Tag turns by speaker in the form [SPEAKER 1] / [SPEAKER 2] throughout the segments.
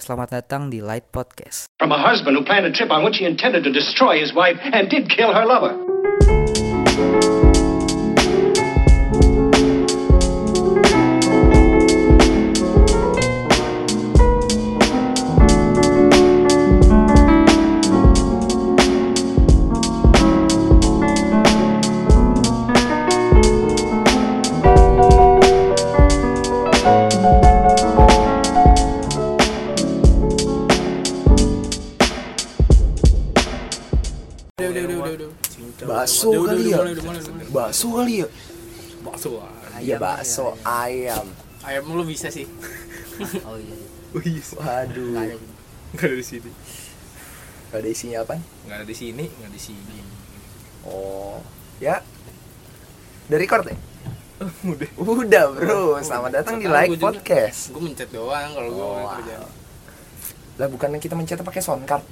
[SPEAKER 1] Selamat datang di Light Podcast.
[SPEAKER 2] from a husband who planned a trip on which he intended to destroy his wife and did kill her lover.
[SPEAKER 3] Udah, udah, udah, udah, udah.
[SPEAKER 4] Bakso
[SPEAKER 3] Udah, udah,
[SPEAKER 4] kali
[SPEAKER 3] udah,
[SPEAKER 4] ya?
[SPEAKER 3] mulai, udah, mulai, udah, mulai.
[SPEAKER 4] Bakso kali ya?
[SPEAKER 3] Bakso. ah.
[SPEAKER 4] Iya bakso ayam.
[SPEAKER 3] Ayam lu bisa sih.
[SPEAKER 1] Oh iya,
[SPEAKER 4] Waduh.
[SPEAKER 3] Enggak ada di sini.
[SPEAKER 4] Gak ada isinya apa?
[SPEAKER 3] Enggak ada di sini, enggak ada di sini.
[SPEAKER 4] Oh. Ya. Udah record ya?
[SPEAKER 3] Udah.
[SPEAKER 4] Udah bro. Selamat datang di Like
[SPEAKER 3] Gua juga-
[SPEAKER 4] Podcast.
[SPEAKER 3] Gua mencet doang kalau gua
[SPEAKER 4] Oh,
[SPEAKER 3] mau
[SPEAKER 4] wow.
[SPEAKER 3] kerja.
[SPEAKER 4] Lah bukannya kita mencetak pakai sound card?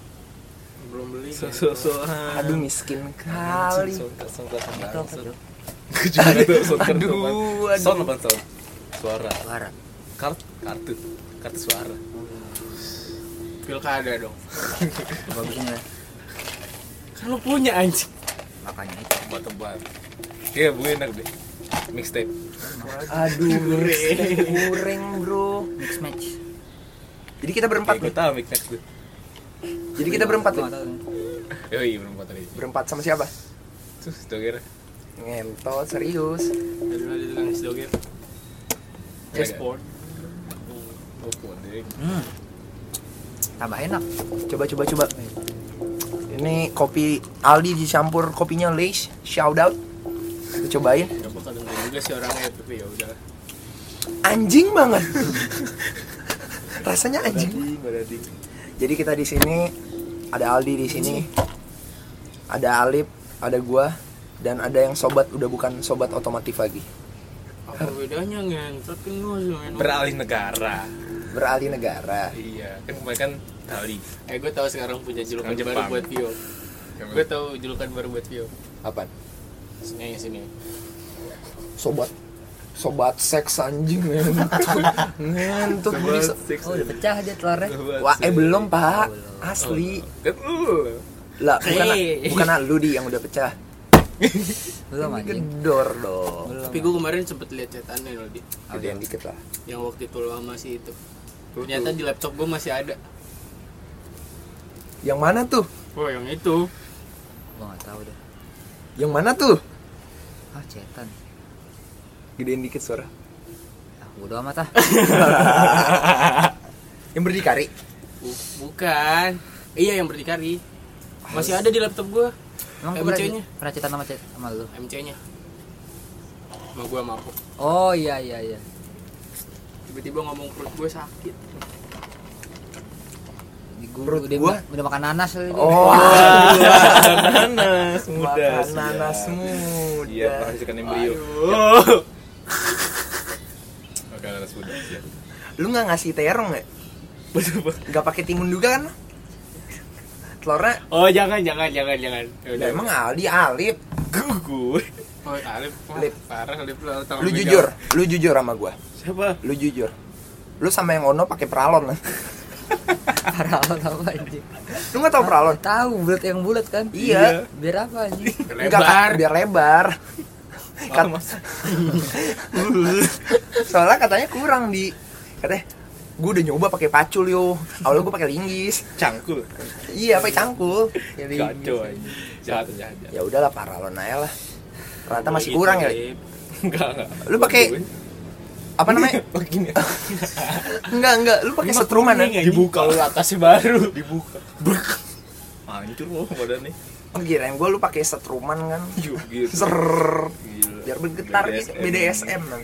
[SPEAKER 3] Belum beli.
[SPEAKER 5] so so so
[SPEAKER 4] Aduh miskin kali.
[SPEAKER 5] gue juga nggak tahu sound card itu
[SPEAKER 4] Aduh,
[SPEAKER 5] apaan.
[SPEAKER 4] aduh.
[SPEAKER 5] sound apaan sound suara
[SPEAKER 1] suara.
[SPEAKER 5] kart kartu kartu suara
[SPEAKER 3] Pilkada dong.
[SPEAKER 1] Bagusnya
[SPEAKER 3] Kan lu punya anjing.
[SPEAKER 1] makanya itu.
[SPEAKER 5] buat tempat
[SPEAKER 3] Iya,
[SPEAKER 5] ya gue enak deh mixtape
[SPEAKER 4] Aduh miskin kurang bro.
[SPEAKER 1] Mix match.
[SPEAKER 4] Jadi kita berempat
[SPEAKER 3] Ya,
[SPEAKER 5] kayak gue
[SPEAKER 4] nih.
[SPEAKER 5] tahu mixtape gue
[SPEAKER 4] Jadi kita berempat nih.
[SPEAKER 1] Gua nggak tahu nih.
[SPEAKER 5] yo iya belum tadi
[SPEAKER 4] Berempat sama siapa?
[SPEAKER 5] terus tuh kira
[SPEAKER 4] Ngentot serius.
[SPEAKER 3] Dari dulu tukang es doger.
[SPEAKER 5] Yes,
[SPEAKER 3] Export.
[SPEAKER 5] oh pun deh
[SPEAKER 1] Hmm. Tambah enak.
[SPEAKER 4] Coba coba coba. Ini kopi Aldi dicampur kopinya Lace. Shout out. Kita cobain.
[SPEAKER 3] Aku kadang juga sih orangnya tapi ya udah.
[SPEAKER 4] Anjing banget. Rasanya anjing.
[SPEAKER 5] nggak ada ding
[SPEAKER 4] Jadi kita di sini ada Aldi di sini. Ada Alip, ada gua dan ada yang sobat udah bukan sobat otomotif lagi.
[SPEAKER 3] Apa bedanya ngentot kan lu masih main.
[SPEAKER 5] beralih negara
[SPEAKER 4] Beralih negara.
[SPEAKER 5] iya kan kemarin kan Bali
[SPEAKER 3] Eh gua tahu sekarang punya julukan baru
[SPEAKER 5] Sekarang Jepang.
[SPEAKER 3] buat Vio. Gua tahu julukan baru buat Vio.
[SPEAKER 4] Apaan?
[SPEAKER 3] Sini sini.
[SPEAKER 4] Sobat sobat seks anjing ngentut
[SPEAKER 5] Sobat
[SPEAKER 4] ngentut
[SPEAKER 5] seks.
[SPEAKER 1] Oh udah pecah dia telurnya.
[SPEAKER 5] Sobat
[SPEAKER 4] wah eh
[SPEAKER 5] seks.
[SPEAKER 4] belum pak
[SPEAKER 1] belum.
[SPEAKER 4] asli
[SPEAKER 5] kan lu
[SPEAKER 4] lah bukan
[SPEAKER 3] Hei.
[SPEAKER 4] bukan lu di yang udah pecah
[SPEAKER 1] Belum anjing.
[SPEAKER 4] gedor dong
[SPEAKER 1] Belum.
[SPEAKER 3] Tapi gua kemarin sempet lihat chatannya loh di
[SPEAKER 4] gedean dikit lah
[SPEAKER 3] yang waktu itu lo sama si itu ternyata di laptop gue masih ada
[SPEAKER 4] yang mana tuh
[SPEAKER 3] oh yang itu
[SPEAKER 1] Gua nggak tahu deh.
[SPEAKER 4] yang mana tuh
[SPEAKER 1] Ah cetan.
[SPEAKER 4] gedein dikit suara
[SPEAKER 1] Ah bodo amat ah.
[SPEAKER 4] yang berdikari
[SPEAKER 3] Bu- bukan iya yang berdikari masih ada di laptop gue
[SPEAKER 1] Emang gua pernah,
[SPEAKER 3] MC-nya?
[SPEAKER 1] pernah cetan sama cet sama lu.
[SPEAKER 3] MC nya sama gue mabuk
[SPEAKER 1] Oh iya iya iya.
[SPEAKER 3] tiba-tiba ngomong perut gue sakit
[SPEAKER 1] Di gua,
[SPEAKER 4] Perut
[SPEAKER 1] dia
[SPEAKER 4] gua?
[SPEAKER 1] udah makan nanas kali dia.
[SPEAKER 4] oh
[SPEAKER 5] nanas muda
[SPEAKER 4] makan nanas muda
[SPEAKER 5] iya pasti kan embrio
[SPEAKER 3] Aduh.
[SPEAKER 5] makan nanas muda iya. siap.
[SPEAKER 4] lu nggak ngasih terong ya nggak pakai timun juga kan telurnya
[SPEAKER 3] oh jangan jangan jangan jangan Ya udah
[SPEAKER 4] Lah, emang Aldi Alip
[SPEAKER 5] gue
[SPEAKER 3] oh, Alif Wah,
[SPEAKER 4] Lip.
[SPEAKER 3] parah Alif lo tangan
[SPEAKER 4] lu
[SPEAKER 3] megang.
[SPEAKER 4] jujur lu jujur sama gua
[SPEAKER 5] siapa
[SPEAKER 4] lu jujur lu sama yang Ono pakai pralon
[SPEAKER 1] Parah amat apa anjing.
[SPEAKER 4] lu nggak tahu pralon
[SPEAKER 1] Tahu bulat yang bulat kan?
[SPEAKER 4] Iya.
[SPEAKER 1] Biar apa anjing?
[SPEAKER 3] Iya. lebar
[SPEAKER 4] Enggak,
[SPEAKER 3] Oh,
[SPEAKER 4] Kak, biar lebar. Kat- Soalnya katanya kurang di katanya gue udah nyoba pakai pacul yo. Awalnya gue pakai linggis.
[SPEAKER 5] cangkul
[SPEAKER 4] Iya, pakai cangkul. Ya, linggis.
[SPEAKER 5] kacau aja jahat jahat jahat
[SPEAKER 4] Ya udahlah paralon aja lah. Ternyata masih
[SPEAKER 3] Gitu,
[SPEAKER 4] kurang ya. Li.
[SPEAKER 3] Lip.
[SPEAKER 5] Iya, enggak enggak
[SPEAKER 4] Lu pakai
[SPEAKER 5] Gue-
[SPEAKER 4] apa namanya?
[SPEAKER 5] pakai gini
[SPEAKER 4] Enggak, enggak. Lu pakai setruman ya?
[SPEAKER 5] dibuka
[SPEAKER 3] kalau atasnya baru
[SPEAKER 5] dibuka Brek. hancur lo badannya
[SPEAKER 4] Oh, kirain gue lu pakai setruman kan.
[SPEAKER 5] yuk gitu
[SPEAKER 4] Ser
[SPEAKER 5] Gila.
[SPEAKER 4] biar bergetar gitu BDSM kan.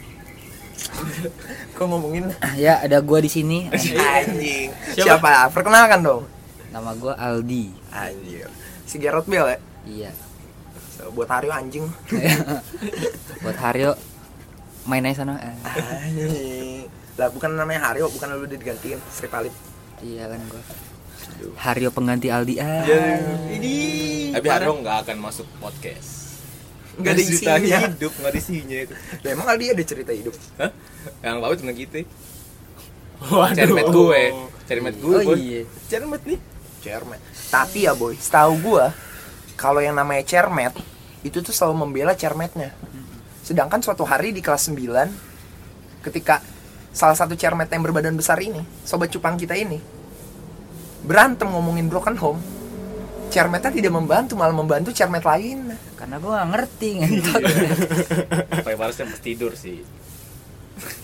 [SPEAKER 4] Kok ngomongin
[SPEAKER 1] ya ada gua di sini.
[SPEAKER 4] anjing.
[SPEAKER 3] Siapa?
[SPEAKER 4] Siapa? Perkenalkan dong.
[SPEAKER 1] Nama gua Aldi.
[SPEAKER 4] Anjir. Si Gareth Bale ya.
[SPEAKER 1] Iya.
[SPEAKER 4] Buat Hario anjing.
[SPEAKER 1] Buat Haryo main aja sana. Eh,
[SPEAKER 4] Anjing. lah bukan namanya Hario bukan lu udah digantiin Sri Palip
[SPEAKER 1] iya kan gua. Haryo pengganti Aldi. Ah.
[SPEAKER 4] ini
[SPEAKER 5] tapi Haro nggak akan masuk podcast
[SPEAKER 4] nggak ada
[SPEAKER 5] cerita
[SPEAKER 4] isinya
[SPEAKER 5] hidup nggak ada isinya
[SPEAKER 4] Lah, emang Aldi ada cerita hidup
[SPEAKER 5] Hah? yang bawa temen kita
[SPEAKER 3] Waduh.
[SPEAKER 5] Cermet gitu. gue. Cermet gue,
[SPEAKER 1] Oh
[SPEAKER 5] Boy.
[SPEAKER 1] iya.
[SPEAKER 5] Cermet nih.
[SPEAKER 4] Cermet. Tapi ya boy, setahu gua kalau yang namanya cermet itu tuh selalu membela cermetnya. Sedangkan suatu hari di kelas 9 ketika salah satu cermet yang berbadan besar ini, sobat cupang kita ini berantem ngomongin broken home. Cermetnya tidak membantu, malah membantu cermet lain.
[SPEAKER 1] Karena gue gak ngerti ngentot.
[SPEAKER 5] Pakai parasnya pas tidur sih.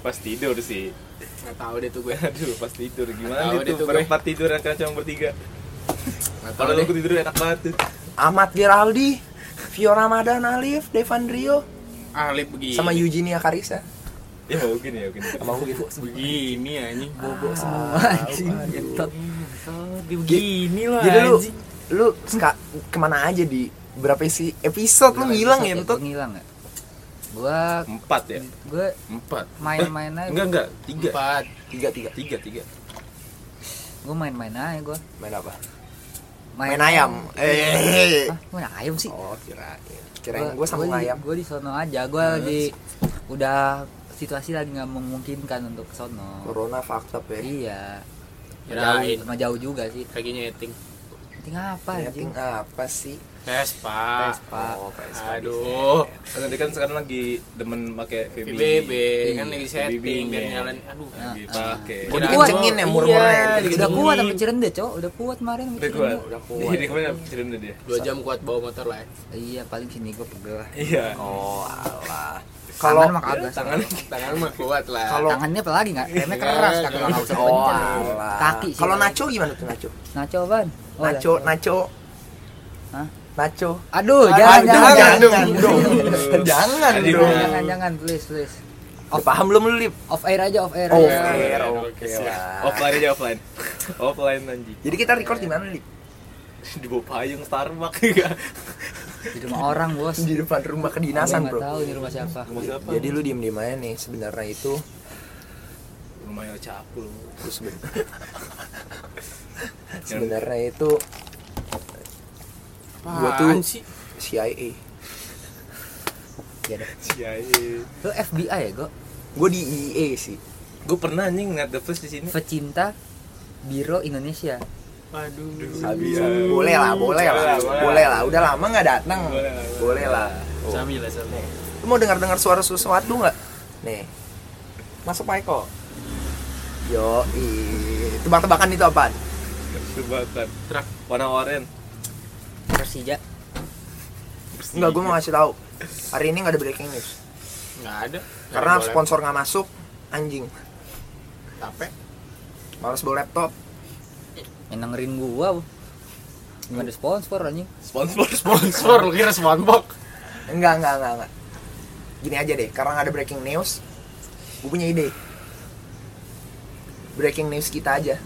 [SPEAKER 5] pas tidur sih.
[SPEAKER 3] nggak tahu deh tuh gue
[SPEAKER 5] Aduh, pas tidur
[SPEAKER 3] Nggak
[SPEAKER 5] gimana
[SPEAKER 3] tahu deh
[SPEAKER 5] itu?
[SPEAKER 3] tuh gue.
[SPEAKER 5] Berempat tidur yang kacang bertiga.
[SPEAKER 3] nggak tahu
[SPEAKER 5] Kalau
[SPEAKER 3] deh
[SPEAKER 5] aku tidur enak banget tuh.
[SPEAKER 4] Ahmad Geraldi, Fiora Madan Alif, Devan Rio,
[SPEAKER 3] alip Ah, begini
[SPEAKER 4] sama Eugenia Karissa.
[SPEAKER 5] Ya mungkin ya mungkin.
[SPEAKER 4] Sama aku gitu.
[SPEAKER 3] begini anjing
[SPEAKER 1] Bobo semua anjing ngentot.
[SPEAKER 3] begini lah
[SPEAKER 4] Jadi lu,
[SPEAKER 3] anjing.
[SPEAKER 4] lu ska- kemana aja di berapa sih episode lu ngilang ya
[SPEAKER 1] Gue
[SPEAKER 4] entot?
[SPEAKER 1] Iya, ngilang ya. Gue
[SPEAKER 5] Empat ya?
[SPEAKER 1] gue
[SPEAKER 5] Empat.
[SPEAKER 1] Main-main
[SPEAKER 5] Eh,
[SPEAKER 1] aja.
[SPEAKER 5] Enggak, enggak. Tiga.
[SPEAKER 3] empat
[SPEAKER 4] Tiga tiga.
[SPEAKER 5] Tiga, tiga.
[SPEAKER 1] gue main-main aja gue.
[SPEAKER 4] Main apa? Main ayam. Eh.
[SPEAKER 1] Hah, main ayam sih.
[SPEAKER 4] Oh kirain. Kirain gue sama ayam.
[SPEAKER 1] Gue di sono aja. Gue lagi udah situasi lagi nggak memungkinkan untuk ke sono.
[SPEAKER 4] Corona fucked up ya.
[SPEAKER 1] Iya.
[SPEAKER 3] Kirain.
[SPEAKER 1] Jauh, sama jauh juga sih.
[SPEAKER 3] lagi nyeting
[SPEAKER 1] Penting apa anjing?
[SPEAKER 4] Dating apa sih?
[SPEAKER 3] Vespa
[SPEAKER 1] Vespa.
[SPEAKER 4] Oh, PS.
[SPEAKER 3] aduh
[SPEAKER 5] Karena dia kan sekarang lagi demen pakai VBB.
[SPEAKER 3] BBB
[SPEAKER 1] Iya.
[SPEAKER 3] kan lagi setting biar nyalain aduh
[SPEAKER 5] Lagi
[SPEAKER 1] Ah,
[SPEAKER 5] Gitu. pakai.
[SPEAKER 4] Udah
[SPEAKER 3] Kirain
[SPEAKER 4] dikencengin
[SPEAKER 3] gua-
[SPEAKER 4] ya murmurnya.
[SPEAKER 3] iya,
[SPEAKER 4] Udah
[SPEAKER 1] Udah
[SPEAKER 3] dikencengin.
[SPEAKER 1] kuat sama Cirende, Cok. Udah kuat kemarin sama
[SPEAKER 5] Udah kuat.
[SPEAKER 1] Cirende.
[SPEAKER 4] Udah kuat.
[SPEAKER 5] Iya, dia kemarin kirim dia.
[SPEAKER 3] dua jam kuat bawa motor lah ya.
[SPEAKER 1] Iya, paling sini gue pegel lah.
[SPEAKER 5] Iya.
[SPEAKER 4] Oh alah.
[SPEAKER 1] Kalau
[SPEAKER 4] Kalau
[SPEAKER 1] mah kagak.
[SPEAKER 5] Tangan
[SPEAKER 3] tangan mah kuat lah
[SPEAKER 4] Kalau-
[SPEAKER 1] Tangannya apalagi nggak? Remnya keras
[SPEAKER 3] Iya,
[SPEAKER 1] kagak nggak usah
[SPEAKER 4] Oh
[SPEAKER 1] kencang.
[SPEAKER 4] alah.
[SPEAKER 1] Kaki sih.
[SPEAKER 4] Kalau
[SPEAKER 1] paling.
[SPEAKER 4] nacho gimana tuh nacho?
[SPEAKER 1] Nacho ban. Oh,
[SPEAKER 4] Nacho, nacho.
[SPEAKER 1] Hah?
[SPEAKER 4] Nacho.
[SPEAKER 1] Aduh,
[SPEAKER 4] Ah,
[SPEAKER 1] jangan jangan jangan.
[SPEAKER 4] dong.
[SPEAKER 1] Jangan,
[SPEAKER 4] dong. Jangan
[SPEAKER 5] Tadi
[SPEAKER 4] dong.
[SPEAKER 5] bilang.
[SPEAKER 1] jangan, jangan, please, please.
[SPEAKER 4] Oh, paham belum lu, Lip?
[SPEAKER 1] Off air aja, off air.
[SPEAKER 4] Oh,
[SPEAKER 1] aja.
[SPEAKER 4] fair, oke lah.
[SPEAKER 5] offline aja offline. offline anjing.
[SPEAKER 4] Jadi kita record di mana, Lip?
[SPEAKER 5] Di bawah payung Starbucks ya kan? enggak.
[SPEAKER 1] Di rumah orang, Bos.
[SPEAKER 4] Di depan rumah
[SPEAKER 1] Gua
[SPEAKER 4] kedinasan,
[SPEAKER 1] nggak
[SPEAKER 4] Bro.
[SPEAKER 1] tahu ini rumah siapa.
[SPEAKER 5] Rumah siapa?
[SPEAKER 4] Jadi lu diem diem aja nih sebenarnya itu
[SPEAKER 5] rumahnya Capul.
[SPEAKER 4] lu seben- sebenarnya itu gua tuh-
[SPEAKER 3] Apaan sih
[SPEAKER 4] CIA.
[SPEAKER 1] Iya deh.
[SPEAKER 5] Ya, Ciai.
[SPEAKER 1] Lu FBI ya, Go?
[SPEAKER 4] Gue Ya di IE sih.
[SPEAKER 5] Gue pernah anjing ngeliat The Flash di sini.
[SPEAKER 1] Pecinta Biro Indonesia.
[SPEAKER 3] aduh
[SPEAKER 5] Habis.
[SPEAKER 4] Boleh lah, boleh lah, boleh lah. Udah lama nggak datang.
[SPEAKER 5] Boleh lah,
[SPEAKER 4] Boleh lah.
[SPEAKER 3] sami lah sami
[SPEAKER 4] Lu mau dengar dengar suara sesuatu nggak? Nih, masuk Pak Eko. Yo, tebak-tebakan itu apaan?
[SPEAKER 5] Tebakan.
[SPEAKER 3] Truk.
[SPEAKER 5] warna oranye.
[SPEAKER 1] Persija.
[SPEAKER 4] Enggak, gue mau ngasih tahu. Hari ini nggak ada breaking news.
[SPEAKER 3] nggak ada
[SPEAKER 4] Karena
[SPEAKER 3] Nggak boleh.
[SPEAKER 4] sponsor nggak masuk, anjing.
[SPEAKER 3] tape
[SPEAKER 4] Males bawa laptop.
[SPEAKER 1] Yang dengerin gua. Bu. Gimana ada sponsor anjing?
[SPEAKER 5] Sponsor sponsor.
[SPEAKER 3] sponsor lu kira sponsor
[SPEAKER 4] Enggak, enggak, enggak, enggak. Gini aja deh, karena nggak ada breaking news, gue punya ide. Breaking news kita aja.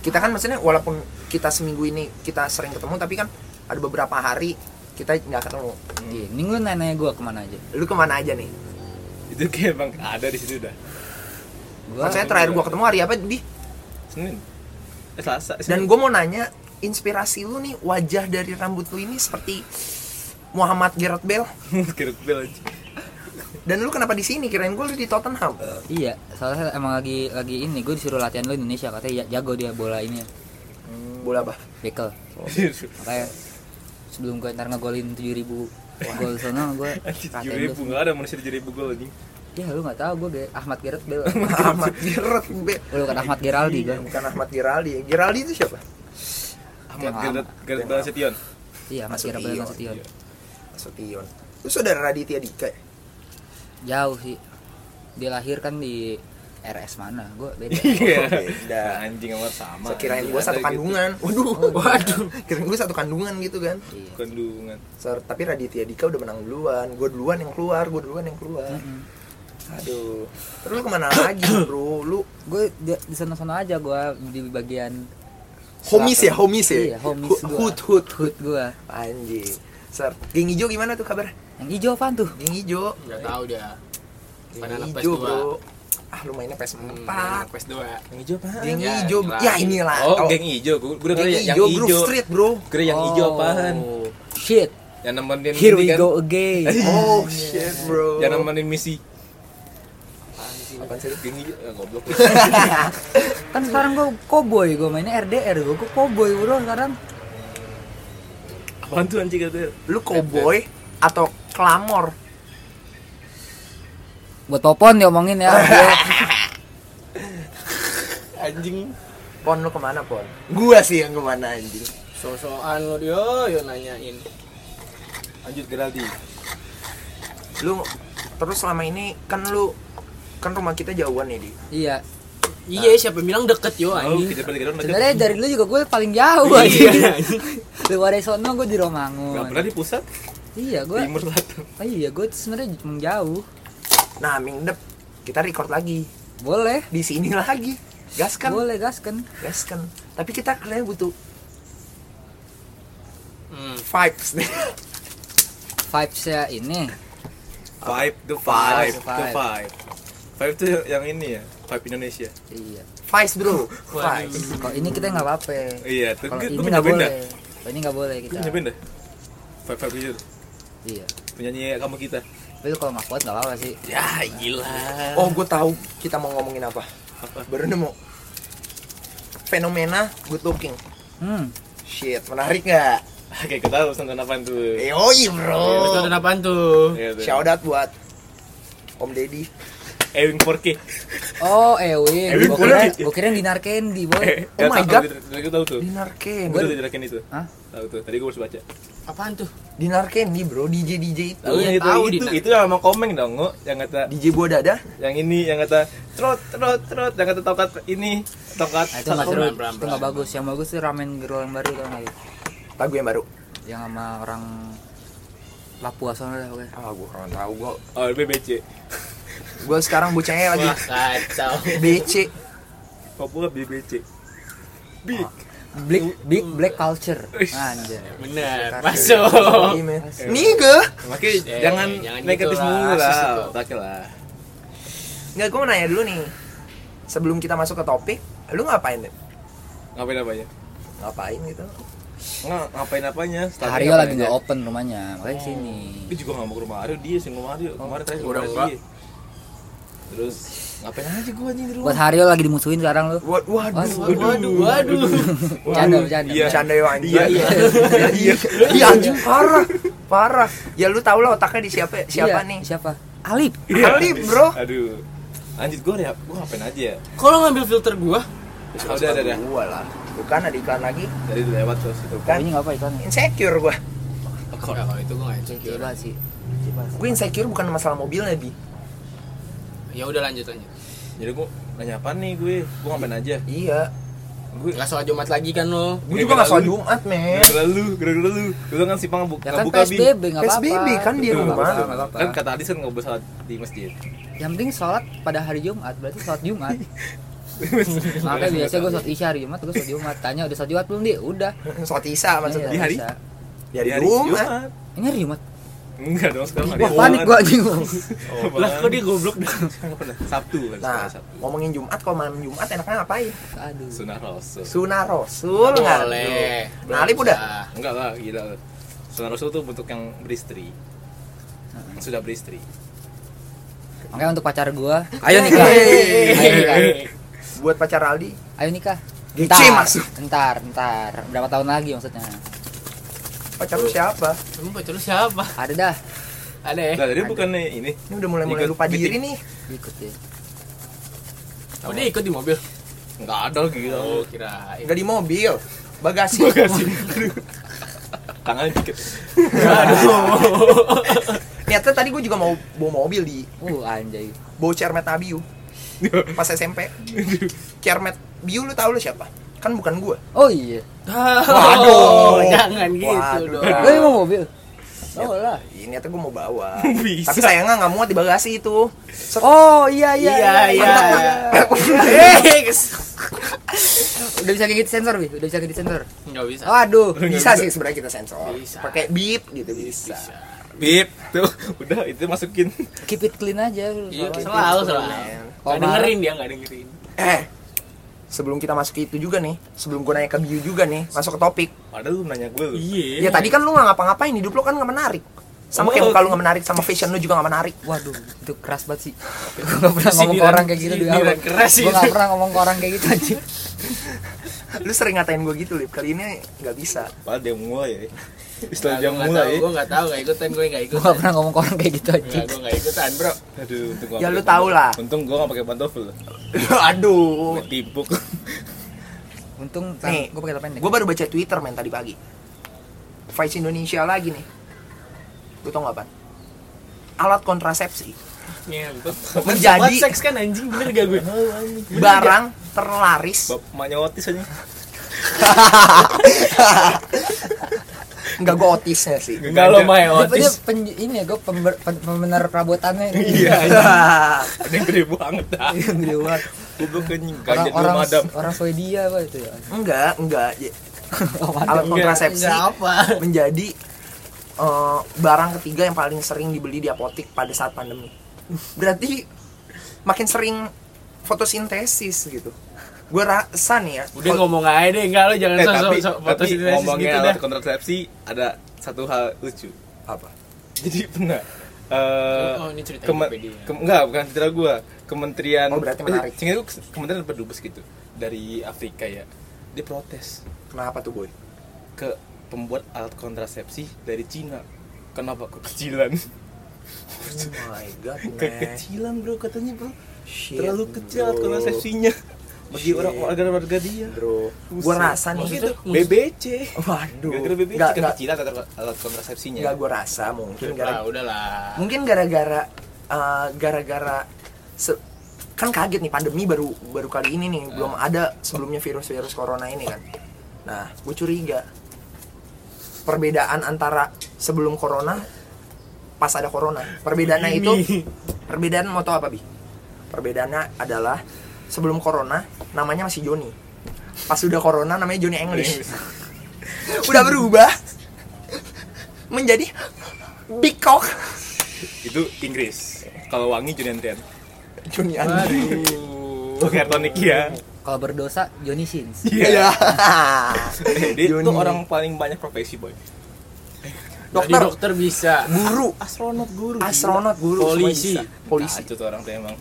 [SPEAKER 4] Kita kan maksudnya walaupun kita seminggu ini kita sering ketemu, tapi kan ada beberapa hari kita nggak ketemu.
[SPEAKER 1] Iya, mending lu nanya gua kemana aja.
[SPEAKER 4] Lu kemana aja nih?
[SPEAKER 5] Itu kayak bang ada di situ dah.
[SPEAKER 1] Gua
[SPEAKER 4] Maksudnya terakhir gue ketemu hari apa di?
[SPEAKER 5] Senin. Eh Selasa.
[SPEAKER 4] Dan gue mau nanya, inspirasi lu nih wajah dari rambut lu ini seperti Muhammad Gerard Bell.
[SPEAKER 5] kira bel anjing.
[SPEAKER 4] Dan lu kenapa di sini? Kirain gue lu di Tottenham.
[SPEAKER 1] Iya, soalnya emang lagi lagi ini gue disuruh latihan lu Indonesia katanya ya- jago dia bola ini
[SPEAKER 4] Bola apa?
[SPEAKER 1] bekel. Makanya sebelum gue ntar ngegolin 7000 gol sono gue
[SPEAKER 5] Tujuh
[SPEAKER 1] latihan
[SPEAKER 5] ribu
[SPEAKER 1] lu.
[SPEAKER 5] nggak ada manusia tujuh ribu gol anjing.
[SPEAKER 1] Ya lu nggak tahu gue Ahmad Gerard Bel.
[SPEAKER 4] Muhammad Gerard Bell.
[SPEAKER 1] Lu kan Ahmad Geraldi gue.
[SPEAKER 4] Iya, Bukan Ahmad Giraldi. Giraldi itu siapa?
[SPEAKER 5] Ahmad
[SPEAKER 1] Yang
[SPEAKER 5] Gerard
[SPEAKER 1] lama.
[SPEAKER 5] Gerard Balasetion.
[SPEAKER 1] Iya, Ahmad Gerard Bel Nasution.
[SPEAKER 5] Iya.
[SPEAKER 4] Sution. Lu saudara Raditya Dika ya?
[SPEAKER 1] Jauh sih. Dia lahir kan di RS mana? Gue beda.
[SPEAKER 5] Iya.
[SPEAKER 4] Beda.
[SPEAKER 5] Anjing sama sama.
[SPEAKER 4] Saya kirain
[SPEAKER 5] Anjing,
[SPEAKER 4] gue
[SPEAKER 5] ada
[SPEAKER 4] satu
[SPEAKER 5] gitu.
[SPEAKER 4] kandungan. Waduh, waduh. Kirain gue satu kandungan gitu kan.
[SPEAKER 1] Iya.
[SPEAKER 5] Kandungan.
[SPEAKER 4] Sor- tapi Raditya Dika udah menang duluan. Gue duluan yang keluar, gue duluan yang keluar. Aduh. Terus lu kemana lagi, bro? Lu
[SPEAKER 1] Gue di, di sana-sana aja gue di bagian
[SPEAKER 4] homies ya, homies ya?
[SPEAKER 1] Iya, homies
[SPEAKER 4] Hu-
[SPEAKER 1] gua.
[SPEAKER 4] Hood, hood,
[SPEAKER 1] hood
[SPEAKER 4] hood.
[SPEAKER 1] gue.
[SPEAKER 4] Anjing. Sir, geng hijau gimana tuh kabar?
[SPEAKER 1] Yang hijau apaan tuh?
[SPEAKER 4] Geng hijau.
[SPEAKER 3] nggak tahu dia Pada anak
[SPEAKER 4] Geng
[SPEAKER 3] PES
[SPEAKER 4] hijau,
[SPEAKER 3] dua.
[SPEAKER 4] Iya, bro. Ah, lu mainnya PS
[SPEAKER 3] Hmm,
[SPEAKER 4] 4.
[SPEAKER 3] quest dua
[SPEAKER 5] Yang hijau apa?
[SPEAKER 4] Geng
[SPEAKER 3] Ya,
[SPEAKER 4] hijau.
[SPEAKER 3] jelas.
[SPEAKER 4] Ya inilah.
[SPEAKER 5] Oh, geng hijau. Gue udah kira yang
[SPEAKER 4] hijau, Groove
[SPEAKER 5] hijau.
[SPEAKER 4] Street, bro.
[SPEAKER 5] Kira yang hijau apaan?
[SPEAKER 1] Oh, Shit.
[SPEAKER 5] Yang nemenin
[SPEAKER 1] Here
[SPEAKER 5] ini
[SPEAKER 1] we
[SPEAKER 5] kan?
[SPEAKER 4] Iya.
[SPEAKER 1] go again.
[SPEAKER 4] Oh shit Oh, bro.
[SPEAKER 5] Yang nemenin misi.
[SPEAKER 4] Apaan sih?
[SPEAKER 5] tinggi eh, goblok
[SPEAKER 1] kan sekarang gue cowboy gue mainnya RDR gue gue cowboy bro sekarang
[SPEAKER 6] Apaan tuh anjing kata?
[SPEAKER 4] Lu cowboy atau klamor?
[SPEAKER 1] buat popon diomongin ya
[SPEAKER 4] Anjing. Pon lu kemana pon? Gua sih yang kemana anjing.
[SPEAKER 3] Sosokan lo dia yo nanyain.
[SPEAKER 5] lanjut Geraldi
[SPEAKER 4] Lu terus selama ini kan lu kan rumah kita jauhan ya di.
[SPEAKER 1] iya
[SPEAKER 3] Iya, siapa yang bilang deket yo
[SPEAKER 5] oh
[SPEAKER 3] anjing.
[SPEAKER 5] kita balik Geraldi deket
[SPEAKER 1] sebenarnya dari lu juga gue paling jauh aja lu dari sono gue di
[SPEAKER 5] Iya. nggak
[SPEAKER 1] Romangun
[SPEAKER 5] pernah di pusat
[SPEAKER 1] iya gue
[SPEAKER 5] timur selatan
[SPEAKER 1] oh, iya gue sebenarnya emang jauh
[SPEAKER 4] Nah mingdep kita record lagi
[SPEAKER 1] boleh
[SPEAKER 4] di sini lagi. Gas kan?
[SPEAKER 1] boleh gas kan
[SPEAKER 4] Gas kan. Tapi kita kayaknya butuh
[SPEAKER 3] Hmm.
[SPEAKER 4] vibes nih.
[SPEAKER 1] vibes ya ini
[SPEAKER 5] vibe the
[SPEAKER 1] Vibe.
[SPEAKER 5] vibe the vibe vibe tuh yang ini ya vibe Indonesia
[SPEAKER 1] iya
[SPEAKER 4] Vibes bro.
[SPEAKER 3] Waduh.
[SPEAKER 4] Vibes.
[SPEAKER 1] kalau ini kita nggak apa-apa
[SPEAKER 5] iya tuh
[SPEAKER 1] kalau
[SPEAKER 5] gue
[SPEAKER 1] ini
[SPEAKER 5] gue
[SPEAKER 1] nggak
[SPEAKER 5] nyobain
[SPEAKER 1] boleh
[SPEAKER 5] dah
[SPEAKER 1] kalau ini nggak boleh
[SPEAKER 5] gue
[SPEAKER 1] kita
[SPEAKER 5] nyobain dah vibe vibe gitu
[SPEAKER 1] iya
[SPEAKER 5] penyanyi kamu kita
[SPEAKER 1] tapi lu kalau nggak kuat nggak apa-apa sih
[SPEAKER 5] ya gila
[SPEAKER 4] Oh gue tahu kita mau ngomongin apa.
[SPEAKER 5] Apa?
[SPEAKER 4] Baru nemu fenomena good looking.
[SPEAKER 1] hmm
[SPEAKER 4] Shit menarik nggak?
[SPEAKER 5] oke kita harus nonton apaan tuh
[SPEAKER 4] Yoi
[SPEAKER 3] Terus
[SPEAKER 4] bro.
[SPEAKER 3] nonton apaan tuh?
[SPEAKER 5] Iya, tuh.
[SPEAKER 4] Eh, Shout out buat Om Deddy.
[SPEAKER 5] Ewing 4K
[SPEAKER 1] oh Ewing
[SPEAKER 5] Ewing
[SPEAKER 1] gue
[SPEAKER 5] boleh. Eh,
[SPEAKER 1] kira gue kira dinar candy boy Nah,
[SPEAKER 4] Oh my God.
[SPEAKER 5] Gue tahu tuh
[SPEAKER 4] Dinar
[SPEAKER 5] Gue
[SPEAKER 4] Candy.
[SPEAKER 5] udah jerakin itu
[SPEAKER 1] Hah?
[SPEAKER 5] Tahu tuh Tadi gue harus baca
[SPEAKER 3] Apaan tuh?
[SPEAKER 4] Dinar Candy bro, DJ DJ itu.
[SPEAKER 5] Tahu
[SPEAKER 3] Iya,
[SPEAKER 5] yang itu
[SPEAKER 3] tahu,
[SPEAKER 5] itu
[SPEAKER 3] Dina.
[SPEAKER 5] itu sama komeng dong Ngo. yang kata
[SPEAKER 4] DJ buah dada.
[SPEAKER 5] yang ini yang kata trot trot trot yang kata tongkat ini tongkat
[SPEAKER 1] Nah, itu nggak seru,
[SPEAKER 3] Beran, beran,
[SPEAKER 1] itu nggak bagus. Yang bagus tuh ramen gerol yang baru tau nggak? Yud?
[SPEAKER 4] Lagu yang baru.
[SPEAKER 1] Yang sama orang Papua sono dah pokoknya.
[SPEAKER 4] Ah gue kurang tahu gue.
[SPEAKER 5] oh BBC
[SPEAKER 4] Gue sekarang bocahnya lagi
[SPEAKER 3] Wah, kacau.
[SPEAKER 4] BC.
[SPEAKER 5] Papua BBC big
[SPEAKER 1] Big big black culture. Anjir.
[SPEAKER 3] Bener,
[SPEAKER 4] Oh.
[SPEAKER 3] masuk.
[SPEAKER 5] Iya.
[SPEAKER 4] Niga.
[SPEAKER 5] makanya
[SPEAKER 3] Eh,
[SPEAKER 5] jangan
[SPEAKER 3] jangan
[SPEAKER 5] negatif
[SPEAKER 3] gitu lah,
[SPEAKER 5] mulu
[SPEAKER 3] rasis
[SPEAKER 5] lah
[SPEAKER 3] itu.
[SPEAKER 5] otaknya lah
[SPEAKER 4] Nggak gue mau nanya dulu nih. Sebelum kita masuk ke topik, lu ngapain? Dep?
[SPEAKER 5] ngapain apanya
[SPEAKER 4] Ngapain gitu?
[SPEAKER 5] nggak ngapain apanya Startnya
[SPEAKER 1] Hario lagi
[SPEAKER 5] ngapain
[SPEAKER 1] nggak
[SPEAKER 5] aja.
[SPEAKER 1] open rumahnya, makanya kesini.
[SPEAKER 5] Gue juga gak mau ke rumah Aryo, dia sih rumah Aryo Kemarin tadi ke rumah
[SPEAKER 4] udah
[SPEAKER 5] Aryo
[SPEAKER 4] enggak.
[SPEAKER 5] dia. Terus ngapain aja gue anjing di rumah
[SPEAKER 1] Buat Hario lagi dimusuhin sekarang lu.
[SPEAKER 4] Wa- Waduh.
[SPEAKER 1] Waduh.
[SPEAKER 3] Waduh, waduh.
[SPEAKER 1] Bercanda, bercanda.
[SPEAKER 5] Iya.
[SPEAKER 4] Canda yo anjing.
[SPEAKER 5] Iya, iya.
[SPEAKER 4] Iya, iya. Iya, anjing parah. Parah. Ya lu tau lah otaknya di siapa siapa
[SPEAKER 1] Iya,
[SPEAKER 4] nih?
[SPEAKER 1] Siapa? Kan? Alip.
[SPEAKER 4] Alip, bro.
[SPEAKER 5] Aduh Anjir gue ya, gue ngapain aja ya
[SPEAKER 3] Kalau ngambil filter gua,
[SPEAKER 5] Terus udah, udah, udah
[SPEAKER 4] Gua lah. Bukan ada iklan lagi.
[SPEAKER 5] Tadi udah lewat terus gitu. itu
[SPEAKER 4] Kan.
[SPEAKER 1] Ini nggak apa iklannya.
[SPEAKER 4] Insecure gua.
[SPEAKER 3] Enggak, kalau itu gua nggak insecure.
[SPEAKER 1] Coba sih. Ya
[SPEAKER 4] Gue insecure bukan masalah mobilnya, Bi.
[SPEAKER 3] Ya udah lanjut lanjut.
[SPEAKER 5] Jadi gue nanya apa nih gue, gue ngapain aja
[SPEAKER 4] Iya.
[SPEAKER 5] Gue
[SPEAKER 3] Enggak sholat Jumat lagi kan lo.
[SPEAKER 4] Gue
[SPEAKER 5] Ini
[SPEAKER 4] juga gak sholat
[SPEAKER 5] gara-gara
[SPEAKER 4] Jumat, men.
[SPEAKER 5] Gara-gara lu, gara-gara lu Lu kan si Pang buka,
[SPEAKER 1] Ya kan
[SPEAKER 5] buka Bi.
[SPEAKER 1] PSBB nggak apa-apa.
[SPEAKER 4] PSBB kan di
[SPEAKER 1] Nggak
[SPEAKER 4] rumah.
[SPEAKER 1] apa-apa, nggak apa-apa.
[SPEAKER 5] Kan kata Adis kan gak boleh sholat di masjid
[SPEAKER 1] Yang penting sholat pada hari Jumat, berarti sholat Jumat.
[SPEAKER 5] Iya,
[SPEAKER 1] Makanya biasa gue sholat isya hari Jumat, gue sholat Jumat. Tanya udah sholat Jumat belum dia? Udah.
[SPEAKER 4] Sholat Isya maksudnya.
[SPEAKER 5] Di hari?
[SPEAKER 1] Isya.
[SPEAKER 4] Iya. Di hari Jumat.
[SPEAKER 1] Ini hari Jumat.
[SPEAKER 5] Enggak dong, sekarang hari
[SPEAKER 1] Wah panik
[SPEAKER 5] Jumat.
[SPEAKER 1] gue anjing.
[SPEAKER 5] Oh,
[SPEAKER 3] Lah kok dia
[SPEAKER 5] panik.
[SPEAKER 3] goblok dah.
[SPEAKER 5] Sekarang nggak pernah, Sabtu kan
[SPEAKER 4] Nah,
[SPEAKER 5] sekarang Sabtu
[SPEAKER 4] ngomongin Jumat kalau malam Jumat enaknya ngapain?
[SPEAKER 1] Aduh.
[SPEAKER 5] Sunnah Rasul
[SPEAKER 4] Sunah Rasul nggak?
[SPEAKER 3] Boleh.
[SPEAKER 4] Nah, Alip udah?
[SPEAKER 3] Nah,
[SPEAKER 5] Enggak lah, gila lu. Sunnah Rasul tuh bentuk yang beristri Yang Sudah beristri
[SPEAKER 1] Nah, gitu. Makanya untuk pacar gua, ayo nikah.
[SPEAKER 3] Iya,
[SPEAKER 4] Hey.
[SPEAKER 1] ayo nikah.
[SPEAKER 4] Buat pacar Aldi,
[SPEAKER 1] Ayo nikah.
[SPEAKER 4] Gece masuk.
[SPEAKER 1] Ntar, ntar. Berapa tahun lagi maksudnya?
[SPEAKER 4] pacar lu siapa?
[SPEAKER 3] Emang pacar lu siapa?
[SPEAKER 1] Ada dah.
[SPEAKER 3] Ada ya?
[SPEAKER 5] Nah, tadi bukannya ini
[SPEAKER 4] Ini udah mulai-mulai
[SPEAKER 5] Ikut
[SPEAKER 4] lupa
[SPEAKER 5] meeting.
[SPEAKER 4] diri nih.
[SPEAKER 1] Ikut ya.
[SPEAKER 3] Oh, dia ikut di mobil.
[SPEAKER 5] Enggak ada gila
[SPEAKER 3] Oh, kirain.
[SPEAKER 4] Udah di mobil. Bagasi.
[SPEAKER 5] Tangannya dikit
[SPEAKER 4] Niatnya tadi gue juga mau bawa mobil di
[SPEAKER 1] Uh, anjay.
[SPEAKER 4] bawa cermet Nabiu. Pas SMP. Cermet Biu lu tahu lu siapa? Kan bukan gue.
[SPEAKER 1] Oh iya.
[SPEAKER 3] Waduh, jangan gitu dong.
[SPEAKER 4] Waduh.
[SPEAKER 1] Gua mau mobil. Oh lah.
[SPEAKER 4] Ini tuh gue Iya, mau bawa.
[SPEAKER 5] Bisa.
[SPEAKER 4] Tapi sayangnya nggak muat di bagasi itu.
[SPEAKER 1] Oh iya iya.
[SPEAKER 3] Iya, iya, iya.
[SPEAKER 4] Eh,
[SPEAKER 1] Udah bisa ngigit sensor, Bi. Udah bisa ngigit sensor.
[SPEAKER 3] Enggak bisa.
[SPEAKER 1] Waduh.
[SPEAKER 4] bisa sih sebenarnya kita sensor.
[SPEAKER 3] Bisa.
[SPEAKER 4] Pakai beep gitu bisa.
[SPEAKER 5] Bip Tuh, udah itu masukin
[SPEAKER 1] Keep it clean aja. lu.
[SPEAKER 3] Iya,
[SPEAKER 1] Salah.
[SPEAKER 3] selalu selalu.
[SPEAKER 4] Keren.
[SPEAKER 3] Enggak dengerin dia, enggak dengerin.
[SPEAKER 4] Gitu, Eh, sebelum kita masuk ke itu juga nih, sebelum gue nanya ke Biu juga nih, masuk ke topik.
[SPEAKER 5] Padahal lu nanya gue lu
[SPEAKER 3] Iya. Oh.
[SPEAKER 4] Ya tadi kan lu nggak ngapa-ngapain, hidup lu kan nggak menarik. sama kayak muka lu gak menarik sama fashion lu juga gak menarik
[SPEAKER 1] Waduh, itu keras banget sih. Gue gak pernah ngomong ke
[SPEAKER 5] Sindiran-
[SPEAKER 1] orang kayak gitu di
[SPEAKER 5] sindiran
[SPEAKER 1] awal.
[SPEAKER 5] keras sih
[SPEAKER 1] Gue gak
[SPEAKER 5] itu.
[SPEAKER 1] pernah ngomong ke orang kayak gitu anjing.
[SPEAKER 4] lu sering ngatain gue gitu lip kali ini nggak bisa
[SPEAKER 5] Padahal dia mulai ya. Setelah dia
[SPEAKER 3] Gua nggak
[SPEAKER 5] mulai.
[SPEAKER 3] tahu, Gua nggak tahu, nggak ikutan, gua nggak
[SPEAKER 1] Gue gak
[SPEAKER 3] ikutan.
[SPEAKER 1] pernah ngomong ke orang kayak gitu
[SPEAKER 3] Nggak,
[SPEAKER 1] anjing.
[SPEAKER 3] gua nggak ikutan, bro.
[SPEAKER 5] Aduh, untung gua
[SPEAKER 4] Ya,
[SPEAKER 5] nggak
[SPEAKER 4] lu
[SPEAKER 5] pakai
[SPEAKER 4] tahu
[SPEAKER 5] pantofel.
[SPEAKER 4] lah.
[SPEAKER 5] Untung gua gak pakai pantofel.
[SPEAKER 4] aduh
[SPEAKER 5] Gua Tipuk.
[SPEAKER 1] Untung
[SPEAKER 4] Nih,
[SPEAKER 1] gue pakai celana pendek.
[SPEAKER 4] gue baru baca twitter men tadi pagi Vice Indonesia lagi nih lu tau nggak apa alat kontrasepsi
[SPEAKER 3] Ngentot.
[SPEAKER 4] Menjadi-
[SPEAKER 3] Sobat seks kan anjing bener gak gue?
[SPEAKER 4] barang terlaris
[SPEAKER 5] Bap- Emaknya otis aja.
[SPEAKER 4] nggak gue otisnya sih
[SPEAKER 5] Enggak lo main
[SPEAKER 1] Dia- dia
[SPEAKER 5] otis.
[SPEAKER 1] pen- ini ya gue pember, pen- pembenar perabotannya.
[SPEAKER 5] Iya. Ada yang gede Iya, banget dah.
[SPEAKER 1] Yang gede banget.
[SPEAKER 5] Gue belum kenyang.
[SPEAKER 1] Iya. Orang
[SPEAKER 5] Kajet lu
[SPEAKER 1] orang
[SPEAKER 5] madam.
[SPEAKER 1] orang Swedia apa itu ya?
[SPEAKER 4] enggak enggak
[SPEAKER 1] Oh,
[SPEAKER 4] alat
[SPEAKER 1] madam.
[SPEAKER 4] kontrasepsi
[SPEAKER 3] Nggak apa?
[SPEAKER 4] menjadi eh, barang ketiga yang paling sering dibeli di apotek pada saat pandemi. Berarti makin sering fotosintesis gitu. Gue rasa nih ya.
[SPEAKER 3] Udah
[SPEAKER 4] fo-
[SPEAKER 3] ngomong aja deh, enggak lo jangan
[SPEAKER 5] Eh
[SPEAKER 3] sok
[SPEAKER 5] tapi
[SPEAKER 3] sok
[SPEAKER 5] tapi
[SPEAKER 3] fotosintesis
[SPEAKER 5] ngomongnya
[SPEAKER 3] gitu
[SPEAKER 5] alat
[SPEAKER 3] dah.
[SPEAKER 5] kontrasepsi ada satu hal lucu.
[SPEAKER 4] apa?
[SPEAKER 5] Jadi pernah eh
[SPEAKER 3] Oh, ini cerita
[SPEAKER 5] kema-
[SPEAKER 3] Wikipedia.
[SPEAKER 5] kem- enggak, bukan cerita gua. Kementerian eh,
[SPEAKER 4] Oh, berarti menarik.
[SPEAKER 5] Seingat gua, Kementerian Pendubes gitu dari Afrika ya. Dia protes
[SPEAKER 4] Kenapa tuh boy?
[SPEAKER 5] ke pembuat alat kontrasepsi dari Cina. Kenapa kekecilan?
[SPEAKER 4] Oh my god, man.
[SPEAKER 5] Kekecilan bro katanya bro.
[SPEAKER 4] Shit,
[SPEAKER 5] Terlalu kecil alat
[SPEAKER 4] Gitu, bro.
[SPEAKER 5] kontrasepsinya. Bagi
[SPEAKER 4] Shit.
[SPEAKER 5] orang warga warga dia.
[SPEAKER 4] Bro, gue
[SPEAKER 5] Buset.
[SPEAKER 4] rasa nih.
[SPEAKER 5] Maksudnya
[SPEAKER 4] Gitu.
[SPEAKER 5] BBC.
[SPEAKER 4] Waduh.
[SPEAKER 5] Gara-gara BBC
[SPEAKER 4] Nggak, nggak.
[SPEAKER 5] kekecilan alat- alat kontrasepsinya.
[SPEAKER 4] Enggak gue rasa mungkin
[SPEAKER 3] Ah,
[SPEAKER 4] gara
[SPEAKER 3] udahlah.
[SPEAKER 4] mungkin gara-gara eh, gara-gara se- kan kaget nih pandemi baru baru kali ini nih belum ada sebelumnya virus-virus corona ini kan nah gue curiga perbedaan antara sebelum corona pas ada corona perbedaannya itu perbedaan mau tau apa bi perbedaannya adalah sebelum corona namanya masih Joni pas udah corona namanya Joni English udah berubah menjadi Big Cock
[SPEAKER 5] Itu Inggris. Kalau wangi Junian Tian.
[SPEAKER 4] Joni Andri
[SPEAKER 5] Oke, Tonic ya.
[SPEAKER 1] Kalau berdosa Johnny Sins.
[SPEAKER 5] Iya. Eh, Dia
[SPEAKER 4] Joni.
[SPEAKER 5] tuh orang paling banyak profesi, Boy.
[SPEAKER 3] Dokter.
[SPEAKER 4] Dokter,
[SPEAKER 3] dokter bisa.
[SPEAKER 4] guru,
[SPEAKER 5] Astronot guru.
[SPEAKER 4] astronot, guru, semua
[SPEAKER 3] Polisi.
[SPEAKER 4] bisa. polisi.
[SPEAKER 5] Itu Ah, tuh orang tuh emang.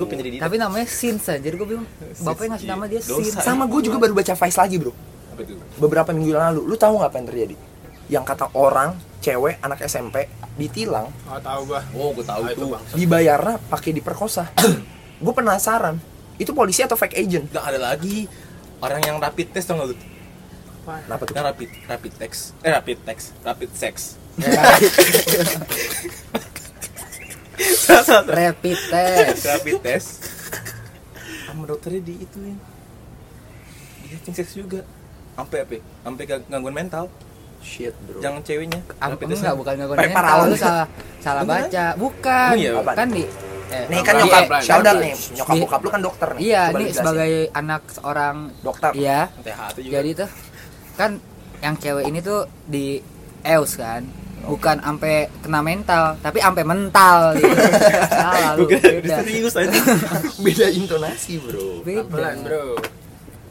[SPEAKER 5] Gue penjadi
[SPEAKER 1] Tapi namanya Sins aja. Jadi gue bilang bapaknya ngasih nama dia
[SPEAKER 5] Dosa.
[SPEAKER 1] Sins.
[SPEAKER 4] Sama gue juga baru baca Vice lagi bro,
[SPEAKER 5] apa tuh?
[SPEAKER 4] beberapa minggu yang lalu. Lu tahu nggak apa yang terjadi? Yang kata orang, cewek, anak SMP ditilang,
[SPEAKER 3] Oh, tahu gua.
[SPEAKER 5] Oh, gue tahu
[SPEAKER 3] Ah, itu
[SPEAKER 5] tuh.
[SPEAKER 3] bang.
[SPEAKER 4] dibayarnya pakai diperkosa. gue penasaran, itu polisi atau fake agent?
[SPEAKER 5] Dan ada lagi orang yang rapid test tau gak lu?
[SPEAKER 4] Kenapa tuh?
[SPEAKER 5] Yang rapid rapid test. Eh, rapid test. Rapid sex. Salah, salah, salah.
[SPEAKER 1] Rapid test.
[SPEAKER 5] rapid test sama dokternya di itu ya di hacking seks juga sampai apa ya? sampai gangg- gangguan mental
[SPEAKER 4] Shit bro.
[SPEAKER 5] jangan ceweknya
[SPEAKER 1] Am,
[SPEAKER 5] Rapid ya?
[SPEAKER 1] enggak
[SPEAKER 5] testnya.
[SPEAKER 1] bukan enggak
[SPEAKER 4] Pakai
[SPEAKER 1] mental,
[SPEAKER 4] paralon.
[SPEAKER 1] lu salah salah
[SPEAKER 5] Beneran?
[SPEAKER 1] baca. Bukan.
[SPEAKER 5] Oh iya,
[SPEAKER 4] Apaan?
[SPEAKER 1] kan di eh,
[SPEAKER 4] Nih kan
[SPEAKER 1] di-
[SPEAKER 4] nyokap,
[SPEAKER 3] Pelan-pelan,
[SPEAKER 4] shout out
[SPEAKER 3] pelan-pelan.
[SPEAKER 4] nih, nyokap
[SPEAKER 1] Di-
[SPEAKER 4] bokap lu kan dokter nih.
[SPEAKER 1] Iya,
[SPEAKER 4] Coba
[SPEAKER 1] ini
[SPEAKER 4] lu jelasin.
[SPEAKER 1] sebagai anak seorang
[SPEAKER 4] dokter.
[SPEAKER 1] Iya.
[SPEAKER 5] TH itu juga
[SPEAKER 1] Jadi tuh kan yang cewek ini tuh di EOS kan. Bukan ampe kena mental, tapi ampe mental gitu. Salah lu.
[SPEAKER 5] Gua kira
[SPEAKER 1] Beda.
[SPEAKER 5] serius aja
[SPEAKER 4] Beda intonasi bro.
[SPEAKER 1] Beda.
[SPEAKER 3] Iya, Pelan, Bro.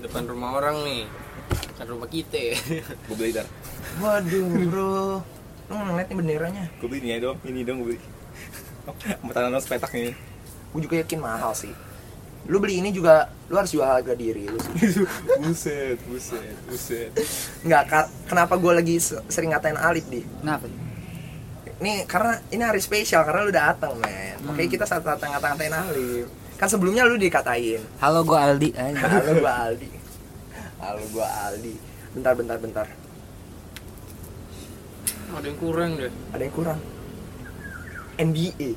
[SPEAKER 3] Depan rumah orang nih. Depan rumah kita.
[SPEAKER 5] gue beli dar
[SPEAKER 4] Waduh bro, lu ngeliat nih benderanya.
[SPEAKER 5] gue beli ini aja dong ini dong gue beli sama tanah sepetak nih
[SPEAKER 4] gue juga yakin mahal sih lu beli ini juga lu harus jual harga diri lu sih
[SPEAKER 5] buset buset buset
[SPEAKER 4] nggak ka- kenapa gue lagi se- sering ngatain Alif di
[SPEAKER 1] Kenapa?
[SPEAKER 4] ini karena ini hari spesial karena lu datang men
[SPEAKER 5] Hmm.
[SPEAKER 4] oke kita saat datang ngata ngatain Alif kan sebelumnya lu dikatain
[SPEAKER 1] Halo gua Aldi. Anjing.
[SPEAKER 4] halo gua Aldi halo gua Aldi bentar bentar bentar
[SPEAKER 3] Ada yang kurang deh.
[SPEAKER 4] ada yang kurang NBA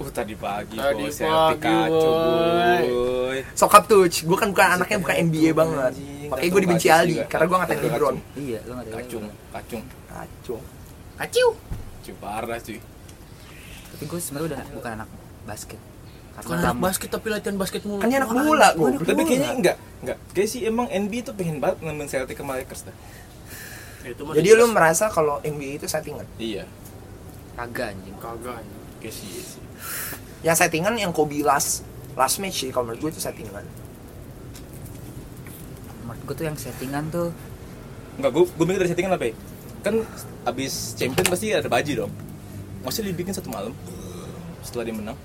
[SPEAKER 5] uh tadi pagi
[SPEAKER 3] Tadi
[SPEAKER 5] boy saya
[SPEAKER 3] pagi,
[SPEAKER 5] Pikachu
[SPEAKER 3] boy.
[SPEAKER 5] boy
[SPEAKER 4] sokap tuh gue kan bukan anaknya bukan NBA banget
[SPEAKER 5] Anjing,
[SPEAKER 4] makanya
[SPEAKER 5] kacung
[SPEAKER 4] gue dibenci
[SPEAKER 5] banget
[SPEAKER 4] Aldi
[SPEAKER 5] juga.
[SPEAKER 4] karena gue ngatain
[SPEAKER 5] Kacung,
[SPEAKER 4] LeBron
[SPEAKER 1] Iya, lu enggak
[SPEAKER 5] kacung kacung
[SPEAKER 4] kacung
[SPEAKER 3] Aciu.
[SPEAKER 5] cuy parah cuy
[SPEAKER 1] Tapi gua sebenarnya udah bukan anak basket.
[SPEAKER 3] Kan anak basket tapi latihan basket mulu.
[SPEAKER 4] kan dia anak bola gue
[SPEAKER 5] tapi kayaknya enggak enggak kayak sih emang NBA tuh pengen banget nemen Celtic sama Lakers dah
[SPEAKER 3] Eh, Itu mah
[SPEAKER 4] jadi
[SPEAKER 3] di-
[SPEAKER 4] lu merasa kalau NBA itu settingan
[SPEAKER 5] iya
[SPEAKER 1] kagak anjing.
[SPEAKER 3] kagak. anjing.
[SPEAKER 5] kayak sih iya sih.
[SPEAKER 4] yang Ya, settingan yang Kobe last last match sih kalau menurut gue itu settingan
[SPEAKER 1] Menurut gua tuh yang settingan tuh
[SPEAKER 5] enggak gue gue mikir dari settingan apa ya kan abis champion pasti ada baji dong masa dibikin satu malam setelah dia menang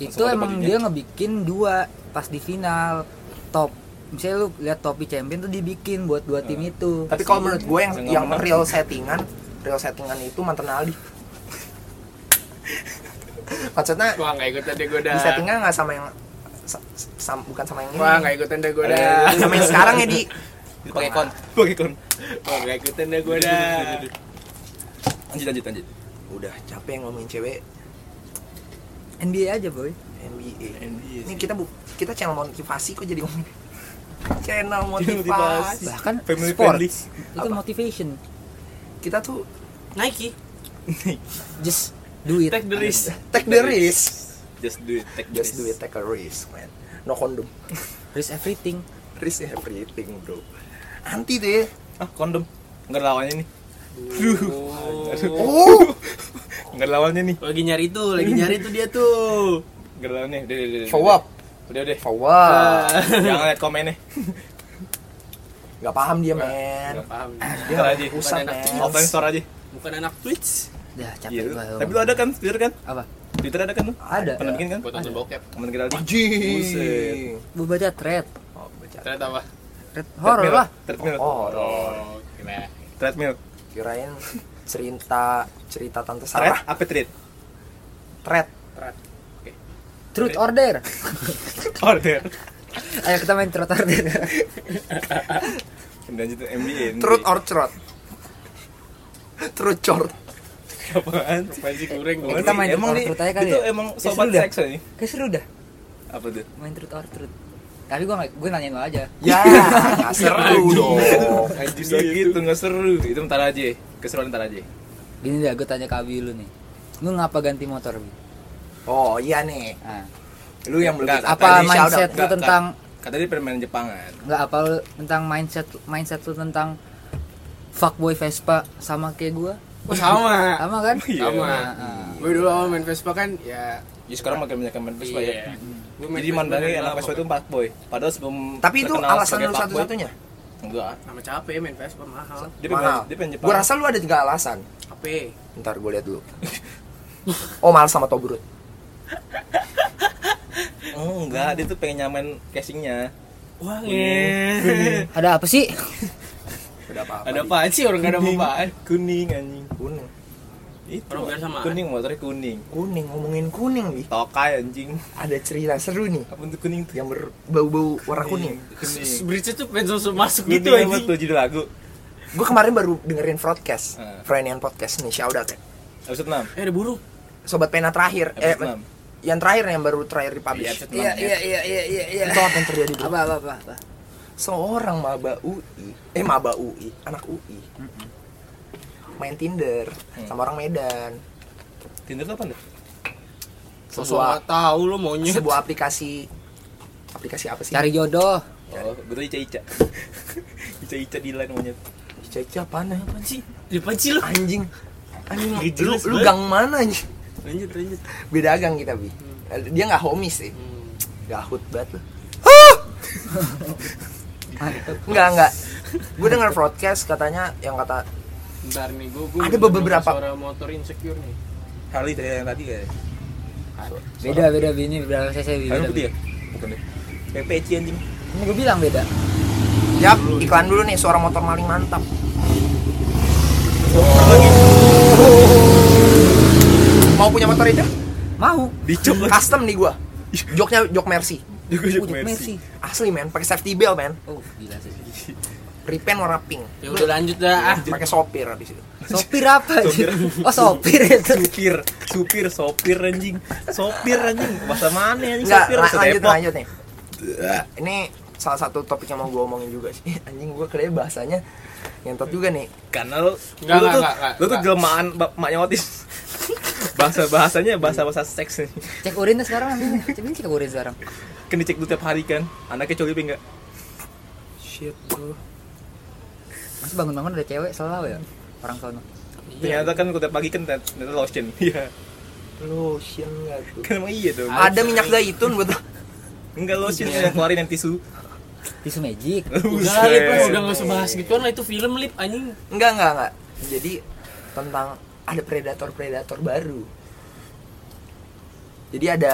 [SPEAKER 1] itu
[SPEAKER 5] Langsung ada
[SPEAKER 1] emang dia
[SPEAKER 5] bajunya.
[SPEAKER 1] ngebikin dua pas di final top misalnya lu lihat topi champion tuh dibikin buat dua tim itu
[SPEAKER 4] Tapi kalau menurut gue yang
[SPEAKER 5] Nggak
[SPEAKER 4] yang
[SPEAKER 5] menang.
[SPEAKER 4] real settingan, real settingan itu mantan Aldi. Maksudnya
[SPEAKER 3] Wah nggak ikutan deh gue dah.
[SPEAKER 4] di settingan nggak sama yang sa- sam- bukan sama yang ini.
[SPEAKER 3] Wah nggak iya. ikutan deh gue dah.
[SPEAKER 4] Sama yang sekarang ya di
[SPEAKER 5] Itu pakai kon pakai kon
[SPEAKER 3] Wah nggak ikutan deh gue dah.
[SPEAKER 5] lanjut lanjut lanjut
[SPEAKER 4] udah capek ngomongin cewek
[SPEAKER 1] NBA aja boy
[SPEAKER 4] NBA.
[SPEAKER 5] NBA
[SPEAKER 4] Ini kita bu kita channel motivasi kok jadi ngomongin channel
[SPEAKER 5] Motivasi.
[SPEAKER 4] motivasi.
[SPEAKER 1] bahkan
[SPEAKER 5] Family
[SPEAKER 1] sport
[SPEAKER 5] friendly.
[SPEAKER 1] itu motivation
[SPEAKER 4] Kita tuh
[SPEAKER 3] Nike,
[SPEAKER 1] just do it
[SPEAKER 3] take the risk.
[SPEAKER 4] take the risk.
[SPEAKER 5] just do it take
[SPEAKER 4] Just do
[SPEAKER 5] this.
[SPEAKER 4] it, take a risk, man. No condom.
[SPEAKER 1] risk everything
[SPEAKER 4] Risk everything, bro. Anti ya. deh.
[SPEAKER 5] ah kondom nggak ada lawannya nih
[SPEAKER 3] Oh.
[SPEAKER 4] Oh,
[SPEAKER 5] nggak ada lawannya nih
[SPEAKER 3] Lagi nyari tuh, lagi nyari tuh dia tuh.
[SPEAKER 5] nggak ada lawannya udah udah udah, udah.
[SPEAKER 4] follow up.
[SPEAKER 5] udah udah
[SPEAKER 4] Wow.
[SPEAKER 5] Iya. jangan lihat komennya
[SPEAKER 4] Gak paham dia,
[SPEAKER 5] Iya.
[SPEAKER 4] men.
[SPEAKER 5] Nggak paham.
[SPEAKER 4] Dia
[SPEAKER 5] Ntar aja
[SPEAKER 4] usah, men.
[SPEAKER 5] offline store aja
[SPEAKER 3] Bukan anak Twitch.
[SPEAKER 1] dah
[SPEAKER 5] Iya,
[SPEAKER 1] capek
[SPEAKER 5] lu-
[SPEAKER 1] Eh, gua
[SPEAKER 5] tapi lu ada kan Twitter kan
[SPEAKER 1] apa
[SPEAKER 5] Twitter ada kan lu
[SPEAKER 4] Ada.
[SPEAKER 5] pernah bikin kan
[SPEAKER 3] Buat nonton bokep.
[SPEAKER 5] teman kita di
[SPEAKER 4] Anjing.
[SPEAKER 1] gua baca thread
[SPEAKER 4] Oh, baca.
[SPEAKER 3] Ternyata apa?
[SPEAKER 1] thread horror lah
[SPEAKER 5] treadmill
[SPEAKER 4] Horor.
[SPEAKER 3] Oh, gimana?
[SPEAKER 5] treadmill
[SPEAKER 4] Kirain cerita cerita tante
[SPEAKER 5] thread
[SPEAKER 4] Sarah.
[SPEAKER 5] apa thread
[SPEAKER 4] Thread.
[SPEAKER 5] Iya.
[SPEAKER 1] truth order
[SPEAKER 5] order
[SPEAKER 1] ayo kita main truth order
[SPEAKER 5] dan itu NBA
[SPEAKER 4] Truth or trot. Truth short.
[SPEAKER 5] apaan sih?
[SPEAKER 3] Panci goreng
[SPEAKER 1] Eh,
[SPEAKER 3] gue.
[SPEAKER 1] kita main truth
[SPEAKER 5] emang
[SPEAKER 1] or
[SPEAKER 5] nih,
[SPEAKER 1] truth aja kali
[SPEAKER 5] itu
[SPEAKER 1] ya?
[SPEAKER 5] emang
[SPEAKER 1] Ya,
[SPEAKER 5] sobat
[SPEAKER 1] seru dah.
[SPEAKER 5] seks nih
[SPEAKER 1] kayak seru dah
[SPEAKER 5] apa tuh
[SPEAKER 1] main truth or truth tapi gua nggak- gua nanyain lo aja
[SPEAKER 4] Ya, nggak
[SPEAKER 5] Iya,
[SPEAKER 4] seru dong.
[SPEAKER 5] Anjing gitu, gitu nggak seru itu ntar aja keseruan ntar aja
[SPEAKER 1] gini dah gua tanya ke Abi lu nih lu ngapa ganti motor Bi?
[SPEAKER 4] Oh, iya nih.
[SPEAKER 1] Ah.
[SPEAKER 5] lu yang belum
[SPEAKER 4] Nggak,
[SPEAKER 1] apa
[SPEAKER 4] Tadi shout
[SPEAKER 1] mindset
[SPEAKER 4] out.
[SPEAKER 1] lu tentang
[SPEAKER 5] kata dia permainan Jepangan
[SPEAKER 1] nggak apa lu tentang mindset mindset lu tentang fuckboy Vespa sama kayak gua
[SPEAKER 3] Oh, sama.
[SPEAKER 1] sama kan
[SPEAKER 5] Iya.
[SPEAKER 3] Sama.
[SPEAKER 1] Nah, ah.
[SPEAKER 3] Gue dulu awal main Vespa kan ya
[SPEAKER 5] ya sekarang makin banyak yang main Vespa ya
[SPEAKER 3] Iya. Gua main
[SPEAKER 5] jadi
[SPEAKER 3] Vespa
[SPEAKER 5] mandangnya
[SPEAKER 3] dari
[SPEAKER 5] anak
[SPEAKER 3] lama,
[SPEAKER 5] Vespa itu
[SPEAKER 3] pokoknya.
[SPEAKER 5] empat boy padahal sebelum
[SPEAKER 4] Tapi itu
[SPEAKER 5] terkenal
[SPEAKER 4] alasan
[SPEAKER 5] sebagai
[SPEAKER 4] lu
[SPEAKER 5] fuckboy,
[SPEAKER 4] satu-satunya.
[SPEAKER 5] enggak
[SPEAKER 3] sama capek main Vespa mahal.
[SPEAKER 5] dia pengen
[SPEAKER 4] Mahal.
[SPEAKER 5] dia pengen Jepang
[SPEAKER 4] Gue rasa lu ada tiga alasan.
[SPEAKER 3] Capek.
[SPEAKER 4] Ntar gue lihat dulu. Oh, mahal sama Tobrut.
[SPEAKER 5] oh, enggak dia tuh pengen nyamain casingnya
[SPEAKER 3] Wah, nge-
[SPEAKER 1] ada apa sih
[SPEAKER 4] Udah apa-apa.
[SPEAKER 3] Ada apaan sih orang gak ada
[SPEAKER 5] Kuning.
[SPEAKER 3] apa-apaan?
[SPEAKER 5] kuning anjing
[SPEAKER 4] kuning.
[SPEAKER 5] itu
[SPEAKER 3] Orang biar samaan.
[SPEAKER 5] kuning motornya kuning
[SPEAKER 4] Kuning ngomongin kuning nih.
[SPEAKER 5] tokai anjing
[SPEAKER 4] Ada cerita seru nih
[SPEAKER 5] apa tuh kuning tuh
[SPEAKER 4] yang berbau-bau warna
[SPEAKER 5] Iya.
[SPEAKER 4] kuning.
[SPEAKER 5] kuning
[SPEAKER 3] Bridge itu pengen langsung masuk gitu
[SPEAKER 5] gitu apa
[SPEAKER 3] aja.
[SPEAKER 5] tuh judul lagu
[SPEAKER 4] Gue kemarin baru dengerin broadcast,
[SPEAKER 5] Eh.
[SPEAKER 4] Frenian podcast nih, shout out ya.
[SPEAKER 5] episode enam
[SPEAKER 3] Eh, ada burung.
[SPEAKER 4] Sobat pena terakhir, eh,
[SPEAKER 5] episode enam
[SPEAKER 4] yang terakhir yang baru terakhir
[SPEAKER 5] Iya,
[SPEAKER 4] dipublish.
[SPEAKER 5] episode enam ya.
[SPEAKER 1] iya iya iya iya
[SPEAKER 4] Itu apa yang terjadi dulu?
[SPEAKER 1] apa apa apa, apa.
[SPEAKER 4] Seorang maba UI, eh maba UI, anak UI, main Tinder
[SPEAKER 5] Hmm.
[SPEAKER 4] sama orang Medan.
[SPEAKER 5] Tinder tuh apa tuh?
[SPEAKER 4] Sebuah
[SPEAKER 3] Sesuatu tahu lo maunya.
[SPEAKER 4] sebuah aplikasi aplikasi apa sih?
[SPEAKER 1] cari jodoh
[SPEAKER 4] Iya.
[SPEAKER 5] Oh, gue tuh Ica-Ica Ica-Ica di line monyet
[SPEAKER 4] Cece apaan ya?
[SPEAKER 3] Apaan sih? Di panci lo.
[SPEAKER 4] Anjing. Anjing,
[SPEAKER 5] Gak
[SPEAKER 4] lu,
[SPEAKER 5] jelas
[SPEAKER 4] lu
[SPEAKER 5] banget.
[SPEAKER 4] gang mana anjing?
[SPEAKER 3] Lanjut, lanjut.
[SPEAKER 4] Beda gang kita, Bi. Dia nggak homies sih.
[SPEAKER 3] Hmm.
[SPEAKER 4] Gahut banget lu.
[SPEAKER 1] Mantep.
[SPEAKER 4] Enggak, enggak. Gue denger broadcast katanya yang kata
[SPEAKER 3] Bentar nih, gue gue
[SPEAKER 4] Ada beberapa-
[SPEAKER 3] suara motor insecure nih.
[SPEAKER 5] Harley tadi yang tadi kayak
[SPEAKER 1] beda beda Bi. ini berapa cc Bi?
[SPEAKER 5] Harley
[SPEAKER 1] beda
[SPEAKER 5] putih ya? bukan deh kayak peci anjing
[SPEAKER 1] ini gue bilang beda
[SPEAKER 4] Yap, iklan dulu nih suara motor maling mantap. Mau punya motor itu?
[SPEAKER 1] mau
[SPEAKER 5] dicok lagi
[SPEAKER 4] Custom nih gua. Joknya jok Mercy.
[SPEAKER 5] juga
[SPEAKER 1] Ujuk
[SPEAKER 5] juga
[SPEAKER 1] Mercy.
[SPEAKER 5] mercy
[SPEAKER 4] Asli men, pakai safety belt men.
[SPEAKER 1] oh gila sih
[SPEAKER 4] Repaint warna pink.
[SPEAKER 3] Ya udah lanjut dah. ah.
[SPEAKER 4] Pakai sopir habis itu.
[SPEAKER 1] sopir apa
[SPEAKER 5] Sopir.
[SPEAKER 1] oh sopir itu
[SPEAKER 5] supir supir sopir anjing sopir anjing bahasa mana anjing
[SPEAKER 4] Enggak,
[SPEAKER 5] sopir
[SPEAKER 4] la-
[SPEAKER 5] bahasa
[SPEAKER 4] lanjut
[SPEAKER 5] Depok.
[SPEAKER 4] lanjut nih. Ini salah satu topik yang mau gua omongin juga sih. Anjing gua kayaknya bahasanya ngentot juga nih.
[SPEAKER 5] karena lu
[SPEAKER 3] Enggak,
[SPEAKER 5] lu
[SPEAKER 3] enggak,
[SPEAKER 5] tuh
[SPEAKER 3] enggak, enggak,
[SPEAKER 5] lu tuh
[SPEAKER 3] enggak.
[SPEAKER 5] jelmaan ba- maknya otis bahasa bahasanya bahasa bahasa seks nih
[SPEAKER 1] cek urinnya sekarang Bi. cek ini cek urin sekarang
[SPEAKER 5] kan dicek dulu tiap hari kan anaknya coli apa enggak
[SPEAKER 4] Shit, bro.
[SPEAKER 1] masih bangun bangun ada cewek selalu ya orang sono
[SPEAKER 3] Iya.
[SPEAKER 5] ternyata kan kalau tiap pagi kan ternyata lotion iya
[SPEAKER 4] Lotion enggak tuh?
[SPEAKER 5] kan emang iya
[SPEAKER 3] Ah.
[SPEAKER 5] dong
[SPEAKER 4] Ada minyak zaitun betul.
[SPEAKER 5] enggak lotion yang keluarin yang tisu
[SPEAKER 1] tisu magic
[SPEAKER 3] Iya. Udah lip lah,
[SPEAKER 5] Buset.
[SPEAKER 3] udah nggak usah bahas gituan lah itu film lip anjing.
[SPEAKER 4] Enggak, enggak, enggak. jadi tentang ada predator-predator baru jadi ada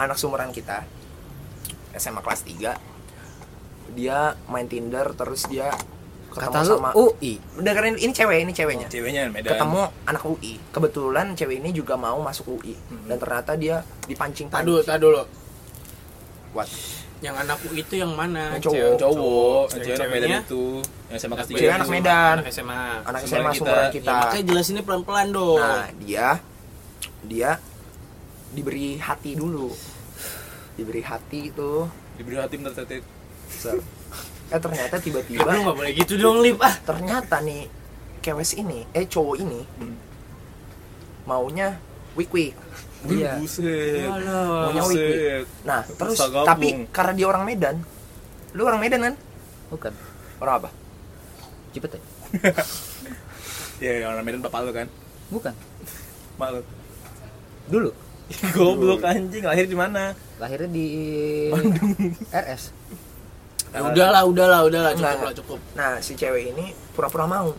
[SPEAKER 4] anak sumuran kita SMA kelas 3 dia main Tinder terus dia ketemu
[SPEAKER 1] Kata lu "Uh."
[SPEAKER 4] sama
[SPEAKER 1] UI.
[SPEAKER 4] dengerin ini cewek ini ceweknya
[SPEAKER 5] Ceweknya Medan.
[SPEAKER 4] ketemu anak UI kebetulan cewek ini juga mau masuk UI dan ternyata dia dipancing
[SPEAKER 3] Tak dulu, tak dulu.
[SPEAKER 4] What?
[SPEAKER 3] Yang anakku itu yang mana?
[SPEAKER 4] Yang cowok.
[SPEAKER 3] Cewek-
[SPEAKER 5] Yang cowok, yang
[SPEAKER 3] Cewek-
[SPEAKER 5] cewek anak Medan
[SPEAKER 3] ceweknya?
[SPEAKER 5] itu, yang SMA kelas
[SPEAKER 3] Anak
[SPEAKER 5] tiga.
[SPEAKER 4] Cewek anak Medan.
[SPEAKER 3] Anak SMA.
[SPEAKER 4] anak
[SPEAKER 5] Sumuran
[SPEAKER 4] SMA
[SPEAKER 5] kita.
[SPEAKER 4] sumuran
[SPEAKER 3] Ya,
[SPEAKER 4] kita
[SPEAKER 3] makanya jelasinnya pelan-pelan dong.
[SPEAKER 4] nah dia dia diberi hati dulu diberi hati itu
[SPEAKER 5] Diberi hati bentar tetet.
[SPEAKER 4] Se- eh ternyata
[SPEAKER 3] Lu
[SPEAKER 4] tiba-tiba
[SPEAKER 3] nggak boleh gitu dong, Lip. Ah,
[SPEAKER 4] ternyata nih kewes ini eh cowok ini
[SPEAKER 5] Hmm.
[SPEAKER 4] maunya wik wik
[SPEAKER 5] Wih,
[SPEAKER 4] Iya.
[SPEAKER 5] Buset.
[SPEAKER 3] Alah.
[SPEAKER 4] Maunya wik wik
[SPEAKER 5] Buset.
[SPEAKER 4] nah terus
[SPEAKER 5] Bisa gabung.
[SPEAKER 4] tapi karena dia orang Medan lu orang Medan kan
[SPEAKER 1] Bukan.
[SPEAKER 4] orang apa
[SPEAKER 1] Cipete.
[SPEAKER 5] Ya, orang Medan bapak lu kan.
[SPEAKER 1] Bukan.
[SPEAKER 5] Mak lu.
[SPEAKER 1] Dulu
[SPEAKER 5] Goblok anjing, lahir di mana?
[SPEAKER 1] lahirnya di RS.
[SPEAKER 3] Ya udahlah, udahlah, udahlah, cukup
[SPEAKER 4] Enggak.
[SPEAKER 3] lah, cukup.
[SPEAKER 4] nah si cewek ini pura-pura mau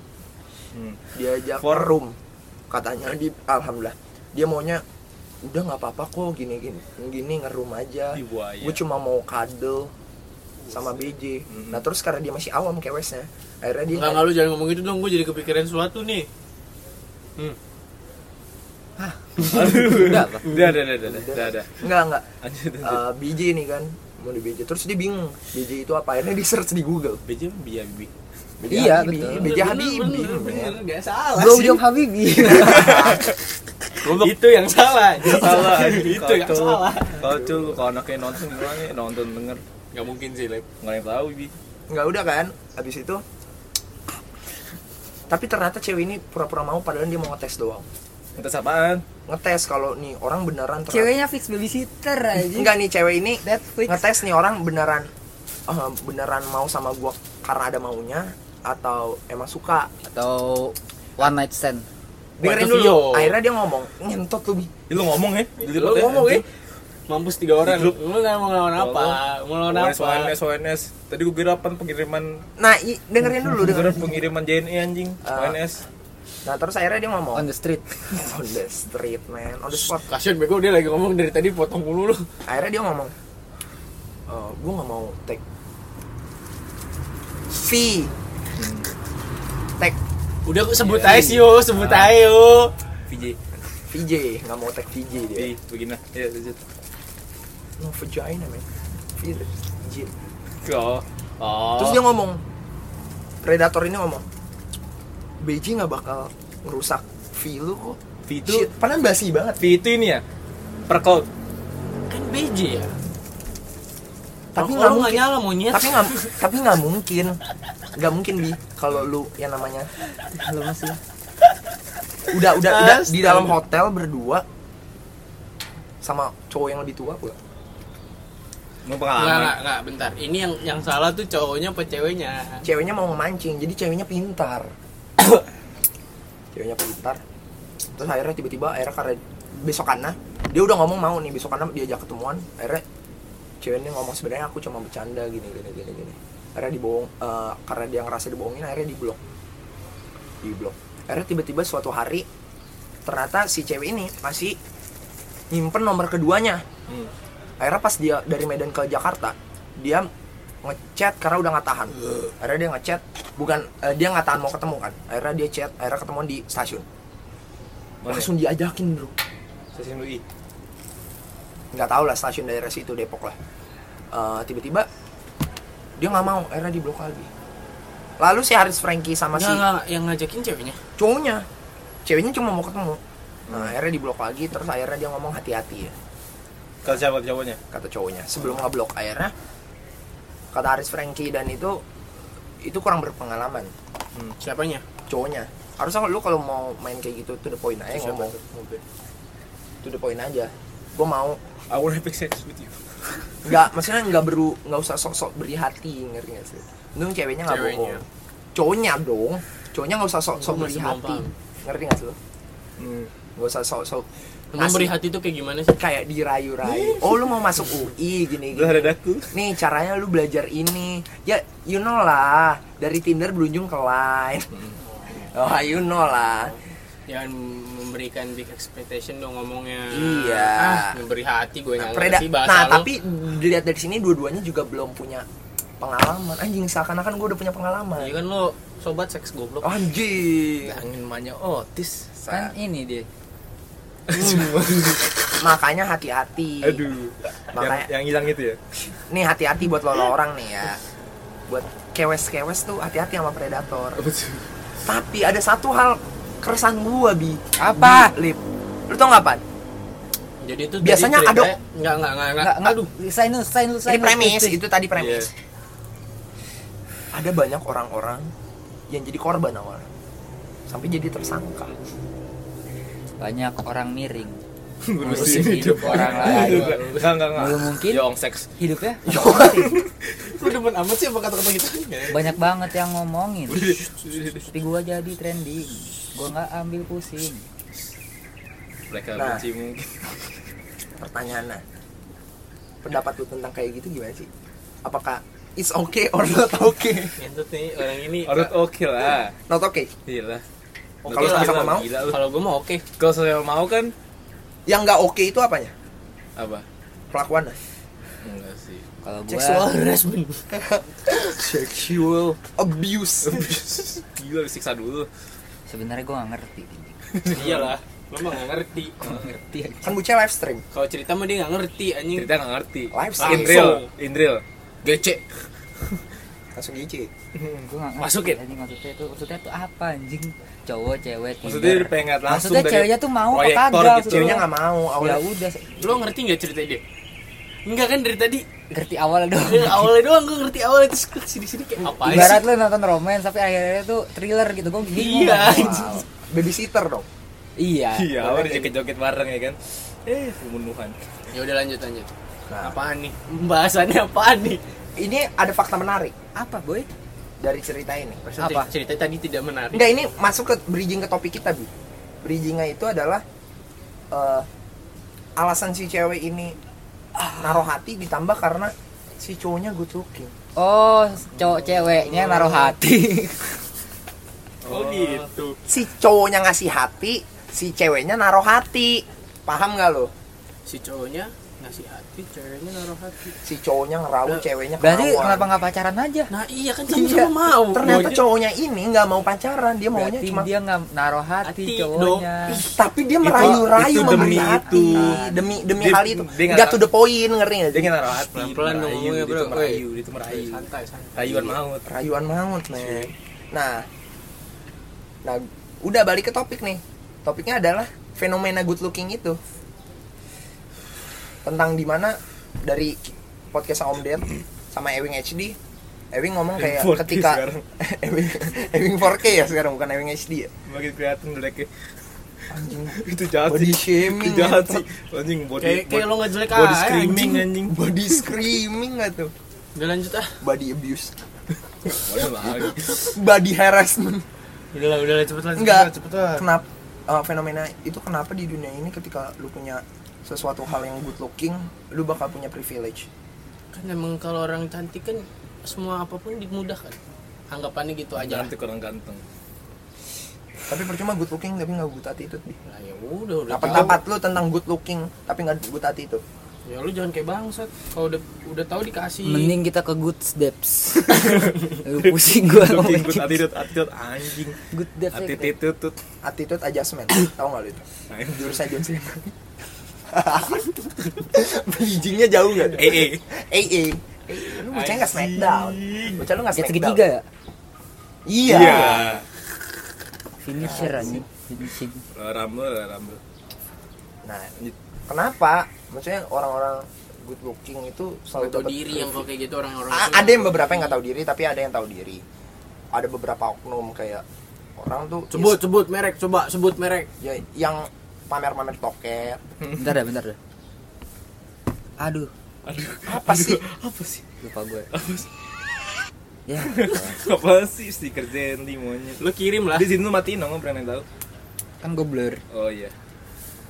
[SPEAKER 5] Hmm.
[SPEAKER 4] diajak
[SPEAKER 5] For-
[SPEAKER 4] ke room katanya di alhamdulillah dia maunya udah nggak apa-apa kok gini gini gini ngerum aja
[SPEAKER 5] Di buaya.
[SPEAKER 4] gue cuma mau kadel sama BJ
[SPEAKER 5] Mm-mm.
[SPEAKER 4] nah terus karena dia masih awam kewesnya akhirnya dia
[SPEAKER 3] Enggak, enggak lu jangan ngomong gitu dong, gue jadi kepikiran sesuatu nih.
[SPEAKER 1] Udah apa?
[SPEAKER 5] Udah, udah, udah, udah, udah, udah.
[SPEAKER 4] nggak nggak
[SPEAKER 5] Lanjut, lanjut.
[SPEAKER 4] Eh, BJ nih kan mau di BJ terus dia bingung BJ itu apa akhirnya di search di Google
[SPEAKER 5] BJ biar bibi.
[SPEAKER 4] BJ
[SPEAKER 1] Iya,
[SPEAKER 4] Habibie,
[SPEAKER 1] betul.
[SPEAKER 4] BJ
[SPEAKER 3] Bener,
[SPEAKER 4] Habibie
[SPEAKER 3] bener, bener,
[SPEAKER 4] men.
[SPEAKER 3] nggak salah
[SPEAKER 1] Bro
[SPEAKER 3] Ah, sih.
[SPEAKER 1] Job Habibie.
[SPEAKER 3] Itu yang salah.
[SPEAKER 5] Salah.
[SPEAKER 3] itu yang
[SPEAKER 5] Kocok.
[SPEAKER 3] salah.
[SPEAKER 5] Kocok, kalau anaknya nonton gimana ya? Nonton denger.
[SPEAKER 3] Gak mungkin sih, Lip.
[SPEAKER 5] Enggak yang tahu, Bi.
[SPEAKER 4] nggak udah kan habis itu tapi ternyata cewek ini pura-pura mau padahal dia mau ngetes doang
[SPEAKER 5] Ngetes apaan?
[SPEAKER 4] ngetes kalau nih orang beneran ternyata-
[SPEAKER 1] Ceweknya fix babysitter aja.
[SPEAKER 4] Enggak nih cewek ini
[SPEAKER 1] Netflix.
[SPEAKER 4] ngetes nih orang beneran eh, beneran mau sama gua karena ada maunya atau emang suka.
[SPEAKER 1] Atau one night stand.
[SPEAKER 4] Dengerin
[SPEAKER 3] Waduh, Vio.
[SPEAKER 4] dulu. Akhirnya dia ngomong, ngentot lu, Bi."
[SPEAKER 5] Ih, Lu ngomong ya?
[SPEAKER 3] Lu ngomong ya? Mampus tiga orang.
[SPEAKER 5] Di grup.
[SPEAKER 3] Lu nggak mau ngelawan apa? Mau ngelawan
[SPEAKER 5] ONS,
[SPEAKER 3] apa?
[SPEAKER 5] ONS, ONS. Tadi gue kira apaan pengiriman
[SPEAKER 4] Nah, i- dengerin dulu,
[SPEAKER 5] Bener
[SPEAKER 4] dengerin.
[SPEAKER 5] pengiriman JNE anjing,
[SPEAKER 4] Ah.
[SPEAKER 5] ONS.
[SPEAKER 4] Nah, terus akhirnya dia ngomong,
[SPEAKER 1] On the street.
[SPEAKER 4] on the street, man, on the spot.
[SPEAKER 3] Kasian bego dia lagi ngomong dari tadi potong mulu lu.
[SPEAKER 4] Akhirnya dia ngomong, "Eh, gua nggak mau take fee. Take
[SPEAKER 3] Udah aku sebut aja sih yo, sebut aja yo.
[SPEAKER 5] VJ,
[SPEAKER 4] VJ, nggak mau take VJ dia.
[SPEAKER 5] VJ begini. Ya, lanjut.
[SPEAKER 4] No vagina, man. VJ.
[SPEAKER 5] Oh. Oh.
[SPEAKER 4] Terus dia ngomong Predator ini ngomong BJ nggak bakal ngerusak V lu kok
[SPEAKER 5] V itu
[SPEAKER 4] Shit, Padahal basi banget
[SPEAKER 5] V itu ini ya. Per cloud.
[SPEAKER 3] Kan BJ ya.
[SPEAKER 4] Tapi
[SPEAKER 3] Tapi lu
[SPEAKER 4] nggak
[SPEAKER 3] nggak
[SPEAKER 4] mungkin
[SPEAKER 3] nyala monyet.
[SPEAKER 4] Tapi nggak tapi nggak mungkin nggak mungkin Bi Kalau lu yang namanya
[SPEAKER 1] Lu masih
[SPEAKER 4] Udah udah udah Di
[SPEAKER 3] Astaga.
[SPEAKER 4] dalam hotel berdua Sama cowok yang lebih tua pula
[SPEAKER 5] Mau
[SPEAKER 3] Enggak,
[SPEAKER 5] pengalaman.
[SPEAKER 3] enggak, enggak, bentar. Ini yang yang salah tuh cowoknya apa ceweknya?
[SPEAKER 4] Ceweknya mau memancing Jadi ceweknya pintar Ceweknya pintar Terus akhirnya tiba-tiba Akhirnya karena besokannya Dia udah ngomong mau nih Besokannya diajak ketemuan Akhirnya ceweknya ngomong sebenarnya aku cuma bercanda gini gini gini gini akhirnya dibohong eh, karena dia ngerasa dibohongin akhirnya diblok diblok akhirnya tiba-tiba suatu hari ternyata si cewek ini masih nyimpen nomor keduanya
[SPEAKER 5] Hmm.
[SPEAKER 4] akhirnya pas dia dari Medan ke Jakarta dia ngechat karena udah nggak tahan akhirnya dia ngechat bukan eh, dia nggak tahan mau ketemu kan akhirnya dia chat akhirnya ketemuan di stasiun
[SPEAKER 5] Mana?
[SPEAKER 4] langsung diajakin bro
[SPEAKER 5] Stasiun UI.
[SPEAKER 4] nggak tahu lah stasiun daerah situ Depok lah Eh, tiba-tiba dia nggak mau akhirnya diblok lagi lalu si Haris Franky sama
[SPEAKER 3] Enggak,
[SPEAKER 4] si
[SPEAKER 3] enggak, yang ngajakin ceweknya.
[SPEAKER 4] cowoknya ceweknya cuma mau ketemu nah akhirnya diblok lagi terus akhirnya dia ngomong hati-hati ya
[SPEAKER 5] Kalau siapa cowoknya?
[SPEAKER 4] kata cowoknya sebelum ngeblok akhirnya kata Haris Franky dan itu itu kurang berpengalaman
[SPEAKER 3] Siapanya?
[SPEAKER 4] cowoknya harusnya lu kalau mau main kayak gitu tuh the point aja
[SPEAKER 5] Siapa
[SPEAKER 4] ngomong
[SPEAKER 5] tuh? Mobil.
[SPEAKER 4] tuh the point aja gue mau
[SPEAKER 5] I wanna have sex with you.
[SPEAKER 4] nggak maksudnya nggak beru nggak usah sok-sok beri hati ngerti nggak sih Untung ceweknya nggak
[SPEAKER 3] Ceweknya.
[SPEAKER 4] bohong cowoknya dong cowoknya nggak usah sok-sok
[SPEAKER 3] Gua
[SPEAKER 4] beri
[SPEAKER 3] masih belum
[SPEAKER 4] hati
[SPEAKER 3] paham.
[SPEAKER 4] ngerti nggak sih lo?
[SPEAKER 5] Hmm.
[SPEAKER 4] nggak usah sok-sok
[SPEAKER 3] Emang
[SPEAKER 4] ngasih-
[SPEAKER 3] beri hati tuh kayak gimana sih?
[SPEAKER 4] kayak dirayu-rayu oh lu mau masuk UI gini gini
[SPEAKER 5] Lu ada daku.
[SPEAKER 4] nih caranya lu
[SPEAKER 3] Hmm.
[SPEAKER 4] belajar ini ya you know lah dari Tinder berujung ke Line Oh, you know lah.
[SPEAKER 3] Jangan memberikan big expectation dong ngomongnya.
[SPEAKER 4] Iya.
[SPEAKER 3] Ah, memberi hati gue
[SPEAKER 4] Nah,
[SPEAKER 3] nggak
[SPEAKER 4] preda-
[SPEAKER 3] ngerti bahasa
[SPEAKER 4] nah
[SPEAKER 3] lu.
[SPEAKER 4] tapi dilihat dari sini dua-duanya juga belum punya pengalaman. Anjing seakan-akan gue udah punya pengalaman.
[SPEAKER 3] Iya kan lo sobat seks goblok.
[SPEAKER 4] Anjing.
[SPEAKER 3] Angin manja otis.
[SPEAKER 1] kan ini dia
[SPEAKER 4] Makanya hati-hati.
[SPEAKER 5] Aduh.
[SPEAKER 4] Makanya-
[SPEAKER 5] Yang, yang hilang itu ya.
[SPEAKER 4] Nih hati-hati buat lo orang nih ya. Buat kewes-kewes tuh hati-hati sama predator. Tapi ada satu hal keresan gua bi.
[SPEAKER 1] Apa?
[SPEAKER 4] Lip. Lu tau nggak pan?
[SPEAKER 3] Jadi itu ya?
[SPEAKER 4] Biasanya ada-
[SPEAKER 3] Enggak enggak enggak enggak.
[SPEAKER 1] nggak nggak
[SPEAKER 3] Aduh.
[SPEAKER 1] sign lu sign lu
[SPEAKER 4] Ini
[SPEAKER 1] sign lu.
[SPEAKER 4] premis, itu tadi premis.
[SPEAKER 5] Iya.
[SPEAKER 4] Ada banyak orang-orang yang jadi korban awalnya sampai jadi tersangka.
[SPEAKER 1] banyak orang miring
[SPEAKER 5] Ngurusin
[SPEAKER 1] hidup orang lain.
[SPEAKER 5] Enggak enggak enggak.
[SPEAKER 1] Belum mungkin.
[SPEAKER 5] Yong seks.
[SPEAKER 1] hidupnya
[SPEAKER 3] Lu demen amat sih apa kata-kata gitu.
[SPEAKER 1] banyak banget yang ngomongin
[SPEAKER 5] Udah, udah, udah.
[SPEAKER 1] tapi gua jadi trending gua nggak ambil pusing
[SPEAKER 5] Mereka
[SPEAKER 4] Nah.
[SPEAKER 5] benci mungkin.
[SPEAKER 4] Pertanyaannya, pendapat lu tentang kayak gitu gimana sih? Apakah it's okay or not okay?
[SPEAKER 3] Itu nih orang ini.
[SPEAKER 5] Orut oke lah.
[SPEAKER 4] Not okay.
[SPEAKER 5] Gila.
[SPEAKER 4] Oke Kalau lah. sama-sama mau.
[SPEAKER 5] Gila lu.
[SPEAKER 3] Kalau gue mau oke.
[SPEAKER 5] Kalau sama mau kan
[SPEAKER 4] Yang nggak oke itu apanya?
[SPEAKER 5] apa?
[SPEAKER 4] Perlakuannya.
[SPEAKER 5] Enggak sih.
[SPEAKER 1] kalau gua
[SPEAKER 4] Sexual harassment. Sexual abuse.
[SPEAKER 5] Gila disiksa dulu.
[SPEAKER 1] sebenarnya gua nggak ngerti
[SPEAKER 3] Iyalah. Lo mah nggak ngerti.
[SPEAKER 4] kan bucah live stream.
[SPEAKER 3] Kalau cerita mah dia nggak ngerti anjing.
[SPEAKER 5] Cerita enggak ngerti.
[SPEAKER 4] Live
[SPEAKER 5] In
[SPEAKER 4] stream.
[SPEAKER 3] Langsung.
[SPEAKER 5] real, in real.
[SPEAKER 3] Gece.
[SPEAKER 4] Langsung gici.
[SPEAKER 1] gua nggak ngerti
[SPEAKER 3] Masukin.
[SPEAKER 1] anjing, maksudnya itu maksudnya itu apa anjing cowok cewek
[SPEAKER 5] Maksudnya
[SPEAKER 1] Tinder.
[SPEAKER 5] dia pengen ngeliat langsung
[SPEAKER 1] maksudnya
[SPEAKER 5] dari
[SPEAKER 1] ceweknya tuh mau apa
[SPEAKER 5] proyektor
[SPEAKER 1] kagak
[SPEAKER 5] gitu.
[SPEAKER 1] gitu.
[SPEAKER 4] Ceweknya nggak mau
[SPEAKER 1] ya
[SPEAKER 4] awalnya.
[SPEAKER 1] udah
[SPEAKER 3] Lo ngerti nggak cerita dia? Enggak kan dari tadi
[SPEAKER 1] ngerti awal dong
[SPEAKER 3] Eh, awalnya doang gue ngerti awalnya terus ke sini sini kayak apa
[SPEAKER 1] ibarat
[SPEAKER 3] sih?
[SPEAKER 1] lu nonton romance tapi akhirnya tuh thriller gitu gua bingung
[SPEAKER 3] Iya,
[SPEAKER 1] kan.
[SPEAKER 3] anjing.
[SPEAKER 1] Wow.
[SPEAKER 4] Babysitter dong.
[SPEAKER 1] iya
[SPEAKER 5] Iya, awal dia joget-joget bareng ya kan. Eh, pembunuhan.
[SPEAKER 3] Ya udah lanjut lanjut.
[SPEAKER 4] Nah,
[SPEAKER 3] Apaan nih? Pembahasannya apaan nih?
[SPEAKER 4] ini ada fakta menarik
[SPEAKER 1] apa boy
[SPEAKER 4] dari cerita ini.
[SPEAKER 3] Maksudnya
[SPEAKER 1] Apa?
[SPEAKER 3] Cerita tadi tidak menarik.
[SPEAKER 4] Enggak, ini masuk ke bridging ke topik kita, Bi. Bridgingnya itu adalah eh, alasan si cewek ini naruh hati ditambah karena si cowoknya good looking.
[SPEAKER 1] oh cowok ceweknya naruh hati
[SPEAKER 3] Oh, gitu.
[SPEAKER 4] Si cowoknya ngasih hati, si ceweknya naruh hati. Paham nggak lo?
[SPEAKER 3] Si cowoknya ngasih hati, ceweknya naruh hati.
[SPEAKER 4] Si cowoknya ngerawu, ceweknya
[SPEAKER 1] Eh, berarti
[SPEAKER 4] kerawan.
[SPEAKER 1] kenapa nggak pacaran aja
[SPEAKER 3] Nah iya kan
[SPEAKER 4] Iya.
[SPEAKER 3] sama-sama mau.
[SPEAKER 4] Ternyata
[SPEAKER 3] Maunya-
[SPEAKER 4] cowoknya ini nggak mau pacaran, dia maunya
[SPEAKER 1] berarti
[SPEAKER 4] cuma
[SPEAKER 1] dia nggak naruh hati,
[SPEAKER 3] Hati
[SPEAKER 1] cowoknya
[SPEAKER 4] Ih, tapi dia
[SPEAKER 5] Itu-
[SPEAKER 4] merayu-rayu
[SPEAKER 5] itu
[SPEAKER 4] memberi
[SPEAKER 5] demi
[SPEAKER 4] hati
[SPEAKER 5] itu.
[SPEAKER 4] demi demi
[SPEAKER 5] Dia-
[SPEAKER 4] hal itu.
[SPEAKER 5] dia nggak
[SPEAKER 4] Gak to
[SPEAKER 5] tahu.
[SPEAKER 4] the point, ngerti nggak
[SPEAKER 5] Dia
[SPEAKER 4] sih?
[SPEAKER 5] kan naruh hati.
[SPEAKER 3] Pelan-pelan dong
[SPEAKER 5] merayu,
[SPEAKER 3] ngomongnya,
[SPEAKER 5] dia
[SPEAKER 3] bro.
[SPEAKER 5] tuh merayu,
[SPEAKER 3] Woi.
[SPEAKER 5] dia tuh merayu.
[SPEAKER 3] Santai santai.
[SPEAKER 5] Rayuan maut.
[SPEAKER 4] Rayuan banget,
[SPEAKER 5] Iya
[SPEAKER 4] men. Nah. Nah, udah balik ke topik nih. Topiknya adalah fenomena good looking itu. Tentang dimana dari podcast Om Ded sama Ewing HD Ewing ngomong kayak
[SPEAKER 5] 4K
[SPEAKER 4] ketika
[SPEAKER 5] sekarang.
[SPEAKER 4] Ewing, Ewing 4K ya sekarang bukan Ewing HD ya.
[SPEAKER 5] Makin kelihatan jeleknya.
[SPEAKER 4] Anjing.
[SPEAKER 5] Itu jahat
[SPEAKER 4] Body
[SPEAKER 5] sih.
[SPEAKER 4] shaming,
[SPEAKER 5] Itu jahat
[SPEAKER 4] ya.
[SPEAKER 5] sih. Anjing body.
[SPEAKER 3] Kayak kayak
[SPEAKER 5] body-
[SPEAKER 3] lo nggak jelek
[SPEAKER 5] body
[SPEAKER 3] aja,
[SPEAKER 5] screaming
[SPEAKER 3] anjing.
[SPEAKER 5] anjing.
[SPEAKER 4] Body screaming gak tuh?
[SPEAKER 3] Udah lanjut ah.
[SPEAKER 4] Body abuse,
[SPEAKER 5] Waduh, lagi.
[SPEAKER 4] body harassment.
[SPEAKER 3] Udah lah udah lah cepet lah. cepet
[SPEAKER 4] Enggak.
[SPEAKER 3] lah, Cepet lah.
[SPEAKER 4] Kenapa eh, fenomena itu kenapa di dunia ini ketika lu punya sesuatu hal yang good looking, lu bakal punya privilege.
[SPEAKER 3] Kan emang kalau orang cantik kan semua apapun dimudahkan. Anggapannya gitu aja.
[SPEAKER 5] Jangan tuh kurang ganteng.
[SPEAKER 4] Tapi percuma good looking tapi nggak good attitude. Bi.
[SPEAKER 3] Nah ya udah udah.
[SPEAKER 4] Nah,
[SPEAKER 3] tahu.
[SPEAKER 4] pendapat lu tentang good looking tapi nggak good attitude.
[SPEAKER 3] Ya lu jangan kayak bangsat. Kalau udah udah tahu dikasih.
[SPEAKER 1] mending kita ke good steps Aduh, pusing gua
[SPEAKER 5] Looking
[SPEAKER 1] ngomongin
[SPEAKER 5] good attitude, attitude anjing.
[SPEAKER 1] good steps ya, kita.
[SPEAKER 5] Attitude tut.
[SPEAKER 4] Attitude adjustment, tau nggak lu itu? Jurus aja sih. Bridgingnya jauh nggak? tuh?
[SPEAKER 5] Eh, eh.
[SPEAKER 4] AA. Eh, Lu bocah nggak smackdown? Bocah lu nggak
[SPEAKER 1] Gets
[SPEAKER 4] smackdown?
[SPEAKER 1] ketiga ya
[SPEAKER 4] Iya.
[SPEAKER 1] finisher anjing finishing
[SPEAKER 5] Rambel, rambel.
[SPEAKER 4] Nah, kenapa? Maksudnya orang-orang good looking itu selalu
[SPEAKER 3] Atau
[SPEAKER 4] dapat
[SPEAKER 3] diri yang kalau kayak gitu orang-orang.
[SPEAKER 4] A-
[SPEAKER 3] itu
[SPEAKER 4] ada yang beberapa yang nggak tahu diri tapi ada yang tahu diri ada beberapa oknum kayak orang tuh
[SPEAKER 3] Sebut sebut merek coba sebut merek.
[SPEAKER 4] ya, yang pamer-pamer toket
[SPEAKER 1] bentar dah bentar dah aduh
[SPEAKER 5] Aduh,
[SPEAKER 4] apa sih
[SPEAKER 5] apa sih?
[SPEAKER 1] lupa gue
[SPEAKER 5] Apa sih?
[SPEAKER 1] ya
[SPEAKER 5] Apa sih stiker Zenly monyet?
[SPEAKER 3] Lu kirim lah.
[SPEAKER 5] Di sini lu matiin dong, pernah yang tahu.
[SPEAKER 1] kan gue blur
[SPEAKER 5] Oh iya.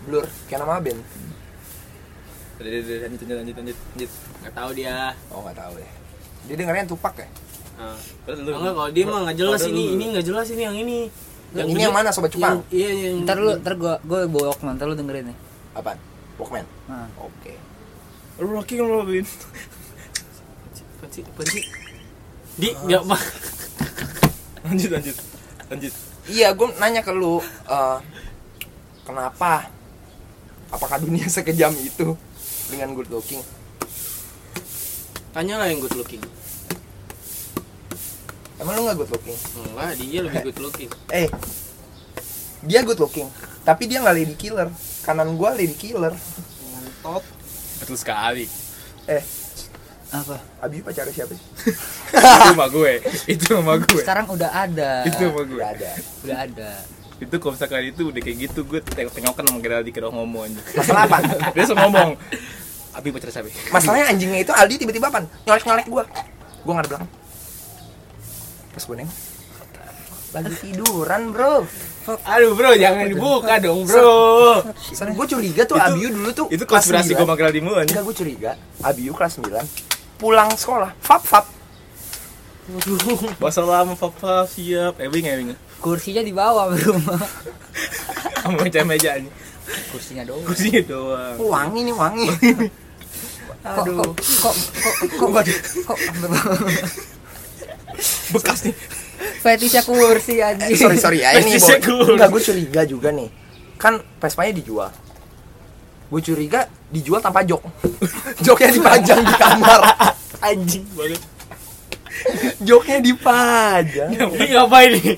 [SPEAKER 4] blur kayak nama band
[SPEAKER 5] Udah, udah, udah, lanjut, lanjut, lanjut, lanjut, lanjut.
[SPEAKER 3] Gak tahu dia.
[SPEAKER 4] oh nggak tahu deh dia dengerin tupak ya
[SPEAKER 3] Nah.
[SPEAKER 5] Terus lu-
[SPEAKER 3] Enggak kalau dia mah nggak jelas
[SPEAKER 5] Padahal
[SPEAKER 3] ini,
[SPEAKER 5] lu-
[SPEAKER 3] ini nggak jelas ini yang ini.
[SPEAKER 4] Ini yang mana, Sobat Cupang?
[SPEAKER 3] Yang- Iya yang
[SPEAKER 1] ntar lu ntar gua gua bawa Walkman ntar lu dengerin ya
[SPEAKER 4] Apaan? Walkman.
[SPEAKER 1] nah.
[SPEAKER 4] Oke.
[SPEAKER 5] Rocking Robin.
[SPEAKER 3] Panci, panci. Di ya, nggak mah.
[SPEAKER 5] Lanjut lanjut. Lanjut.
[SPEAKER 4] Iya, gue nanya ke lu eh, kenapa? Apakah dunia sekejam itu dengan good looking?
[SPEAKER 3] Tanya lah yang good looking.
[SPEAKER 4] Emang lu nggak good looking?
[SPEAKER 3] Enggak, dia lebih good looking.
[SPEAKER 4] Eh, dia good looking, tapi dia nggak lady killer. Kanan gue lady killer.
[SPEAKER 5] Ngentot. Betul sekali.
[SPEAKER 4] Eh,
[SPEAKER 1] apa
[SPEAKER 4] Abi pacarnya siapa sih?
[SPEAKER 5] Itu sama gue. Itu sama gue.
[SPEAKER 1] sekarang udah ada
[SPEAKER 5] Itu sama gue.
[SPEAKER 4] Gak ada.
[SPEAKER 1] udah ada
[SPEAKER 5] Itu kalau misalkan itu udah kayak gitu gue tengok-tengokan sama Geraldi kira ngomong aja.
[SPEAKER 4] Masalah apa?
[SPEAKER 5] Dia sama ngomong. Abi pacar siapa? ya?"
[SPEAKER 4] Masalahnya anjingnya itu Aldi tiba-tiba apa? Nyolek-nyolek gue. Gue nggak ada belakang. Pas gue nengok. Lagi tiduran bro.
[SPEAKER 5] Aduh bro, jangan dibuka dong bro.
[SPEAKER 4] Gue curiga tuh
[SPEAKER 5] Itu-
[SPEAKER 4] Abiu dulu tuh.
[SPEAKER 5] Itu
[SPEAKER 4] kelas
[SPEAKER 5] konspirasi gue
[SPEAKER 4] sembilan.
[SPEAKER 5] sama Geraldi mulu anjing.
[SPEAKER 4] Enggak gue curiga Abiu kelas 9 Pulang sekolah Fap fap
[SPEAKER 5] Wassalam, papa siap. Eh, ya, Ewing, ewing.
[SPEAKER 1] kursinya di bawah rumah
[SPEAKER 5] Sama meja meja anjing.
[SPEAKER 1] kursinya doang
[SPEAKER 5] Kursinya doang.
[SPEAKER 4] Oh, Wangi nih wangi
[SPEAKER 1] Aduh. Kok kok kok kok kok
[SPEAKER 5] Bekas nih.
[SPEAKER 1] fetishnya kursi
[SPEAKER 4] Eh,
[SPEAKER 1] anjing.
[SPEAKER 4] Sorry sorry ya ini
[SPEAKER 5] Persisnya
[SPEAKER 4] boy
[SPEAKER 5] cool.
[SPEAKER 4] Enggak gue curiga juga nih Kan Vespanya dijual Gue curiga dijual tanpa jok Joknya dipajang di kamar
[SPEAKER 5] Anjing banget.
[SPEAKER 4] Joknya dipajang
[SPEAKER 5] Ini ngapain nih?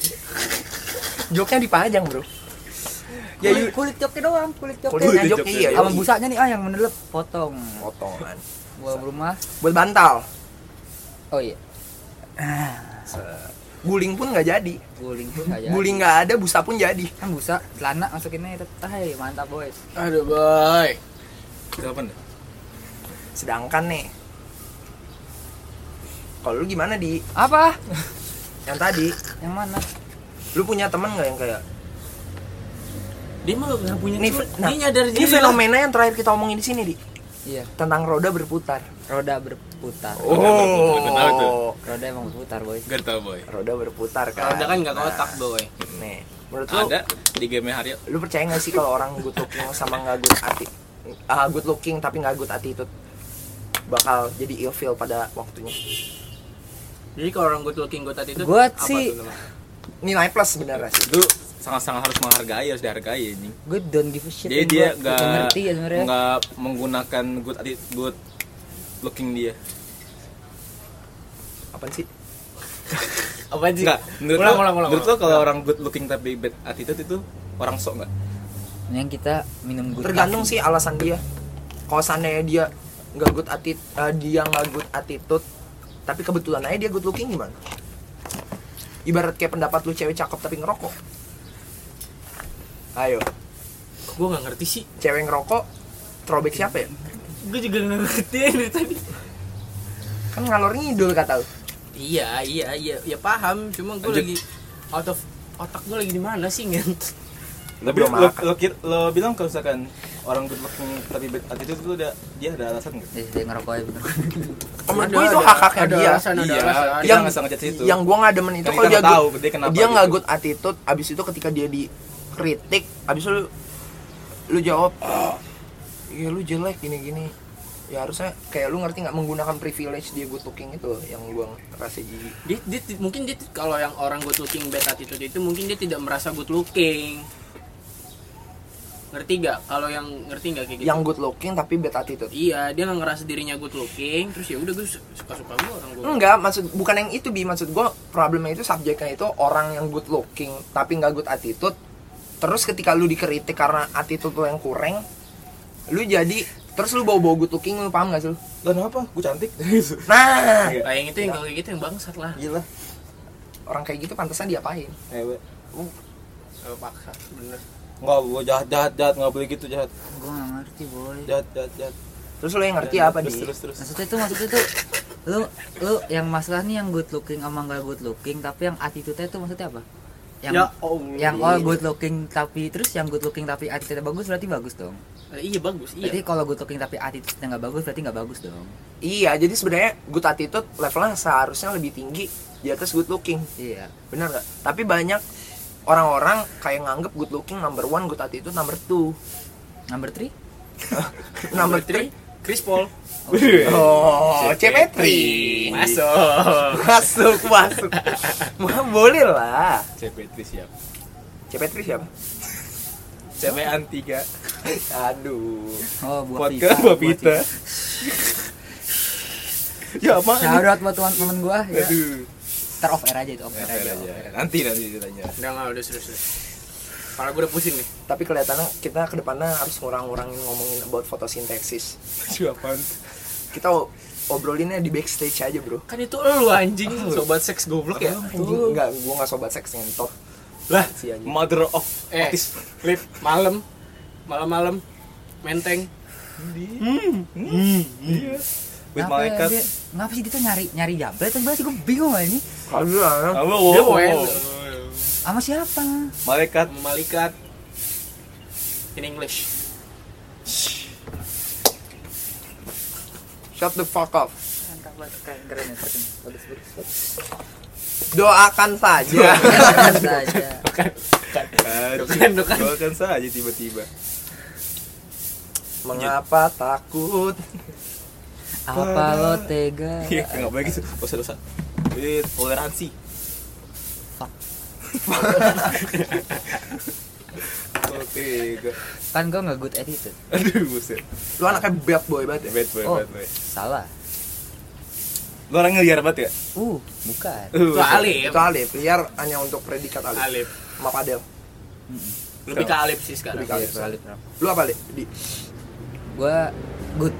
[SPEAKER 4] Joknya dipajang bro Ya
[SPEAKER 1] kulit,
[SPEAKER 4] yuk
[SPEAKER 1] kulit joknya doang, kulit
[SPEAKER 4] Kulitnya
[SPEAKER 5] Kulit
[SPEAKER 1] joknya. Nah,
[SPEAKER 5] jok.
[SPEAKER 4] joknya iya
[SPEAKER 1] Sama
[SPEAKER 4] yuk.
[SPEAKER 1] busanya nih ah yang menelep potong.
[SPEAKER 4] Potongan
[SPEAKER 1] Gua rumah.
[SPEAKER 4] Buat bantal
[SPEAKER 1] Oh iya,
[SPEAKER 4] Guling pun nggak jadi
[SPEAKER 1] guling pun aja.
[SPEAKER 4] Guling nggak ada busa pun jadi
[SPEAKER 1] kan busa celana masukinnya itu. Tai, mantap boys.
[SPEAKER 3] Aduh boy.
[SPEAKER 5] Kapan?
[SPEAKER 4] Sedangkan nih kalau lu gimana di
[SPEAKER 1] Apa?
[SPEAKER 4] yang tadi
[SPEAKER 1] Yang mana?
[SPEAKER 4] lu punya temen nggak yang kayak
[SPEAKER 3] Dia mah nggak punya
[SPEAKER 4] ini
[SPEAKER 3] teman.
[SPEAKER 4] nah,
[SPEAKER 3] dia nyadar
[SPEAKER 4] ini
[SPEAKER 3] diri lah.
[SPEAKER 4] fenomena yang terakhir kita omongin di sini di
[SPEAKER 1] Iya,
[SPEAKER 4] tentang roda berputar
[SPEAKER 1] roda berputar.
[SPEAKER 5] Oh. Gua tahu tuh.
[SPEAKER 1] Roda emang berputar, boys.
[SPEAKER 5] Gak tau boy.
[SPEAKER 4] roda berputar kan
[SPEAKER 3] Ada kan nggak kotak
[SPEAKER 4] Nah,
[SPEAKER 3] boy.
[SPEAKER 4] nih menurut lu
[SPEAKER 5] Ada di game Haryo.
[SPEAKER 4] lu percaya nggak sih kalau orang good looking sama nggak good ati ah, good looking tapi nggak good attitude bakal jadi ilfeel pada waktunya
[SPEAKER 3] Jadi kalau orang good looking good attitude
[SPEAKER 1] Gua
[SPEAKER 3] apa
[SPEAKER 1] sih-
[SPEAKER 3] tuh namanya?
[SPEAKER 4] nilai plus sebenarnya sih
[SPEAKER 5] Itu sangat-sangat harus menghargai, harus dihargai anjing.
[SPEAKER 1] Gue don't give a shit.
[SPEAKER 5] Jadi
[SPEAKER 1] Gua-
[SPEAKER 5] dia
[SPEAKER 1] gua
[SPEAKER 5] nggak
[SPEAKER 1] ngerti ya sebenarnya.
[SPEAKER 5] nggak menggunakan good atti- good looking dia.
[SPEAKER 4] apa sih
[SPEAKER 3] Apa sih?
[SPEAKER 5] Enggak, menurut
[SPEAKER 3] Ulang,
[SPEAKER 5] lo,
[SPEAKER 3] ulang, ulang,
[SPEAKER 5] menurut lo
[SPEAKER 3] ulang.
[SPEAKER 5] kalau orang good looking tapi bad attitude itu orang sok nggak?
[SPEAKER 1] Yang kita minum good
[SPEAKER 4] tergantung
[SPEAKER 1] coffee.
[SPEAKER 4] sih alasan dia kalau seandainya dia nggak good ati eh, dia nggak good attitude tapi kebetulan aja dia good looking gimana ibarat kayak pendapat lu cewek cakep tapi ngerokok ayo
[SPEAKER 3] Gua nggak ngerti sih.
[SPEAKER 4] cewek ngerokok throwback siapa ya
[SPEAKER 3] Gua juga nggak ngerti dari tadi.
[SPEAKER 4] kan ngalor ngidul kata lu
[SPEAKER 3] Iya iya iya ya paham. Cuma gua
[SPEAKER 5] Lanjut.
[SPEAKER 3] lagi out of otak gua lagi di mana sih nggak?
[SPEAKER 5] Lo,
[SPEAKER 4] belum
[SPEAKER 5] lo,
[SPEAKER 4] makan.
[SPEAKER 5] lo, kir- lo bilang kalau misalkan orang good looking tapi bad attitude itu udah dia ada alasan nggak?
[SPEAKER 1] Eh, Dia ngerokok ya bener.
[SPEAKER 4] menurut gue itu hak haknya
[SPEAKER 3] ada
[SPEAKER 4] dia
[SPEAKER 3] alasan, ada
[SPEAKER 5] Iya,
[SPEAKER 3] alasan.
[SPEAKER 5] kita
[SPEAKER 4] yang
[SPEAKER 5] nggak sengaja situ.
[SPEAKER 4] yang gue nggak demen itu
[SPEAKER 5] Kan
[SPEAKER 4] kalau
[SPEAKER 5] kita
[SPEAKER 4] dia
[SPEAKER 5] nggak
[SPEAKER 4] good-
[SPEAKER 5] tahu dia kenapa
[SPEAKER 4] nggak
[SPEAKER 5] gitu.
[SPEAKER 4] good attitude abis itu ketika dia dikritik abis itu lu, lu jawab ya lu jelek gini gini ya harusnya kayak lu ngerti nggak menggunakan privilege dia good looking itu yang gua ngerasa jijik
[SPEAKER 3] dia, dia ti- mungkin dia ti- kalau yang orang good looking bad attitude itu mungkin dia tidak merasa good looking ngerti gak kalau yang ngerti gak kayak gitu
[SPEAKER 4] yang good looking tapi bad attitude
[SPEAKER 3] iya dia nggak ngerasa dirinya good looking terus ya udah gue suka suka gue orang gue
[SPEAKER 4] enggak maksud bukan yang itu bi maksud gua problemnya itu subjeknya itu orang yang good looking tapi nggak good attitude terus ketika lu dikritik karena attitude lu yang kurang lu jadi terus lu bawa bawa good looking lu paham gak sih lu
[SPEAKER 5] Lo kenapa? Gue cantik.
[SPEAKER 4] nah
[SPEAKER 3] Nah, yang itu yang kalau kayak gitu yang bangsat lah
[SPEAKER 5] Gila.
[SPEAKER 4] orang kayak gitu pantesan diapain
[SPEAKER 5] Eh, we.
[SPEAKER 3] Eh, paksa bener
[SPEAKER 5] nggak, gue jahat jahat jahat nggak boleh gitu jahat
[SPEAKER 1] Gua nggak ngerti, boy.
[SPEAKER 5] jahat jahat jahat.
[SPEAKER 4] terus lo yang ngerti
[SPEAKER 5] Jahat,
[SPEAKER 4] apa
[SPEAKER 5] Iya, terus,
[SPEAKER 4] di
[SPEAKER 5] Terus terus.
[SPEAKER 1] maksudnya tuh maksudnya tuh lu lu yang masalah nih yang good looking sama nggak good looking tapi yang attitude-nya tuh maksudnya apa yang
[SPEAKER 3] Ya Allah.
[SPEAKER 1] yang all good looking tapi terus yang good looking tapi attitude bagus berarti bagus dong
[SPEAKER 3] Eh, iya bagus
[SPEAKER 1] berarti
[SPEAKER 3] iya
[SPEAKER 1] kalau good looking tapi attitude nggak bagus berarti nggak bagus dong
[SPEAKER 4] iya jadi sebenarnya good attitude levelnya seharusnya lebih tinggi di atas good looking
[SPEAKER 1] iya
[SPEAKER 4] benar nggak tapi banyak orang-orang kayak nganggep good looking number one good attitude number two
[SPEAKER 1] Number 3?
[SPEAKER 4] number
[SPEAKER 3] Tri,
[SPEAKER 4] three
[SPEAKER 3] Chris Paul.
[SPEAKER 4] oh cemetri
[SPEAKER 3] Masuk.
[SPEAKER 4] masuk masuk Wah, boleh lah
[SPEAKER 5] CP3 siap
[SPEAKER 4] cemetri siapa
[SPEAKER 5] CP Antiga
[SPEAKER 4] aduh
[SPEAKER 1] Oh, buat
[SPEAKER 5] Podcast Buah Pita Ya apa
[SPEAKER 1] Shout out buat teman temen gua ya.
[SPEAKER 5] Aduh
[SPEAKER 1] Ntar off air aja itu, off air
[SPEAKER 5] Fair
[SPEAKER 1] aja.
[SPEAKER 5] aja. ya, Nanti nanti ditanya
[SPEAKER 3] Udah nggak udah serius. serius. Kepala gue udah pusing nih.
[SPEAKER 4] tapi kelihatannya kita kedepannya harus ngurang-ngurangin ngomongin about fotosintesis
[SPEAKER 5] Siapaan
[SPEAKER 4] kita o- obrolinnya di backstage aja bro
[SPEAKER 3] Kan itu lu anjing, sobat seks goblok ya.
[SPEAKER 4] anjing nggak gue nggak sobat seks ngentot
[SPEAKER 5] Lah
[SPEAKER 4] Si anjing.
[SPEAKER 5] Mother of
[SPEAKER 3] Eh,
[SPEAKER 5] Otis
[SPEAKER 3] lift malam, malam-malam, menteng.
[SPEAKER 5] Iya With
[SPEAKER 1] Kenapa ya,
[SPEAKER 5] malaikat
[SPEAKER 1] dia- Ngapa sih kita nyari nyari jabret tapi sih gua bingung lah ini.
[SPEAKER 4] Aduh,
[SPEAKER 5] Halo
[SPEAKER 3] Dia
[SPEAKER 5] wow,
[SPEAKER 3] poin.
[SPEAKER 5] wow.
[SPEAKER 1] Sama siapa?
[SPEAKER 5] Malaikat
[SPEAKER 3] Malikat. In English.
[SPEAKER 4] shut the fuck up.
[SPEAKER 1] Keren ya, keren. Bagus, bagus, bagus.
[SPEAKER 4] Doakan saja.
[SPEAKER 1] Bagus aja.
[SPEAKER 3] Bukan, bukan.
[SPEAKER 5] Doakan kan saja tiba-tiba
[SPEAKER 4] Mengapa takut?
[SPEAKER 1] Apa lo tega?
[SPEAKER 5] Iya nggak boleh gitu Dosa dosa Eh, Toleransi Fuck Oke
[SPEAKER 1] Kan gua nggak good attitude.
[SPEAKER 5] Aduh buset
[SPEAKER 4] Lu anaknya bad boy banget ya?
[SPEAKER 5] Bad boy
[SPEAKER 1] Oh,
[SPEAKER 5] bad boy
[SPEAKER 1] salah.
[SPEAKER 5] Lu orangnya liar banget ya?
[SPEAKER 1] Uh, bukan.
[SPEAKER 5] Uh,
[SPEAKER 3] Itu Alif.
[SPEAKER 4] Itu Alif, liar hanya untuk predikat Alif.
[SPEAKER 3] Alif.
[SPEAKER 4] Sama Padel.
[SPEAKER 3] Lebih ke Alif sih sekarang.
[SPEAKER 4] Lebih ke Alif.
[SPEAKER 1] Iya, solid, Rob.
[SPEAKER 4] Lu apa, Li? Di.
[SPEAKER 1] Gua good,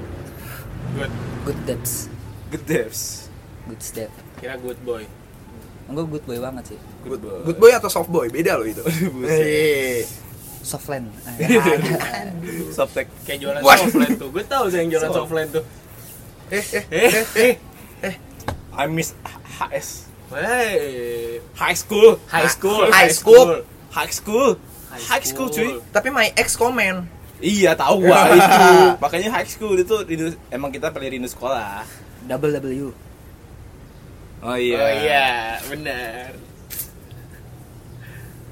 [SPEAKER 3] Good.
[SPEAKER 1] good depths,
[SPEAKER 5] Gedeps
[SPEAKER 1] good step.
[SPEAKER 3] Kira good boy.
[SPEAKER 1] Gua good boy banget sih.
[SPEAKER 5] Good boy
[SPEAKER 4] Good boy atau soft boy? Beda lo itu.
[SPEAKER 5] Aduh, buset.
[SPEAKER 4] Eh,
[SPEAKER 1] Soft land. Ah,
[SPEAKER 5] Subtek
[SPEAKER 3] Kayak jualan
[SPEAKER 4] What?
[SPEAKER 3] softland tuh. Gue tau sih yang jualan
[SPEAKER 5] Soft.
[SPEAKER 3] softland tuh.
[SPEAKER 4] eh, eh,
[SPEAKER 5] Eh,
[SPEAKER 4] eh, eh.
[SPEAKER 5] I miss HS
[SPEAKER 3] Wey.
[SPEAKER 5] High school
[SPEAKER 3] High school.
[SPEAKER 4] High school.
[SPEAKER 5] High school High school cuy
[SPEAKER 4] Tapi my ex komen.
[SPEAKER 5] Iya tahu gua itu. Makanya high school itu rindu, emang kita pilih rindu sekolah.
[SPEAKER 1] Double W.
[SPEAKER 3] Oh
[SPEAKER 5] Oh
[SPEAKER 3] iya, benar.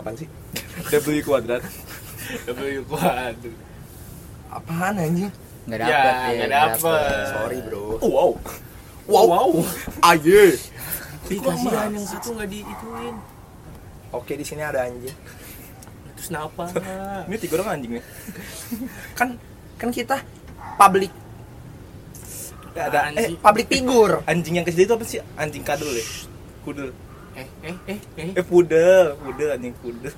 [SPEAKER 4] Apaan sih?
[SPEAKER 5] W kuadrat.
[SPEAKER 3] W kuadrat.
[SPEAKER 4] Apaan anjing?
[SPEAKER 1] Nggak
[SPEAKER 3] Ya,
[SPEAKER 1] dapet. ya, nggak
[SPEAKER 3] nggak dapet.
[SPEAKER 1] dapet.
[SPEAKER 4] Sorry, bro.
[SPEAKER 5] Wow.
[SPEAKER 4] Eh. Oh, Wow. Aye.
[SPEAKER 3] Ih, kasihan yang situ nggak diituin.
[SPEAKER 4] Oke, di sini ada anjing.
[SPEAKER 3] Terus kenapa?
[SPEAKER 5] Ini tiga orang anjing ya.
[SPEAKER 4] Kan kan kita public
[SPEAKER 5] Ada Eh,
[SPEAKER 4] eh
[SPEAKER 3] Anjing.
[SPEAKER 4] public figure.
[SPEAKER 5] anjing yang kecil itu apa sih? Anjing kadul ya. Kudel.
[SPEAKER 3] Eh, eh, eh, eh.
[SPEAKER 5] Eh pudel, pudel anjing kudel.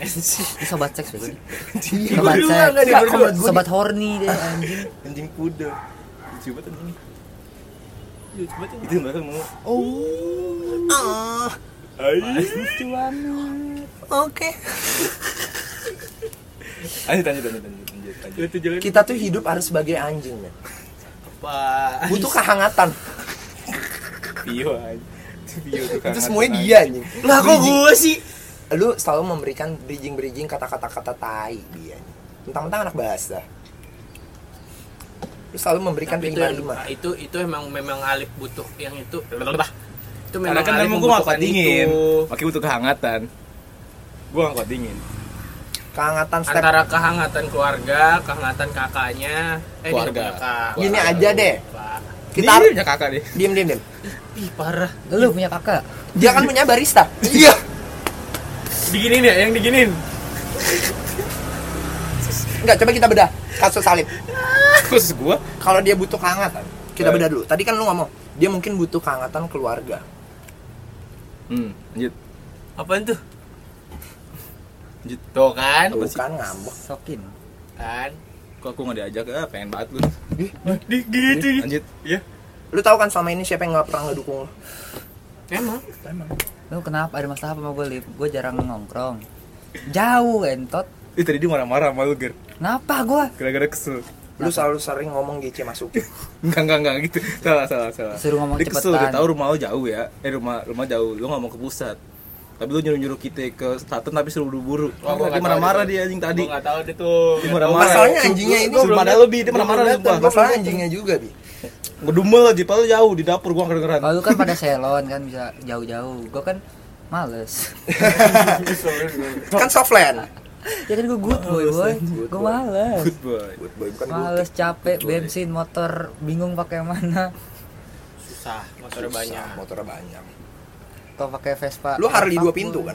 [SPEAKER 1] Ini sobat seks bego nih.
[SPEAKER 5] Anjing,
[SPEAKER 1] Sobat
[SPEAKER 4] berdua
[SPEAKER 1] seks.
[SPEAKER 4] Iya. nggak, dia
[SPEAKER 1] Sobat-
[SPEAKER 4] berdua. Gua
[SPEAKER 1] Sobat horny deh anjing.
[SPEAKER 5] anjing pudel. Lucu banget anjing.
[SPEAKER 3] Coba tuh.
[SPEAKER 5] Itu yang belakang mau. Oh. Anjing.
[SPEAKER 1] Lucu banget.
[SPEAKER 4] Oke.
[SPEAKER 5] Lanjut lanjut lanjut lanjut lanjut. lanjut.
[SPEAKER 3] Itu jalan
[SPEAKER 4] Kita tuh hidup harus sebagai anjing, men.
[SPEAKER 3] apa?
[SPEAKER 4] Butuh kehangatan.
[SPEAKER 5] Pio anjing. Itu Pio
[SPEAKER 4] Itu
[SPEAKER 5] tuh kangen,
[SPEAKER 4] semuanya
[SPEAKER 5] anjing.
[SPEAKER 4] dia anjing.
[SPEAKER 3] Lah kok gue sih?
[SPEAKER 4] lu selalu memberikan bridging-bridging kata-kata kata tai dia tentang-tentang anak bahasa lu selalu memberikan
[SPEAKER 3] Tapi itu,
[SPEAKER 4] penyimpanan
[SPEAKER 3] yang-
[SPEAKER 4] lima
[SPEAKER 3] itu itu emang memang Alif butuh yang itu. Lelah. Itu
[SPEAKER 5] Karena
[SPEAKER 3] memang
[SPEAKER 5] kan
[SPEAKER 3] Alif
[SPEAKER 5] emang gue
[SPEAKER 3] membutuhkan
[SPEAKER 5] ngangkot dingin
[SPEAKER 3] itu.
[SPEAKER 5] Makanya butuh kehangatan Gue ngangkot dingin
[SPEAKER 4] kehangatan step
[SPEAKER 3] Antara kehangatan keluarga, kehangatan kakaknya, eh dia
[SPEAKER 5] Keluarga.
[SPEAKER 3] punya kak.
[SPEAKER 4] gini aja deh
[SPEAKER 3] Pak.
[SPEAKER 4] kita
[SPEAKER 5] Ini
[SPEAKER 4] harus
[SPEAKER 5] punya kakak deh
[SPEAKER 4] diem diem diem
[SPEAKER 3] Ih, parah.
[SPEAKER 1] Lu punya kakak.
[SPEAKER 4] dia kan punya barista iya
[SPEAKER 3] Diginin ya, yang diginin.
[SPEAKER 4] nggak coba kita bedah kasus salib
[SPEAKER 5] Khusus gue
[SPEAKER 4] kalau dia butuh kehangatan kita
[SPEAKER 3] Eh.
[SPEAKER 5] Baik.
[SPEAKER 4] bedah dulu tadi kan lu ngomong dia mungkin butuh kehangatan keluarga
[SPEAKER 5] Hmm lanjut
[SPEAKER 3] Apaan tuh?
[SPEAKER 5] Lanjut.
[SPEAKER 3] Tuh kan?
[SPEAKER 5] Apa sih?
[SPEAKER 4] bukan ngambek
[SPEAKER 1] Sokin.
[SPEAKER 3] Kan.
[SPEAKER 5] Kok aku gak diajak ah pengen banget lu
[SPEAKER 3] Di- gitu.
[SPEAKER 5] Lanjut
[SPEAKER 3] Ya.
[SPEAKER 4] lu tahu kan selama ini siapa yang nggak pernah ngedukung lu
[SPEAKER 3] Emang.
[SPEAKER 1] Lu kenapa ada masalah apa sama gue, Lip? Gue jarang nongkrong. Jauh entot.
[SPEAKER 5] Ih tadi dia marah-marah sama lu Ger
[SPEAKER 1] Kenapa gua?
[SPEAKER 5] Gara-gara kesel
[SPEAKER 4] lu selalu sering ngomong gece masuk
[SPEAKER 5] Enggak enggak enggak gitu Salah salah salah
[SPEAKER 1] Suruh ngomong
[SPEAKER 5] Dia kesel dia
[SPEAKER 1] cepetan.
[SPEAKER 5] tau rumah lu jauh ya Eh rumah rumah jauh Lu ngomong ke pusat tapi lu nyuruh-nyuruh kita ke Selatan tapi suruh buru-buru.
[SPEAKER 3] Wah, gua nggak
[SPEAKER 5] Wah, dia
[SPEAKER 3] tahu
[SPEAKER 5] marah-marah
[SPEAKER 3] itu.
[SPEAKER 5] dia anjing tadi.
[SPEAKER 3] Gue gak tau deh tuh.
[SPEAKER 5] Dia marah-marah.
[SPEAKER 4] Oh, Masalahnya anjingnya itu
[SPEAKER 5] Suruh pada lebih dia marah-marah sumpah.
[SPEAKER 4] masalah anjingnya juga bi
[SPEAKER 5] Ngedumel aja, padahal jauh di dapur gua kedengeran.
[SPEAKER 1] Kalau lu kan pada selon kan bisa jauh-jauh. Gua kan males
[SPEAKER 4] Kan softland.
[SPEAKER 1] ya kan gue good boy boy gue males
[SPEAKER 5] Good boy.
[SPEAKER 4] Good boy bukan good.
[SPEAKER 1] males capek bensin motor bingung pakai mana
[SPEAKER 3] susah motornya banyak
[SPEAKER 4] Motornya banyak.
[SPEAKER 1] atau pakai Vespa
[SPEAKER 4] Lu Harley
[SPEAKER 1] apapun.
[SPEAKER 4] dua pintu kan?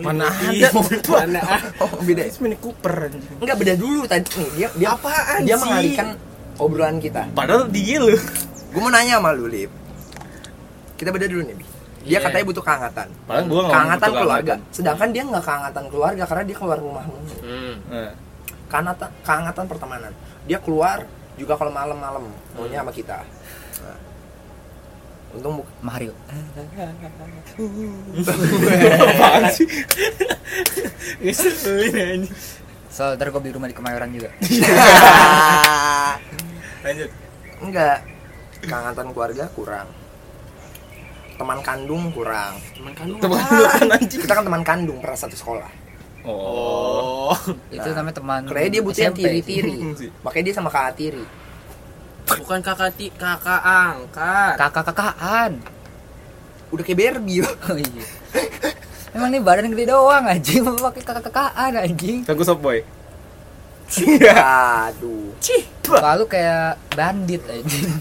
[SPEAKER 3] mana
[SPEAKER 4] ada mobil tua?
[SPEAKER 3] mana ada.
[SPEAKER 4] Oh, beda. ya?
[SPEAKER 5] Itu Mini Cooper.
[SPEAKER 4] Enggak beda dulu tadi nih. Dia dia apaan Dia
[SPEAKER 5] sih?
[SPEAKER 4] mengalihkan obrolan kita.
[SPEAKER 5] Padahal dia lu.
[SPEAKER 4] Gue mau nanya sama lu, Lip. Kita beda dulu nih, Bi.
[SPEAKER 3] Iya.
[SPEAKER 4] Dia katanya butuh kehangatan.
[SPEAKER 5] Padahal gua nggak
[SPEAKER 4] Kehangatan
[SPEAKER 5] butuh
[SPEAKER 4] keluarga.
[SPEAKER 5] kehangatan.
[SPEAKER 4] Sedangkan dia nggak kehangatan keluarga karena dia keluar rumah mulu.
[SPEAKER 3] hmm.
[SPEAKER 5] Nah,
[SPEAKER 4] Kehangatan, kehangatan pertemanan. Dia keluar juga kalau malam-malam maunya sama kita. Nah. Untung bu-
[SPEAKER 1] Mario
[SPEAKER 5] apaan sih? Ngeselin anjing.
[SPEAKER 1] soal ntar gue beli rumah di Kemayoran juga
[SPEAKER 5] Lanjut.
[SPEAKER 4] enggak. Kehangatan keluarga kurang. Teman kandung kurang.
[SPEAKER 3] teman kandung
[SPEAKER 5] Teman
[SPEAKER 3] apa?
[SPEAKER 5] lu kan anjing.
[SPEAKER 4] Kita kan teman kandung pernah satu sekolah.
[SPEAKER 5] Oh.
[SPEAKER 3] oh
[SPEAKER 1] itu
[SPEAKER 4] Nah,
[SPEAKER 1] namanya teman
[SPEAKER 4] Kayaknya dia butuh yang
[SPEAKER 1] SMP.
[SPEAKER 4] tiri-tiri.
[SPEAKER 5] Sih.
[SPEAKER 4] Makanya dia sama kakak tiri.
[SPEAKER 3] bukan kakak ti kakak angkat
[SPEAKER 1] kakak-kakakan
[SPEAKER 4] Udah kayak Barbie.
[SPEAKER 1] oh iya emang nih badan gede doang anjing mau pakai kakak-kakakan anjing
[SPEAKER 5] Kan gue soft boy. Ya. Iya.
[SPEAKER 4] Aduh.
[SPEAKER 1] lalu kayak bandit anjing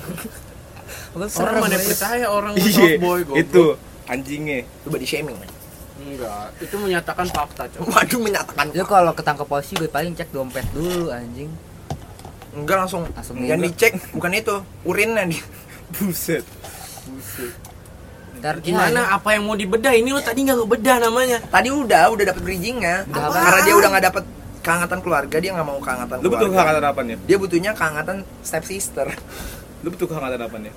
[SPEAKER 1] Lu
[SPEAKER 3] orang
[SPEAKER 1] serem
[SPEAKER 3] mana
[SPEAKER 1] ya.
[SPEAKER 3] percaya orang
[SPEAKER 5] Iya.
[SPEAKER 3] soft boy goblok.
[SPEAKER 5] Itu anjingnya.
[SPEAKER 4] Itu body shaming. man.
[SPEAKER 3] enggak itu menyatakan fakta coba
[SPEAKER 4] Waduh menyatakan.
[SPEAKER 1] lu kalau ketangkep polisi gue paling cek dompet dulu anjing
[SPEAKER 4] Enggak langsung.
[SPEAKER 1] Langsung
[SPEAKER 4] yang
[SPEAKER 1] enggak.
[SPEAKER 4] dicek bukan itu, urinnya dia.
[SPEAKER 5] Buset. Buset.
[SPEAKER 1] ntar
[SPEAKER 3] gimana
[SPEAKER 1] ya,
[SPEAKER 3] apa yang mau dibedah ini lo tadi nggak ngebedah namanya
[SPEAKER 4] Tadi udah, udah dapet bridgingnya.
[SPEAKER 1] Udah apa?
[SPEAKER 4] Karena dia udah nggak dapet kehangatan keluarga, dia nggak mau kehangatan
[SPEAKER 5] Lu butuh
[SPEAKER 4] keluarga.
[SPEAKER 5] kehangatan apaan ya?
[SPEAKER 4] Dia butuhnya kehangatan step sister.
[SPEAKER 5] Lu butuh kehangatan apaan ya?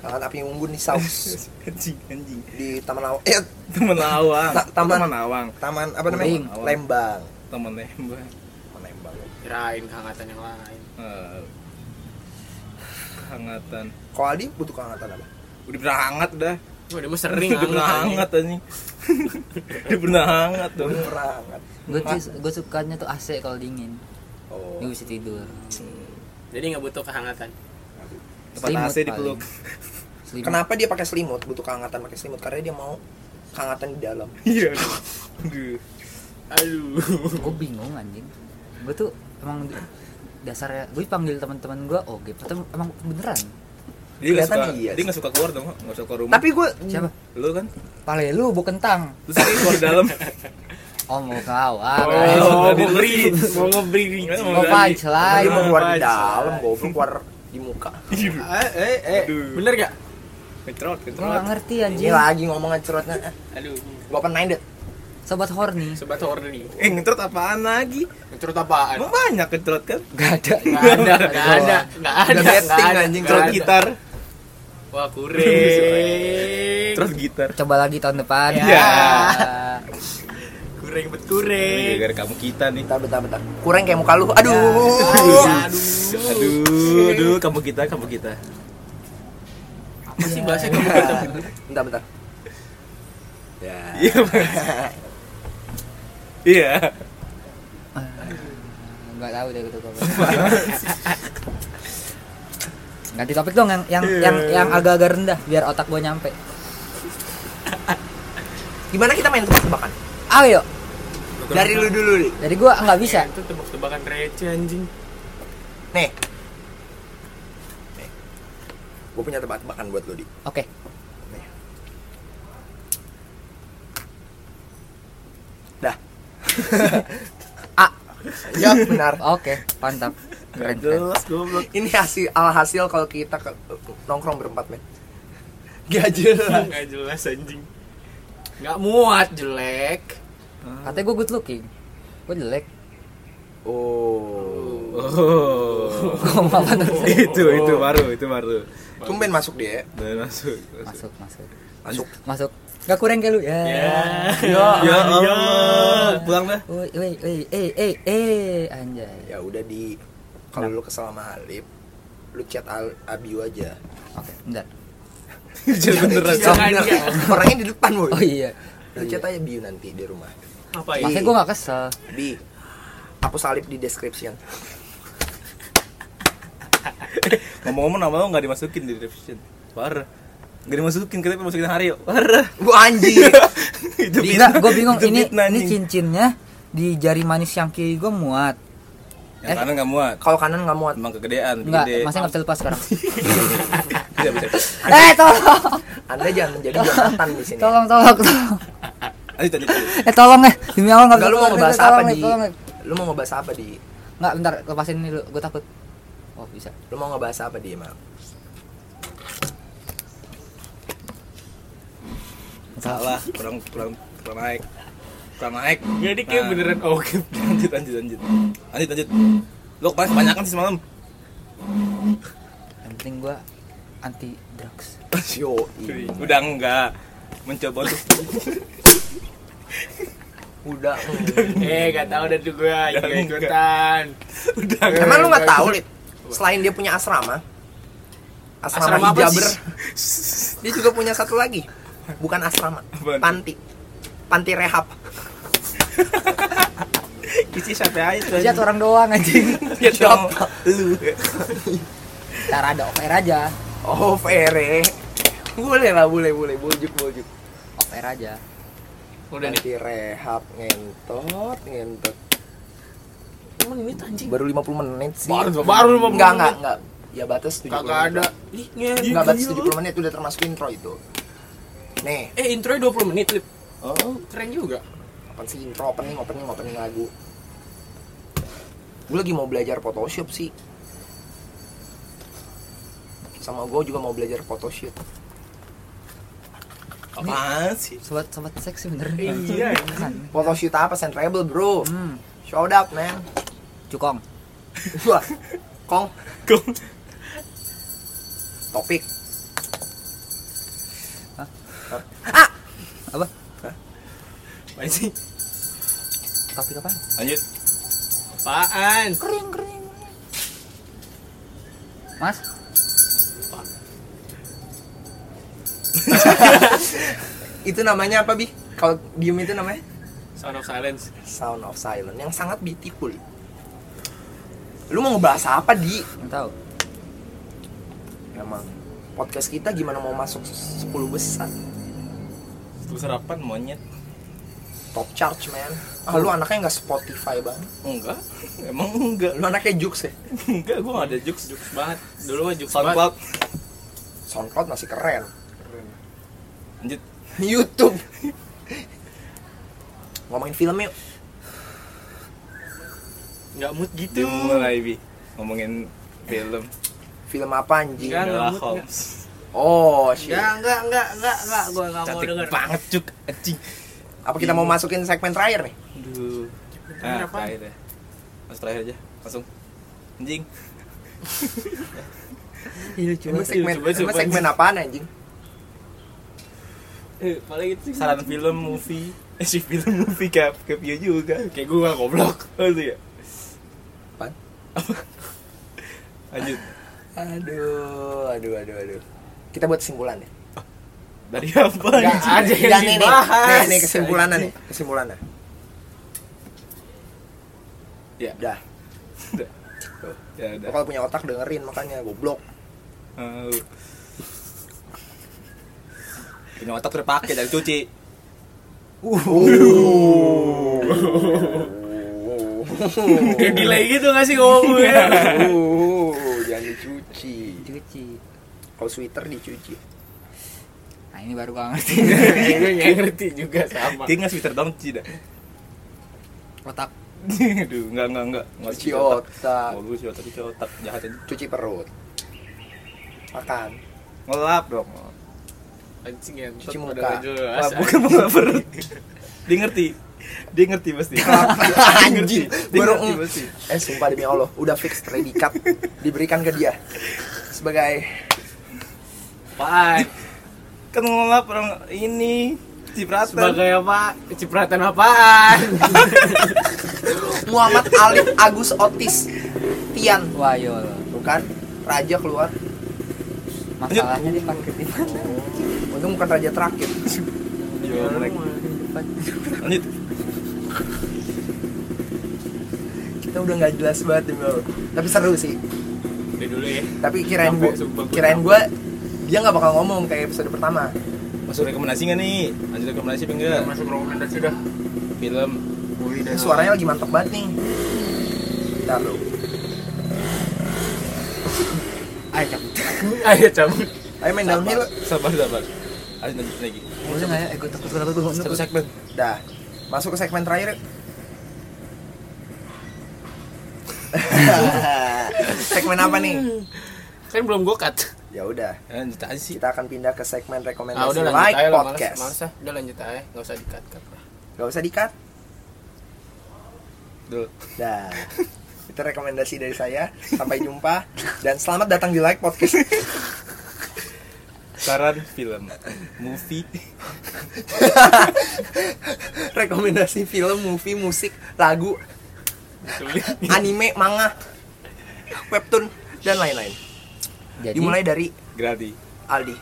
[SPEAKER 4] Kehangatan api unggun di saus
[SPEAKER 5] Anjing, anjing.
[SPEAKER 4] di Taman Awang. Eh,
[SPEAKER 5] Temen awang.
[SPEAKER 4] Ta- taman.
[SPEAKER 5] Temen awang.
[SPEAKER 4] Taman apa namanya?
[SPEAKER 1] Uring.
[SPEAKER 4] Lembang.
[SPEAKER 5] Temen nembak.
[SPEAKER 4] Taman Lembang.
[SPEAKER 3] kirain kehangatan yang lain
[SPEAKER 5] Eh, Kehangatan.
[SPEAKER 4] Kalau Aldi butuh kehangatan apa?
[SPEAKER 5] Udah pernah hangat dah.
[SPEAKER 3] Wah, dia mah sering
[SPEAKER 5] Udah pernah hangat anjing. Udah pernah hangat dong.
[SPEAKER 4] Perangkat.
[SPEAKER 1] gue tuh- gue sukanya tuh AC kalau dingin
[SPEAKER 4] Oh.
[SPEAKER 1] gue bisa tidur
[SPEAKER 3] Jadi nggak butuh kehangatan.
[SPEAKER 5] Tempat
[SPEAKER 1] Selimut
[SPEAKER 5] AC dipeluk.
[SPEAKER 1] Selimut.
[SPEAKER 4] Kenapa dia pakai selimut? Butuh kehangatan pakai selimut karena dia mau kehangatan di dalam.
[SPEAKER 5] Iya. Aduh.
[SPEAKER 3] Aduh.
[SPEAKER 1] gue bingung anjing gue tuh emang dasarnya gue panggil teman-teman gue oke atau emang beneran
[SPEAKER 5] Dia nggak
[SPEAKER 4] Kelihatan
[SPEAKER 5] suka,
[SPEAKER 4] iya
[SPEAKER 5] dia
[SPEAKER 4] sih.
[SPEAKER 5] nggak suka keluar dong, nggak suka keluar rumah.
[SPEAKER 4] Tapi gue
[SPEAKER 1] siapa
[SPEAKER 5] lu kan,
[SPEAKER 1] pale lu bu kentang
[SPEAKER 5] terus dia keluar dalam.
[SPEAKER 1] oh mau kawan
[SPEAKER 5] Oh,
[SPEAKER 1] oh,
[SPEAKER 5] mau
[SPEAKER 3] ngebri,
[SPEAKER 5] beri.
[SPEAKER 3] mau ngebri.
[SPEAKER 1] mau
[SPEAKER 4] dia mau
[SPEAKER 1] punchline
[SPEAKER 4] keluar di
[SPEAKER 5] Apaan?
[SPEAKER 4] dalam, goblok keluar di muka.
[SPEAKER 3] Eh, eh, eh.
[SPEAKER 5] Aduh.
[SPEAKER 3] Bener gak?
[SPEAKER 5] Kecerot,
[SPEAKER 1] gue gak
[SPEAKER 5] kecerot.
[SPEAKER 1] ngerti
[SPEAKER 4] Ini
[SPEAKER 1] anjing
[SPEAKER 4] lagi ngomongin cerutnya.
[SPEAKER 3] Aduh.
[SPEAKER 4] Gue open minded.
[SPEAKER 1] sobat horny
[SPEAKER 3] Sobat horror nih.
[SPEAKER 5] Eh, ngecerot apaan lagi?
[SPEAKER 3] Menurut apaan?
[SPEAKER 5] Emang banyak kecerot kan?
[SPEAKER 1] gak ada
[SPEAKER 3] Gak ada, gak ada, gak ada,
[SPEAKER 4] Udah
[SPEAKER 3] gak
[SPEAKER 4] betting
[SPEAKER 3] ada.
[SPEAKER 4] anjing,
[SPEAKER 3] nggak
[SPEAKER 5] Cerot
[SPEAKER 3] ada.
[SPEAKER 5] gitar.
[SPEAKER 3] Wah kuring.
[SPEAKER 5] Cerot gitar.
[SPEAKER 1] coba lagi tahun depan
[SPEAKER 5] Iya.
[SPEAKER 3] kuring bet
[SPEAKER 5] Ini
[SPEAKER 3] kuring.
[SPEAKER 5] Eh, Gara-gara kamu kita nih.
[SPEAKER 4] Bentar, bentar, bentar. Kurang kayak muka lu. Aduh. Iya.
[SPEAKER 5] Oh.
[SPEAKER 3] Aduh.
[SPEAKER 5] Aduh, aduh, kamu kita, kamu kita.
[SPEAKER 3] Apa sih bahasa kamu
[SPEAKER 4] Ya.
[SPEAKER 3] kita?
[SPEAKER 4] bentar, bentar. Ya.
[SPEAKER 5] Iya. Bang. Iya.
[SPEAKER 1] nggak tahu deh gitu ganti topik dong yang yang yang yang agak-agak rendah biar otak gue nyampe
[SPEAKER 4] Gimana kita main tebak-tebakan?
[SPEAKER 1] ayo
[SPEAKER 4] Dari lu dulu, Li.
[SPEAKER 1] dari gue nggak bisa
[SPEAKER 3] Itu tebak-tebakan receh anjing.
[SPEAKER 4] Nih. Gue punya tebak-tebakan buat lu, Di.
[SPEAKER 1] oke
[SPEAKER 4] Dah.
[SPEAKER 1] A.
[SPEAKER 4] Ya, benar.
[SPEAKER 1] oke mantap keren, keren.
[SPEAKER 5] Jelas goblok.
[SPEAKER 4] Ini hasil alhasil kalau kita ke, nongkrong berempat, men. Gak jelas.
[SPEAKER 3] Gak jelas anjing. Gak muat jelek.
[SPEAKER 1] Katanya gue good looking Gue jelek
[SPEAKER 4] Oh.
[SPEAKER 5] Oh.
[SPEAKER 1] Gue mau apa tuh?
[SPEAKER 5] itu, itu baru, itu baru.
[SPEAKER 4] Tumben masuk dia. ya.
[SPEAKER 5] Dan masuk. masuk.
[SPEAKER 1] Masuk, masuk
[SPEAKER 4] Masuk.
[SPEAKER 1] Masuk Gak kurang kayak lu Ya
[SPEAKER 3] Iya.
[SPEAKER 5] Ya Allah, pulang dah.
[SPEAKER 1] Woi, woi, woi, eh, eh, eh Anjay
[SPEAKER 4] Ya udah di kalau lu kesel sama Halip, lu chat Al Abiu aja.
[SPEAKER 1] Oke, bentar
[SPEAKER 5] Jadi beneran.
[SPEAKER 3] Jangan,
[SPEAKER 4] Bener.
[SPEAKER 3] jangan.
[SPEAKER 4] Orangnya di depan, boy.
[SPEAKER 1] Oh iya
[SPEAKER 4] Lu chat aja Biu nanti di rumah.
[SPEAKER 3] Apa ya?
[SPEAKER 1] Maksudnya gue gak kesel
[SPEAKER 4] Bi, aku salip di description.
[SPEAKER 5] Ngomong-ngomong nama lo nggak dimasukin di description. Parah. Gak dimasukin kita masukin hari yuk. Parah.
[SPEAKER 4] Gua anjing.
[SPEAKER 1] Enggak,
[SPEAKER 5] Itu fitnah.
[SPEAKER 1] gue bingung
[SPEAKER 5] Itu
[SPEAKER 1] ini
[SPEAKER 5] fitnah,
[SPEAKER 1] ini
[SPEAKER 5] anjing.
[SPEAKER 1] cincinnya di jari manis yang kiri gue muat.
[SPEAKER 5] Yang kanan gak muat.
[SPEAKER 4] Kalau kanan nggak muat.
[SPEAKER 5] Emang kegedean, bikin
[SPEAKER 1] Enggak,
[SPEAKER 5] gede.
[SPEAKER 1] masnya nggak bisa lepas sekarang.
[SPEAKER 5] Tidak bisa.
[SPEAKER 1] eh, tolong.
[SPEAKER 4] Anda jangan menjadi Jonathan di sini.
[SPEAKER 1] Tolong, tolong, tolong.
[SPEAKER 5] Lanjut lanjut. lanjut.
[SPEAKER 1] Eh, tolong eh. Demi Allah nggak
[SPEAKER 4] Enggak lu mau
[SPEAKER 1] lepas,
[SPEAKER 4] ngebahas
[SPEAKER 1] tolong,
[SPEAKER 4] apa
[SPEAKER 1] eh,
[SPEAKER 4] di?
[SPEAKER 1] tolong, eh.
[SPEAKER 4] Lu mau ngebahas apa di?
[SPEAKER 1] Enggak, bentar, lepasin ini dulu. Gue takut. Oh, bisa.
[SPEAKER 4] Lu mau ngebahas apa di emang?
[SPEAKER 5] Salah, kurang kurang kurang naik. Kurang naik.
[SPEAKER 3] Jadi Iya, kayak
[SPEAKER 5] Nah.
[SPEAKER 3] beneran oke.
[SPEAKER 5] Lanjut lanjut lanjut. Lanjut lanjut. Lo kemarin kebanyakan sih semalam.
[SPEAKER 1] Yang penting gue anti drugs.
[SPEAKER 4] Yo,
[SPEAKER 5] Udah enggak mencoba untuk
[SPEAKER 4] udah.
[SPEAKER 3] Eh, gak tau dah tuh gue
[SPEAKER 5] Udah enggak.
[SPEAKER 3] ikutan.
[SPEAKER 5] udah enggak.
[SPEAKER 3] Eh,
[SPEAKER 4] Emang lu nggak
[SPEAKER 3] gitu.
[SPEAKER 4] tahu, Lip? Selain dia punya asrama, asrama,
[SPEAKER 3] Asrama apa
[SPEAKER 4] hijaber,
[SPEAKER 3] sih?
[SPEAKER 4] dia juga punya satu lagi. Bukan asrama,
[SPEAKER 5] Apaan?
[SPEAKER 4] panti. Panti rehab.
[SPEAKER 5] Kisi siapa aja tuh.
[SPEAKER 1] Lihat orang doang anjing.
[SPEAKER 3] Ya,
[SPEAKER 5] Siapa? Lu.
[SPEAKER 1] Ntar ada off air aja.
[SPEAKER 4] Oh, Fere. Boleh lah, boleh, boleh. Bujuk, bujuk.
[SPEAKER 1] Off air aja.
[SPEAKER 3] Udah nih.
[SPEAKER 4] Panti rehab, ngentot, ngentot.
[SPEAKER 3] Cuman ini anjing.
[SPEAKER 4] Baru 50 menit sih.
[SPEAKER 3] Baru- baru 50 menit.
[SPEAKER 4] Enggak, enggak, enggak. Ya batas 70
[SPEAKER 3] Kagak ada. Ih, nge-
[SPEAKER 4] Enggak batas 70 menit, udah termasuk intro itu. Nih,
[SPEAKER 3] Eh, intronya 20 menit, Lip.
[SPEAKER 5] Oh,
[SPEAKER 3] Keren juga.
[SPEAKER 4] apa sih intro, opening, opening, opening lagu. Gue lagi mau belajar Photoshop sih. Sama gue juga mau belajar Photoshop.
[SPEAKER 5] apaan sih?
[SPEAKER 1] Sobat sobat seksi bener.
[SPEAKER 3] Iya,
[SPEAKER 1] Bukan.
[SPEAKER 4] Photoshop apa? Send Rebel, bro.
[SPEAKER 1] Hmm,
[SPEAKER 4] Shout out, man.
[SPEAKER 1] cukong.
[SPEAKER 4] Wah, Kong,
[SPEAKER 5] Kok
[SPEAKER 4] topik.
[SPEAKER 5] Apaan sih?
[SPEAKER 1] Topik apa?
[SPEAKER 5] Lanjut.
[SPEAKER 3] Apaan?
[SPEAKER 1] Kering kering. Mas,
[SPEAKER 4] Itu namanya apa, Bi? Kalau diem itu namanya?
[SPEAKER 3] Sound of Silence.
[SPEAKER 4] Sound of Silence, yang sangat beautiful. Lu mau ngebahas apa, Di?
[SPEAKER 1] nggak tahu.
[SPEAKER 4] Emang podcast kita gimana mau masuk 10 besar?
[SPEAKER 5] Lu sarapan monyet?
[SPEAKER 4] Top charge, man. Ah, lu anaknya nggak Spotify banget.
[SPEAKER 5] Enggak. Emang enggak.
[SPEAKER 4] Lu anaknya Jux ya?
[SPEAKER 5] Enggak, gua gak ada jokes.
[SPEAKER 3] Jokes banget. Dulu mah jokes banget.
[SPEAKER 5] SoundCloud.
[SPEAKER 4] SoundCloud masih keren.
[SPEAKER 5] Lanjut.
[SPEAKER 4] YouTube. Ngomongin film yuk.
[SPEAKER 3] Nggak mood gitu.
[SPEAKER 5] Dia mulai bi ngomongin film
[SPEAKER 4] Film apa anjing?
[SPEAKER 3] Enggak,
[SPEAKER 5] Enola
[SPEAKER 3] nggak mood,
[SPEAKER 5] Holmes.
[SPEAKER 4] Oh, shit.
[SPEAKER 3] Enggak, enggak, enggak, enggak, enggak. Gue nggak mau
[SPEAKER 5] Cantik
[SPEAKER 3] denger.
[SPEAKER 5] banget cuk, anjing.
[SPEAKER 4] Apa kita mau
[SPEAKER 3] Iya.
[SPEAKER 4] masukin segmen terakhir nih?
[SPEAKER 5] Aduh.
[SPEAKER 3] Bener
[SPEAKER 5] Nah,
[SPEAKER 3] apaan?
[SPEAKER 5] terakhir ya. Mas terakhir aja, langsung. Anjing.
[SPEAKER 1] Iya, lucu
[SPEAKER 4] Emang
[SPEAKER 1] banget.
[SPEAKER 4] segmen,
[SPEAKER 3] coba, coba.
[SPEAKER 4] emang segmen apaan anjing?
[SPEAKER 3] Eh, Paling itu sih.
[SPEAKER 5] Saran film movie. Eh, si film movie ke ke Pio juga.
[SPEAKER 3] Kayak gue goblok.
[SPEAKER 5] Oh, itu ya.
[SPEAKER 4] Apaan?
[SPEAKER 5] Apa? Lanjut.
[SPEAKER 4] Aduh, aduh, aduh, aduh. Kita buat kesimpulan ya.
[SPEAKER 5] Dari apa?
[SPEAKER 4] Nggak
[SPEAKER 3] ada
[SPEAKER 5] anjing?
[SPEAKER 3] yang
[SPEAKER 4] Nggak, nih, nih,
[SPEAKER 3] dibahas.
[SPEAKER 4] nih, nih, kesimpulannya nih, kesimpulannya.
[SPEAKER 5] Ya.
[SPEAKER 4] Dah,
[SPEAKER 5] Ya
[SPEAKER 4] Lo
[SPEAKER 5] udah.
[SPEAKER 4] kalau punya otak dengerin makanya goblok.
[SPEAKER 5] Mau. Punya otak udah pakai dari cuci.
[SPEAKER 3] Kayak delay gitu nggak sih ngomong gue?
[SPEAKER 4] Oh, jangan dicuci.
[SPEAKER 1] Cuci.
[SPEAKER 4] Kalau sweater dicuci.
[SPEAKER 1] Nah, ini baru gua ngerti.
[SPEAKER 3] Gue nggak ngerti juga sama.
[SPEAKER 5] Dia nggak sweater dong, cuci dah.
[SPEAKER 1] Otak.
[SPEAKER 5] Aduh, enggak enggak enggak. Enggak
[SPEAKER 4] Cuci otak,
[SPEAKER 5] Mau gue cuci otak, cuci otak jahat aja.
[SPEAKER 4] cuci perut. Makan.
[SPEAKER 5] Ngelap dong.
[SPEAKER 3] Anjing ya.
[SPEAKER 4] Cuci muka.
[SPEAKER 5] Ngelap bukan ngelap perut. Dia ngerti. Dia ngerti pasti. Dia ngerti.
[SPEAKER 4] Anjing,
[SPEAKER 5] Dia
[SPEAKER 4] baru
[SPEAKER 5] ngerti
[SPEAKER 4] mm.
[SPEAKER 5] pasti.
[SPEAKER 4] Eh sumpah demi Allah, udah fix predikat diberikan ke dia sebagai
[SPEAKER 3] Apaan?
[SPEAKER 5] Kan ngelap orang ini cipratan.
[SPEAKER 3] Sebagai apa? Cipratan apaan?
[SPEAKER 4] Muhammad Alif Agus Otis Tian,
[SPEAKER 1] Wah,
[SPEAKER 3] iya,
[SPEAKER 1] yo.
[SPEAKER 4] bukan? Raja keluar.
[SPEAKER 1] Masalahnya di parkir di mana?
[SPEAKER 4] Oh. Untung bukan raja terakhir.
[SPEAKER 5] Yo, mereka. Lanjut.
[SPEAKER 4] Kita udah nggak jelas banget demi Allah. Tapi seru sih.
[SPEAKER 3] Udah dulu ya.
[SPEAKER 4] Tapi kirain
[SPEAKER 3] Capek,
[SPEAKER 4] gua
[SPEAKER 3] sumpah, gua
[SPEAKER 4] kirain gua dia nggak bakal ngomong kayak episode pertama
[SPEAKER 5] Masuk rekomendasi nggak nih? Lanjut rekomendasi apa enggak?
[SPEAKER 6] masuk rekomendasi dah
[SPEAKER 5] Film
[SPEAKER 6] Boy
[SPEAKER 3] Iya.
[SPEAKER 4] Ini
[SPEAKER 6] dan
[SPEAKER 4] suaranya lagi mantep banget nih Bentar lo
[SPEAKER 1] Ayo cabut.
[SPEAKER 5] Ayo cabut
[SPEAKER 4] Ayo main downhill
[SPEAKER 5] Sabar, sabar Lanjut lanjut lagi
[SPEAKER 1] Bosan aja, eh, gue takut gue takut gue
[SPEAKER 5] Satu
[SPEAKER 1] takut.
[SPEAKER 5] segmen
[SPEAKER 4] Dah Masuk ke segmen terakhir yuk. Segmen apa nih?
[SPEAKER 3] kan belum gue cut
[SPEAKER 4] Ya udah,
[SPEAKER 5] Lanjut aja sih
[SPEAKER 4] kita akan pindah ke segmen
[SPEAKER 3] ah
[SPEAKER 4] rekomendasi
[SPEAKER 3] udah lanjut
[SPEAKER 4] like
[SPEAKER 3] aja lah malas
[SPEAKER 4] podcast.
[SPEAKER 3] malas ah udah lanjut aja nggak usah di cut cut lah
[SPEAKER 4] Gak usah dikat.
[SPEAKER 5] Dul.
[SPEAKER 4] Dah. Itu rekomendasi dari saya. Sampai jumpa dan selamat datang di like podcast.
[SPEAKER 5] Saran film Movie
[SPEAKER 4] rekomendasi film, movie, musik, lagu, anime, manga, webtoon dan lain-lain.
[SPEAKER 1] Jadi
[SPEAKER 4] Dimulai dari
[SPEAKER 5] Gratis
[SPEAKER 4] Aldi.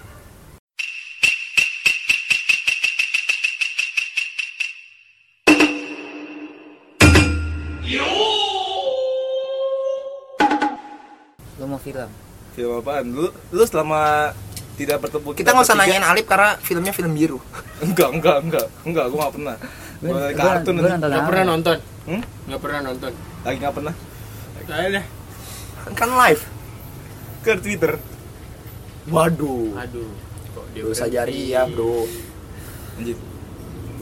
[SPEAKER 1] lu mau film.
[SPEAKER 5] Film apaan? Lu, lu selama tidak bertemu
[SPEAKER 4] Kita nggak usah
[SPEAKER 5] bertiga-
[SPEAKER 4] nanyain Alip karena filmnya film biru.
[SPEAKER 5] Enggak, enggak, enggak Enggak, gue gak pernah Gua dari kartun
[SPEAKER 1] gue
[SPEAKER 5] nanti.
[SPEAKER 1] nonton
[SPEAKER 3] nggak
[SPEAKER 1] apa?
[SPEAKER 3] pernah nonton
[SPEAKER 5] Hmm?
[SPEAKER 3] nggak pernah nonton
[SPEAKER 5] Lagi gak pernah
[SPEAKER 3] ayo deh
[SPEAKER 4] Kan live.
[SPEAKER 5] Ke Twitter
[SPEAKER 4] Waduh.
[SPEAKER 3] aduh kok dia
[SPEAKER 4] Dosa
[SPEAKER 3] berhenti?
[SPEAKER 4] jari ya, Bro.
[SPEAKER 5] Lanjut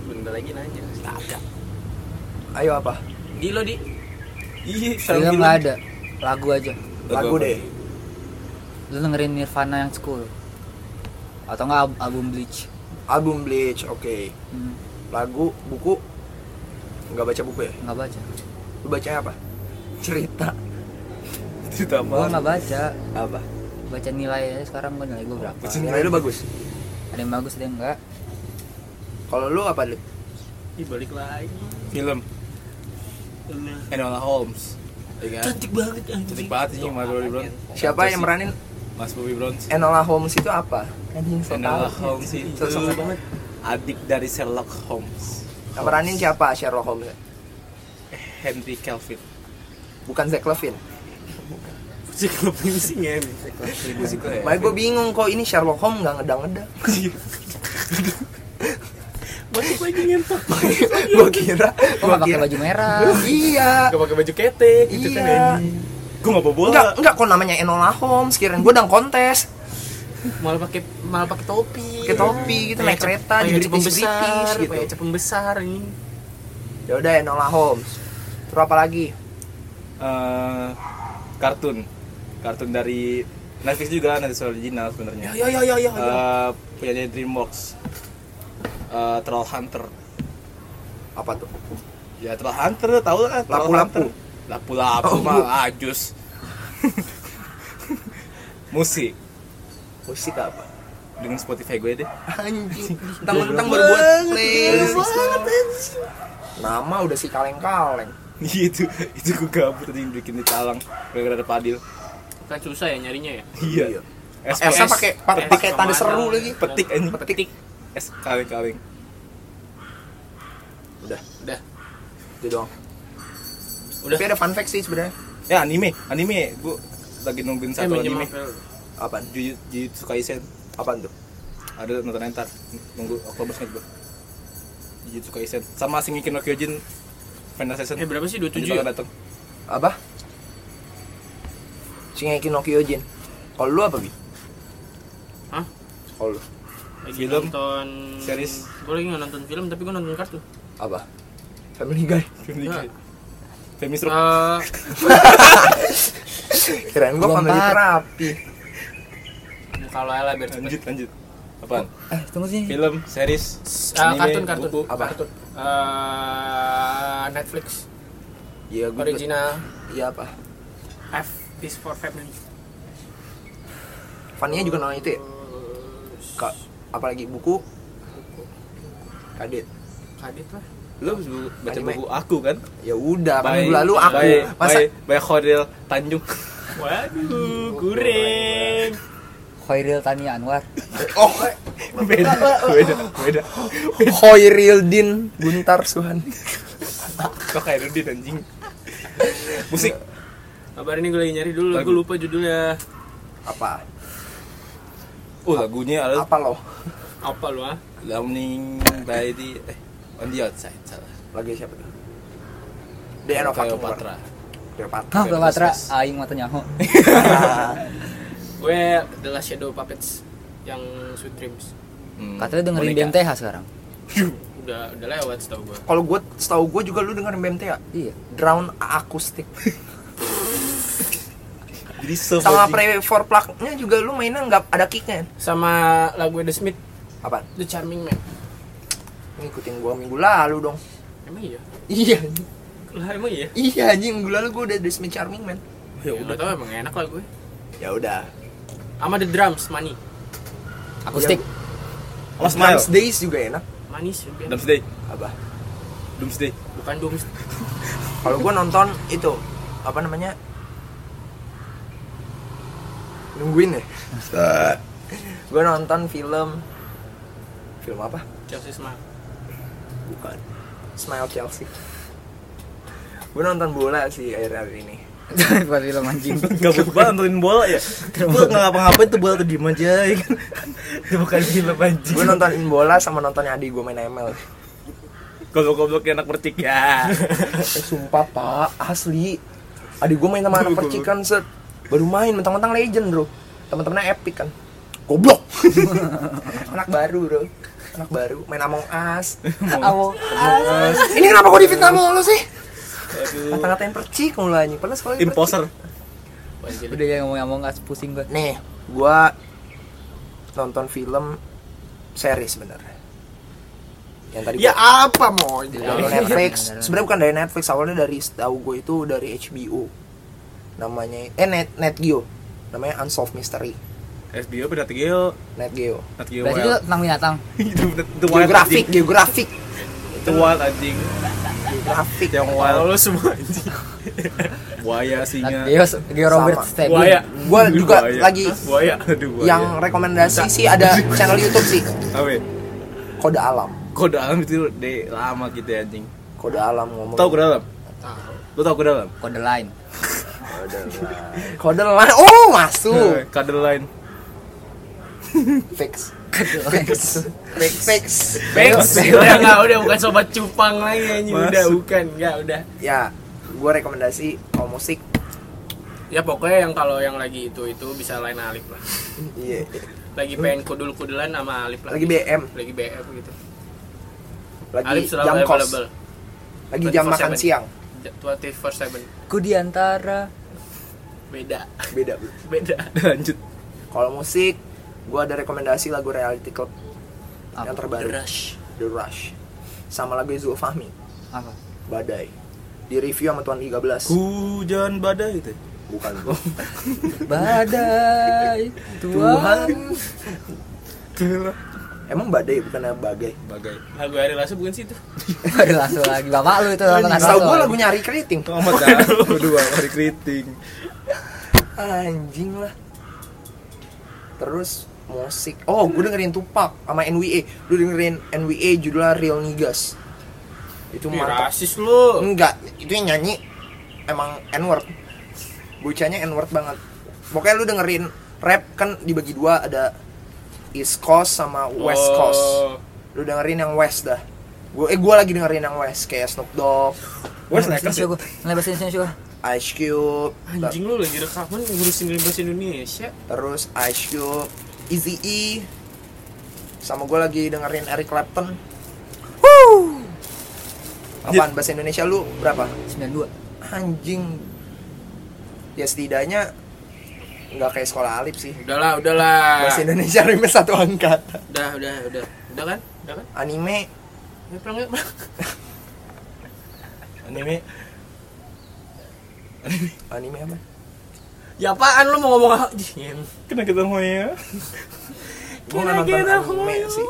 [SPEAKER 3] bentar lagi nanya
[SPEAKER 4] Ayo apa?
[SPEAKER 3] di lo di
[SPEAKER 5] Iya, saran
[SPEAKER 1] Film nggak ada, lagu aja.
[SPEAKER 4] Lagu
[SPEAKER 5] apa?
[SPEAKER 4] deh.
[SPEAKER 1] Lu dengerin Nirvana yang school atau enggak album Bleach?
[SPEAKER 4] Album Bleach, oke.
[SPEAKER 1] Hmm,
[SPEAKER 4] Lagu, buku. Nggak baca buku ya?
[SPEAKER 1] nggak baca.
[SPEAKER 4] Lu bacanya apa? Cerita.
[SPEAKER 5] Cerita apa?
[SPEAKER 1] Gua nggak baca,
[SPEAKER 5] Apa?
[SPEAKER 1] baca nilai aja sekarang gua nilai gua berapa.
[SPEAKER 4] Nilai lu bagus.
[SPEAKER 1] Ada yang bagus ada yang enggak.
[SPEAKER 4] Kalau lu apa, Lip?
[SPEAKER 3] Ih, balik lagi
[SPEAKER 5] Film Enola Holmes Iya kan?
[SPEAKER 3] cantik banget anjing.
[SPEAKER 5] Cantik banget sih Margot Robbie Brown
[SPEAKER 4] Siapa yang meranin
[SPEAKER 5] Mas Bobby Brown
[SPEAKER 4] Enola Holmes itu apa? Anjing so
[SPEAKER 5] Enola
[SPEAKER 4] tau.
[SPEAKER 5] Holmes itu
[SPEAKER 4] So- so- so banget.
[SPEAKER 5] Adik dari Sherlock Holmes
[SPEAKER 4] Yang meranin siapa Sherlock Holmes?
[SPEAKER 5] Henry Calvin
[SPEAKER 4] Bukan Zack Levine.
[SPEAKER 5] Musik klub sih ya Musik klub
[SPEAKER 4] Makanya gue bingung kok ini Sherlock Holmes nggak ngedang-ngedang.
[SPEAKER 3] balik lagi ngentot
[SPEAKER 4] gue kira,
[SPEAKER 1] Gua
[SPEAKER 4] gue
[SPEAKER 1] nggak pakai
[SPEAKER 4] kira.
[SPEAKER 1] baju merah.
[SPEAKER 4] Iya.
[SPEAKER 5] Gak pakai baju kete gitu kan
[SPEAKER 4] Iya.
[SPEAKER 5] anjing. Gue gak bawa bola
[SPEAKER 4] Enggak, enggak kok namanya Enola Holmes, kirain gue dang kontes,
[SPEAKER 3] malah pakai malah pakai topi
[SPEAKER 4] pakai topi gitu naik kereta
[SPEAKER 3] jadi
[SPEAKER 4] di British
[SPEAKER 3] pembesar
[SPEAKER 4] British
[SPEAKER 3] pakai
[SPEAKER 4] gitu.
[SPEAKER 3] cap pembesar ini
[SPEAKER 4] Ya udah Enola Holmes. Terus apa lagi?
[SPEAKER 5] Eh, Kartun Kartun dari Netflix juga Netflix original sebenarnya
[SPEAKER 4] Oh,
[SPEAKER 3] ya ya ya ya
[SPEAKER 4] iya.
[SPEAKER 5] Eh, Punyanya Dreamworks Eh, Troll Hunter
[SPEAKER 4] Apa tuh?
[SPEAKER 5] Ya Troll Hunter tau lah Troll
[SPEAKER 4] Lapu-lapu.
[SPEAKER 5] Hunter. Lapu-lapu Ah,
[SPEAKER 4] Oh.
[SPEAKER 5] mah ajus Musik
[SPEAKER 4] Musik apa?
[SPEAKER 5] dengan Spotify gue deh
[SPEAKER 4] Anjing, tentang-tentang baru buat playlist. Nama udah si kaleng-kaleng.
[SPEAKER 5] Iya itu itu gue gabut tadi bikin di talang gara-gara ada padil
[SPEAKER 3] kan susah ya nyarinya ya
[SPEAKER 5] iya
[SPEAKER 4] Elsa pakai pa-
[SPEAKER 3] S-
[SPEAKER 4] pakai
[SPEAKER 3] sama
[SPEAKER 4] tanda
[SPEAKER 3] ada.
[SPEAKER 4] seru lagi.
[SPEAKER 5] petik anjing
[SPEAKER 3] petik Eh,
[SPEAKER 5] es kaleng kaleng
[SPEAKER 4] Udah,
[SPEAKER 3] udah
[SPEAKER 4] itu doang.
[SPEAKER 3] Udah.
[SPEAKER 4] Tapi ada fun fact sih sebenarnya.
[SPEAKER 5] ya anime anime gue lagi nungguin
[SPEAKER 3] saya
[SPEAKER 5] satu
[SPEAKER 3] minjem
[SPEAKER 5] anime
[SPEAKER 3] HP lu.
[SPEAKER 4] Apaan?
[SPEAKER 5] Jujutsu Jujutsu Kaisen
[SPEAKER 4] Apaan tuh?
[SPEAKER 5] ada nonton entar nunggu Oktober kan gue Jujutsu Kaisen sama Shingeki no Kyojin final season
[SPEAKER 3] eh berapa sih 27
[SPEAKER 5] tujuh
[SPEAKER 3] ya?
[SPEAKER 5] datang
[SPEAKER 4] Apa? Shingeki no Kyojin. Kalau lu apa, Bi?
[SPEAKER 3] Hah?
[SPEAKER 4] Kalau lu
[SPEAKER 3] Lagi
[SPEAKER 5] Film,
[SPEAKER 3] nonton
[SPEAKER 5] series.
[SPEAKER 3] Gue lagi nggak nonton film tapi gue nonton kartu.
[SPEAKER 4] apa? Family Guy.
[SPEAKER 5] Family
[SPEAKER 3] Enggak.
[SPEAKER 5] Guy Nah. Family Stroke
[SPEAKER 3] Eh,
[SPEAKER 4] Kirain gua family
[SPEAKER 1] Lompat.
[SPEAKER 4] terapi.
[SPEAKER 3] kalau Ella biar cepet.
[SPEAKER 5] lanjut lanjut apaan
[SPEAKER 1] Eh, tunggu sih.
[SPEAKER 5] film series
[SPEAKER 3] Eh,
[SPEAKER 5] anime
[SPEAKER 3] kartun kartun
[SPEAKER 5] buku
[SPEAKER 4] Apa?
[SPEAKER 3] Kartun. Eh, Netflix
[SPEAKER 4] Iya, gua
[SPEAKER 3] original
[SPEAKER 4] Iya apa?
[SPEAKER 3] F is for family.
[SPEAKER 4] Fannya juga nonton itu ya? Ka- apalagi buku? Kadit.
[SPEAKER 3] Kadit lah.
[SPEAKER 5] lu bu- baca
[SPEAKER 4] Anime.
[SPEAKER 5] buku aku kan
[SPEAKER 4] Ya udah, kan
[SPEAKER 5] By-
[SPEAKER 4] minggu lalu aku
[SPEAKER 5] by,
[SPEAKER 4] masa
[SPEAKER 5] by, by Khairil Tanjung
[SPEAKER 3] Waduh, kuring.
[SPEAKER 1] Khairil Tani Anwar.
[SPEAKER 4] Oh,
[SPEAKER 5] beda beda beda
[SPEAKER 4] Hoirildin Guntar Suhan.
[SPEAKER 5] kok kayak Rudi anjing musik
[SPEAKER 3] Kabar ini gue lagi nyari dulu,
[SPEAKER 5] Lagu.
[SPEAKER 3] gue lupa judulnya.
[SPEAKER 4] Apa?
[SPEAKER 5] Oh lagunya ada
[SPEAKER 4] Apa loh?
[SPEAKER 3] Apa lu ah?
[SPEAKER 5] Loving by the eh, on the outside salah.
[SPEAKER 4] Lagunya siapa tuh? Diana
[SPEAKER 5] Cleopatra.
[SPEAKER 4] Cleopatra. Cleopatra.
[SPEAKER 1] Hah, Cleopatra, aing mata nyaho.
[SPEAKER 3] Gue The Last Shadow Puppets yang Sweet Dreams.
[SPEAKER 5] Hmm,
[SPEAKER 1] Katanya dengerin
[SPEAKER 5] boneka.
[SPEAKER 1] BMTH sekarang.
[SPEAKER 3] Udah udah lewat setahu gue.
[SPEAKER 4] Kalau gue, setahu gue juga lu dengerin BMT ya?
[SPEAKER 1] Iya.
[SPEAKER 4] Drown akustik.
[SPEAKER 5] Jadi soft
[SPEAKER 4] Sama pre
[SPEAKER 5] anjing.
[SPEAKER 4] for plug-nya juga lu mainnya nggak ada kicknya. kan?
[SPEAKER 3] Sama lagu The Smith
[SPEAKER 4] Apaan?
[SPEAKER 3] The Charming Man.
[SPEAKER 4] Ngikutin gue minggu lalu dong.
[SPEAKER 3] Emang iya?
[SPEAKER 4] Iya, anjing.
[SPEAKER 3] Lah emang iya.
[SPEAKER 4] iya anjing minggu lalu gue udah The Smith Charming man.
[SPEAKER 3] Ya udah tau emang enak lah gue.
[SPEAKER 4] Ya udah.
[SPEAKER 3] Sama The Drums Money.
[SPEAKER 1] Akustik.
[SPEAKER 5] Oh, smile.
[SPEAKER 4] Drums Days juga enak.
[SPEAKER 3] Manis juga.
[SPEAKER 5] Doomsday.
[SPEAKER 4] Abah.
[SPEAKER 5] Doomsday.
[SPEAKER 3] Bukan Dooms.
[SPEAKER 4] Kalau gue nonton itu apa namanya? Nungguin ya. gue nonton film film apa?
[SPEAKER 3] Chelsea Smile.
[SPEAKER 4] Bukan. Smile Chelsea. Gue nonton bola sih akhir-akhir ini.
[SPEAKER 1] Buat film anjing.
[SPEAKER 5] Gabut banget nontonin bola ya. Gua enggak ngapa-ngapain tuh bola tuh diem aja ya kan. Itu bukan film anjing.
[SPEAKER 4] Gue nontonin bola sama nonton adik gue main ML.
[SPEAKER 5] Goblok-goblok enak percik ya.
[SPEAKER 4] Eh, sumpah pak, asli. Adik gue main sama anak percikan set. Baru main, mentang-mentang legend bro. Temen-temennya epic kan. Goblok. anak baru bro. Anak baru, main Among Us. Among Us. Ini kenapa gue difitnah mulu sih?
[SPEAKER 5] Aduh.
[SPEAKER 4] Kata-katain percik mulanya. Padahal sekolah
[SPEAKER 5] Imposter.
[SPEAKER 3] Wajib.
[SPEAKER 1] Udah yang ngomong-ngomong nggak pusing gue.
[SPEAKER 4] Nih, gue nonton film series sebenarnya. Yang tadi
[SPEAKER 3] Ya
[SPEAKER 4] gua-
[SPEAKER 3] apa mau?
[SPEAKER 4] dari Netflix. Sebenarnya bukan dari Netflix, awalnya dari tahu gue itu dari HBO. Namanya eh Net NetGeo. Namanya Unsolved Mystery.
[SPEAKER 5] SBO pada Geo,
[SPEAKER 4] NetGeo.
[SPEAKER 5] Nat Geo gitu.
[SPEAKER 1] Berarti itu
[SPEAKER 5] Wild.
[SPEAKER 1] tentang binatang.
[SPEAKER 5] Itu itu wild
[SPEAKER 4] Geografik,
[SPEAKER 5] anjing.
[SPEAKER 4] geografik,
[SPEAKER 5] Itu wild anjing.
[SPEAKER 4] geografik.
[SPEAKER 5] Yang wild. Lo semua anjing. Buaya singa.
[SPEAKER 1] Geo, Geo Robert
[SPEAKER 4] Iya. Sama. ya.
[SPEAKER 1] Steady.
[SPEAKER 3] Buaya.
[SPEAKER 4] Gue juga
[SPEAKER 5] Buaya.
[SPEAKER 4] lagi
[SPEAKER 5] buaya. Aduh, buaya.
[SPEAKER 4] yang rekomendasi sih ada channel YouTube sih.
[SPEAKER 5] apa? ya?
[SPEAKER 4] Kode Alam.
[SPEAKER 5] Kode alam itu de lama gitu ya, anjing.
[SPEAKER 4] Kode Alam ngomong.
[SPEAKER 5] Tahu kode alam? Lo tahu kode alam?
[SPEAKER 1] Kode lain.
[SPEAKER 4] Kode Alam. Oh, masuk.
[SPEAKER 5] Kode lain.
[SPEAKER 4] Fix.
[SPEAKER 1] Kode lain.
[SPEAKER 4] Fix. Fix.
[SPEAKER 3] Bex, udah nggak, udah bukan sobat cupang lagi anjing, udah
[SPEAKER 5] Masuk.
[SPEAKER 3] bukan, nggak, udah.
[SPEAKER 4] Ya, gue rekomendasi mau musik.
[SPEAKER 3] Ya pokoknya yang kalau yang lagi itu itu bisa lain Alif lah.
[SPEAKER 4] Iya.
[SPEAKER 3] Lagi pengen kudul-kudulan sama Alif lah.
[SPEAKER 4] Lagi BM.
[SPEAKER 3] Lagi BM gitu. Alif
[SPEAKER 4] Lagi
[SPEAKER 3] selalu
[SPEAKER 4] jam kos.
[SPEAKER 3] available.
[SPEAKER 4] Lagi jam
[SPEAKER 3] 24/7.
[SPEAKER 4] makan siang.
[SPEAKER 3] 24/7
[SPEAKER 1] Ku diantara.
[SPEAKER 3] beda,
[SPEAKER 4] Beda, bro.
[SPEAKER 3] beda.
[SPEAKER 5] Lanjut.
[SPEAKER 4] Kalau musik, gue ada rekomendasi lagu Reality Club yang terbaru,
[SPEAKER 3] The Rush.
[SPEAKER 4] The Rush. Sama lagu Zulfahmi,
[SPEAKER 1] Apa?
[SPEAKER 4] Badai. Di review sama Tuan 13.
[SPEAKER 5] Hujan badai gitu ya? itu.
[SPEAKER 4] Bukan.
[SPEAKER 1] Badai.
[SPEAKER 4] Tuhan.
[SPEAKER 1] Tuhan.
[SPEAKER 4] Emang badai bukan bagai.
[SPEAKER 5] Bagai.
[SPEAKER 3] Lagu Ari Lasso bukan sih itu.
[SPEAKER 1] Baru langsung lagi bapak lu itu nonton
[SPEAKER 4] Tahu
[SPEAKER 1] Aristotle.
[SPEAKER 4] gue lagu nyari keriting.
[SPEAKER 5] Amat dah. Kedua hari keriting.
[SPEAKER 4] Anjing lah. Terus musik. Oh, gue dengerin Tupac sama NWA. Lu dengerin NWA judulnya Real Niggas. Itu
[SPEAKER 3] Ih,
[SPEAKER 4] Oh, mantap. Hmm,
[SPEAKER 3] rasis lu.
[SPEAKER 4] Enggak, itu yang nyanyi emang N-word. Bocahnya N-word banget. Pokoknya lu dengerin rap kan dibagi dua ada East Coast sama West
[SPEAKER 3] Oh.
[SPEAKER 4] Coast. Lu dengerin yang West dah. Gue eh gue lagi dengerin yang West kayak Snoop Dogg,
[SPEAKER 5] Wes
[SPEAKER 1] Lepas
[SPEAKER 5] lekas
[SPEAKER 1] ini
[SPEAKER 5] ya.
[SPEAKER 1] gua. Lepas ini gua.
[SPEAKER 4] Ice Cube, ter-
[SPEAKER 3] Anjing lu lagi rekaman ngurusin bahasa Indonesia.
[SPEAKER 4] terus Ice Cube, Easy E, sama gue lagi dengerin Eric Clapton. Wuh. Apaan bahasa Indonesia lu berapa?
[SPEAKER 1] 92.
[SPEAKER 4] anjing ya setidaknya nggak kayak sekolah alip sih
[SPEAKER 3] Udahlah, udahlah.
[SPEAKER 4] bahasa Indonesia remeh satu angkatan
[SPEAKER 3] Udah, udah, udah. Udah kan? Udah kan?
[SPEAKER 4] anime
[SPEAKER 3] Ayo pulang yuk. pulang.
[SPEAKER 5] Anime.
[SPEAKER 4] anime apa
[SPEAKER 3] Ya apaan lu mau ngomong apa? Jing.
[SPEAKER 5] Kena kita ya.
[SPEAKER 4] gue nggak nonton anime sih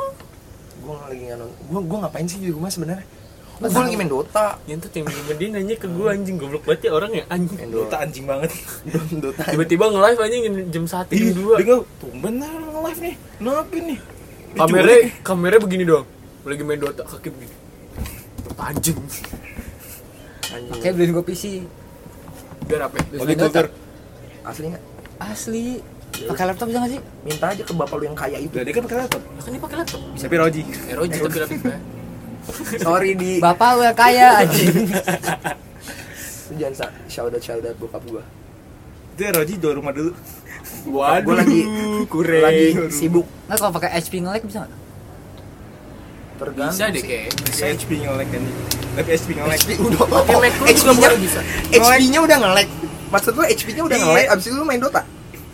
[SPEAKER 4] gue lagi nggak nonton gue gue ngapain sih di rumah sebenarnya oh, gue lagi main Dota
[SPEAKER 3] Yang tuh tim dia nanya ke gue anjing goblok banget ya orang ya anjing.
[SPEAKER 5] Dota anjing banget.
[SPEAKER 4] Dota
[SPEAKER 3] Tiba-tiba nge-live anjing jam 1 jam
[SPEAKER 5] Ih,
[SPEAKER 3] 2.
[SPEAKER 5] Dengar, tumben lah live nih. Kenapa nih?
[SPEAKER 3] Kamera kamera begini doang. Lagi main Dota kaki begini. Anjing.
[SPEAKER 4] anjing
[SPEAKER 1] Kayak beliin gua PC.
[SPEAKER 3] Biar apa?
[SPEAKER 5] Oh, gitu,
[SPEAKER 1] Beliin
[SPEAKER 5] Oke,
[SPEAKER 1] Dota.
[SPEAKER 5] tuker.
[SPEAKER 4] asli nggak
[SPEAKER 1] Asli. pakai laptop bisa nggak sih
[SPEAKER 4] minta aja ke bapak lu yang kaya itu
[SPEAKER 5] Lah dia kan pakai laptop.
[SPEAKER 3] Ya kan dia pakai laptop. Eh,
[SPEAKER 5] Tapi Roji.
[SPEAKER 3] Eroji tapi laptopnya.
[SPEAKER 4] sorry di
[SPEAKER 1] bapak gue kaya anjing
[SPEAKER 4] Lu jangan sa- shout out shout out bokap gua
[SPEAKER 5] Itu Roji dua rumah dulu.
[SPEAKER 4] Waduh, gua lagi
[SPEAKER 5] kurang.
[SPEAKER 4] lagi sibuk
[SPEAKER 1] nggak kalau pakai HP ngelag bisa nggak
[SPEAKER 4] tergantung
[SPEAKER 3] Bisa deh kayak.
[SPEAKER 5] Saya HP ngelek kan. Tapi HP ngelek.
[SPEAKER 4] HP udah
[SPEAKER 3] Pakai Mac lu juga
[SPEAKER 4] HP-nya
[SPEAKER 3] baru bisa.
[SPEAKER 4] HP-nya udah nge-lag. Maksud lu HP-nya udah
[SPEAKER 5] Iya.
[SPEAKER 4] nge-lag abis itu lu main Dota.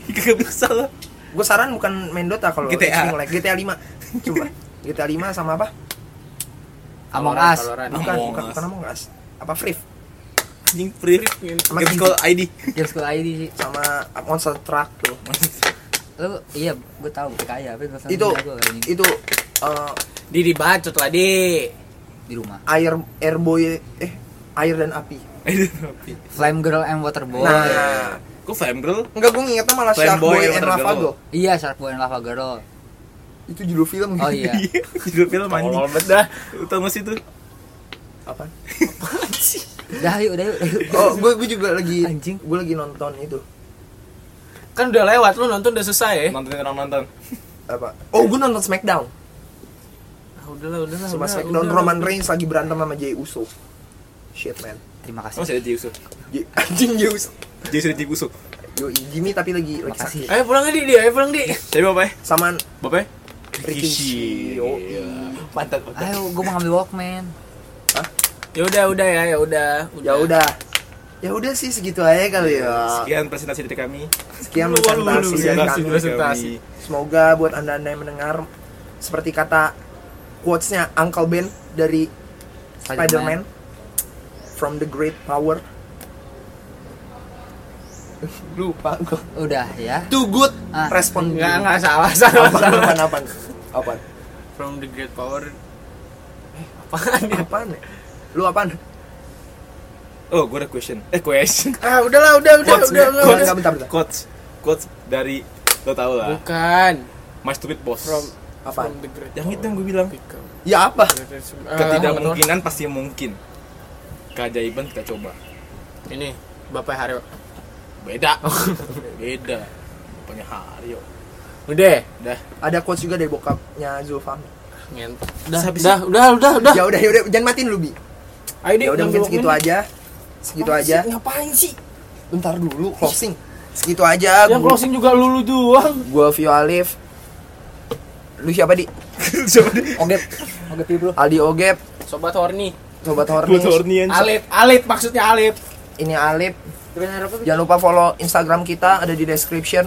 [SPEAKER 5] Kagak bisa lah.
[SPEAKER 4] Gue saran bukan main Dota kalau HP
[SPEAKER 5] GTA.
[SPEAKER 4] nge-lag GTA 5. Coba. GTA 5 sama apa?
[SPEAKER 1] Among
[SPEAKER 3] Valorant,
[SPEAKER 1] Us
[SPEAKER 3] Valorant.
[SPEAKER 4] Bukan,
[SPEAKER 5] Among
[SPEAKER 4] bukan,
[SPEAKER 5] Us.
[SPEAKER 4] bukan Among Us. Apa Free
[SPEAKER 5] Anjing free.
[SPEAKER 4] Sama
[SPEAKER 5] Game
[SPEAKER 4] King.
[SPEAKER 5] call ID.
[SPEAKER 1] Game School ID sih
[SPEAKER 4] sama Monster Truck tuh.
[SPEAKER 1] lu iya gue tahu kaya tapi gak
[SPEAKER 4] itu
[SPEAKER 1] gue anjing
[SPEAKER 4] itu eh,
[SPEAKER 3] Di dibacot lah, Di.
[SPEAKER 1] di rumah
[SPEAKER 4] air airboy eh air dan api.
[SPEAKER 5] Aduh, tapi.
[SPEAKER 1] Flame Girl and Waterboy
[SPEAKER 4] Nah,
[SPEAKER 5] Kok fam girl?
[SPEAKER 4] enggak gue ngingetnya malah
[SPEAKER 5] Fanboy
[SPEAKER 4] Sharkboy
[SPEAKER 5] yang
[SPEAKER 4] and
[SPEAKER 5] tergelo.
[SPEAKER 4] Lavago.
[SPEAKER 1] iya Shark Boy and Lava Girl
[SPEAKER 4] Itu judul film.
[SPEAKER 1] oh iya
[SPEAKER 5] Judul film anjing.
[SPEAKER 3] Tolol banget dah.
[SPEAKER 5] Utama sih tuh.
[SPEAKER 4] Apa?
[SPEAKER 1] udah yuk udah yuk
[SPEAKER 4] Oh, gue gue juga lagi
[SPEAKER 1] Anjing.
[SPEAKER 4] Gue lagi nonton itu.
[SPEAKER 3] Kan udah lewat lu nonton udah selesai ya.
[SPEAKER 5] Nontonin orang nonton.
[SPEAKER 4] Apa? Oh, gue nonton Smackdown.
[SPEAKER 3] Ah, udahlah,
[SPEAKER 1] Nah,
[SPEAKER 3] udahlah.
[SPEAKER 4] Sama
[SPEAKER 3] udah,
[SPEAKER 4] Smackdown
[SPEAKER 3] udah.
[SPEAKER 4] Roman Reigns lagi berantem sama Jey Uso. Shit man.
[SPEAKER 1] terima
[SPEAKER 5] Sama
[SPEAKER 1] kasih
[SPEAKER 5] saya Jiusu.
[SPEAKER 4] Jey- anjing Jey Uso.
[SPEAKER 5] Jiusu di Jiusu.
[SPEAKER 4] Yo, Jimmy tapi lagi lagi
[SPEAKER 1] Makasih.
[SPEAKER 4] sakit.
[SPEAKER 3] Ayo Eh, pulang Di, Di. Ayo pulang Di.
[SPEAKER 5] Tapi bapaknya?
[SPEAKER 4] Sama
[SPEAKER 5] Bapaknya?
[SPEAKER 4] Rikishi. Yo,
[SPEAKER 5] Mantap, mantap.
[SPEAKER 1] ayo gue mau ambil Walkman
[SPEAKER 3] Ya udah, udah ya, ya udah.
[SPEAKER 4] ya udah. Ya udah sih segitu aja kali ya.
[SPEAKER 5] Sekian presentasi dari kami.
[SPEAKER 4] Sekian
[SPEAKER 3] Lu- lu- lu-
[SPEAKER 4] presentasi
[SPEAKER 3] lu-
[SPEAKER 4] dari
[SPEAKER 3] lu-
[SPEAKER 4] kami.
[SPEAKER 3] lu- presentasi.
[SPEAKER 4] Semoga buat anda-anda yang mendengar seperti kata quotes-nya Uncle Ben dari Spider-Man from the great power lupa gue
[SPEAKER 1] udah ya
[SPEAKER 4] too good
[SPEAKER 1] Ah,
[SPEAKER 4] respon
[SPEAKER 3] Enggak,
[SPEAKER 4] dulu.
[SPEAKER 3] enggak salah, salah,
[SPEAKER 4] Apaan,
[SPEAKER 3] salah.
[SPEAKER 4] apaan, apaan? Apaan?
[SPEAKER 3] From the great power. Eh, apaan ya?
[SPEAKER 4] Apaan ya? lu apaan
[SPEAKER 5] Oh, gue ada question. Eh, question.
[SPEAKER 3] Ah, udahlah, udah, udah,
[SPEAKER 5] Quotes,
[SPEAKER 3] udah, udah,
[SPEAKER 4] Bentar,
[SPEAKER 5] quotes,
[SPEAKER 4] bentar,
[SPEAKER 3] udah.
[SPEAKER 4] bentar, bentar.
[SPEAKER 5] quotes, quotes dari lo tau lah.
[SPEAKER 3] Bukan.
[SPEAKER 5] My stupid boss.
[SPEAKER 3] From
[SPEAKER 4] Apaan?
[SPEAKER 3] From the great
[SPEAKER 5] Yang itu
[SPEAKER 3] power.
[SPEAKER 5] yang gue bilang.
[SPEAKER 3] Become
[SPEAKER 4] ya apa
[SPEAKER 3] greater- Ah, nggak
[SPEAKER 5] Ketidakmungkinan pasti mungkin. Keajaiban kita coba.
[SPEAKER 3] tahu. Ini Bapak Haryo.
[SPEAKER 5] Beda.
[SPEAKER 4] Oh.
[SPEAKER 5] Beda. Punya Hario.
[SPEAKER 3] Udah.
[SPEAKER 5] Dah.
[SPEAKER 4] ada quotes juga dari bokapnya Zulfam
[SPEAKER 3] Ngentot. Dah,
[SPEAKER 5] Habis-
[SPEAKER 3] dah, udah, udah, udah.
[SPEAKER 4] ya udah ya udah jangan matiin lu bi
[SPEAKER 3] Ayo Di,
[SPEAKER 4] ya udah mungkin
[SPEAKER 3] ngambil
[SPEAKER 4] segitu
[SPEAKER 3] Walkman.
[SPEAKER 4] aja segitu
[SPEAKER 3] Apaan
[SPEAKER 4] aja
[SPEAKER 3] sih? Ngapain sih?
[SPEAKER 4] bentar dulu closing segitu aja
[SPEAKER 3] Yang
[SPEAKER 4] gua
[SPEAKER 3] closing juga lulu doang.
[SPEAKER 4] gua Vio Alif lu siapa di
[SPEAKER 5] Coba deh.
[SPEAKER 4] Ogep
[SPEAKER 1] oke pi bro
[SPEAKER 4] Aldi Ogep
[SPEAKER 3] Sobat Horny.
[SPEAKER 4] sobat Horny
[SPEAKER 5] Gue tornian.
[SPEAKER 3] Alit, Alit maksudnya Alit.
[SPEAKER 4] ini Alip jangan lupa follow Instagram kita ada di description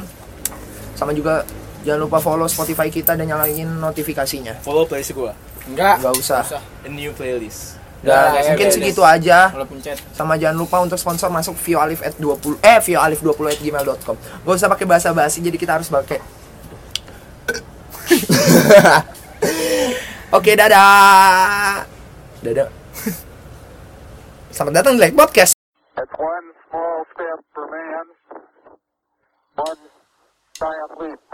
[SPEAKER 4] sama juga jangan lupa follow Spotify kita dan nyalain notifikasinya
[SPEAKER 5] Follow playlist gue.
[SPEAKER 3] Enggak.
[SPEAKER 4] nggak usah
[SPEAKER 3] Usah.
[SPEAKER 5] A new playlist.
[SPEAKER 4] dan
[SPEAKER 3] Ya,
[SPEAKER 4] mungkin
[SPEAKER 3] ya, ya,
[SPEAKER 4] segitu aja
[SPEAKER 3] Kalau pencet.
[SPEAKER 4] sama jangan lupa untuk sponsor masuk vioalif at 20 eh vioalif 20 at gmail.com gak usah pakai bahasa basi jadi kita harus pakai oke dadah dadah selamat datang di like podcast
[SPEAKER 6] It's one small step for man, one giant leap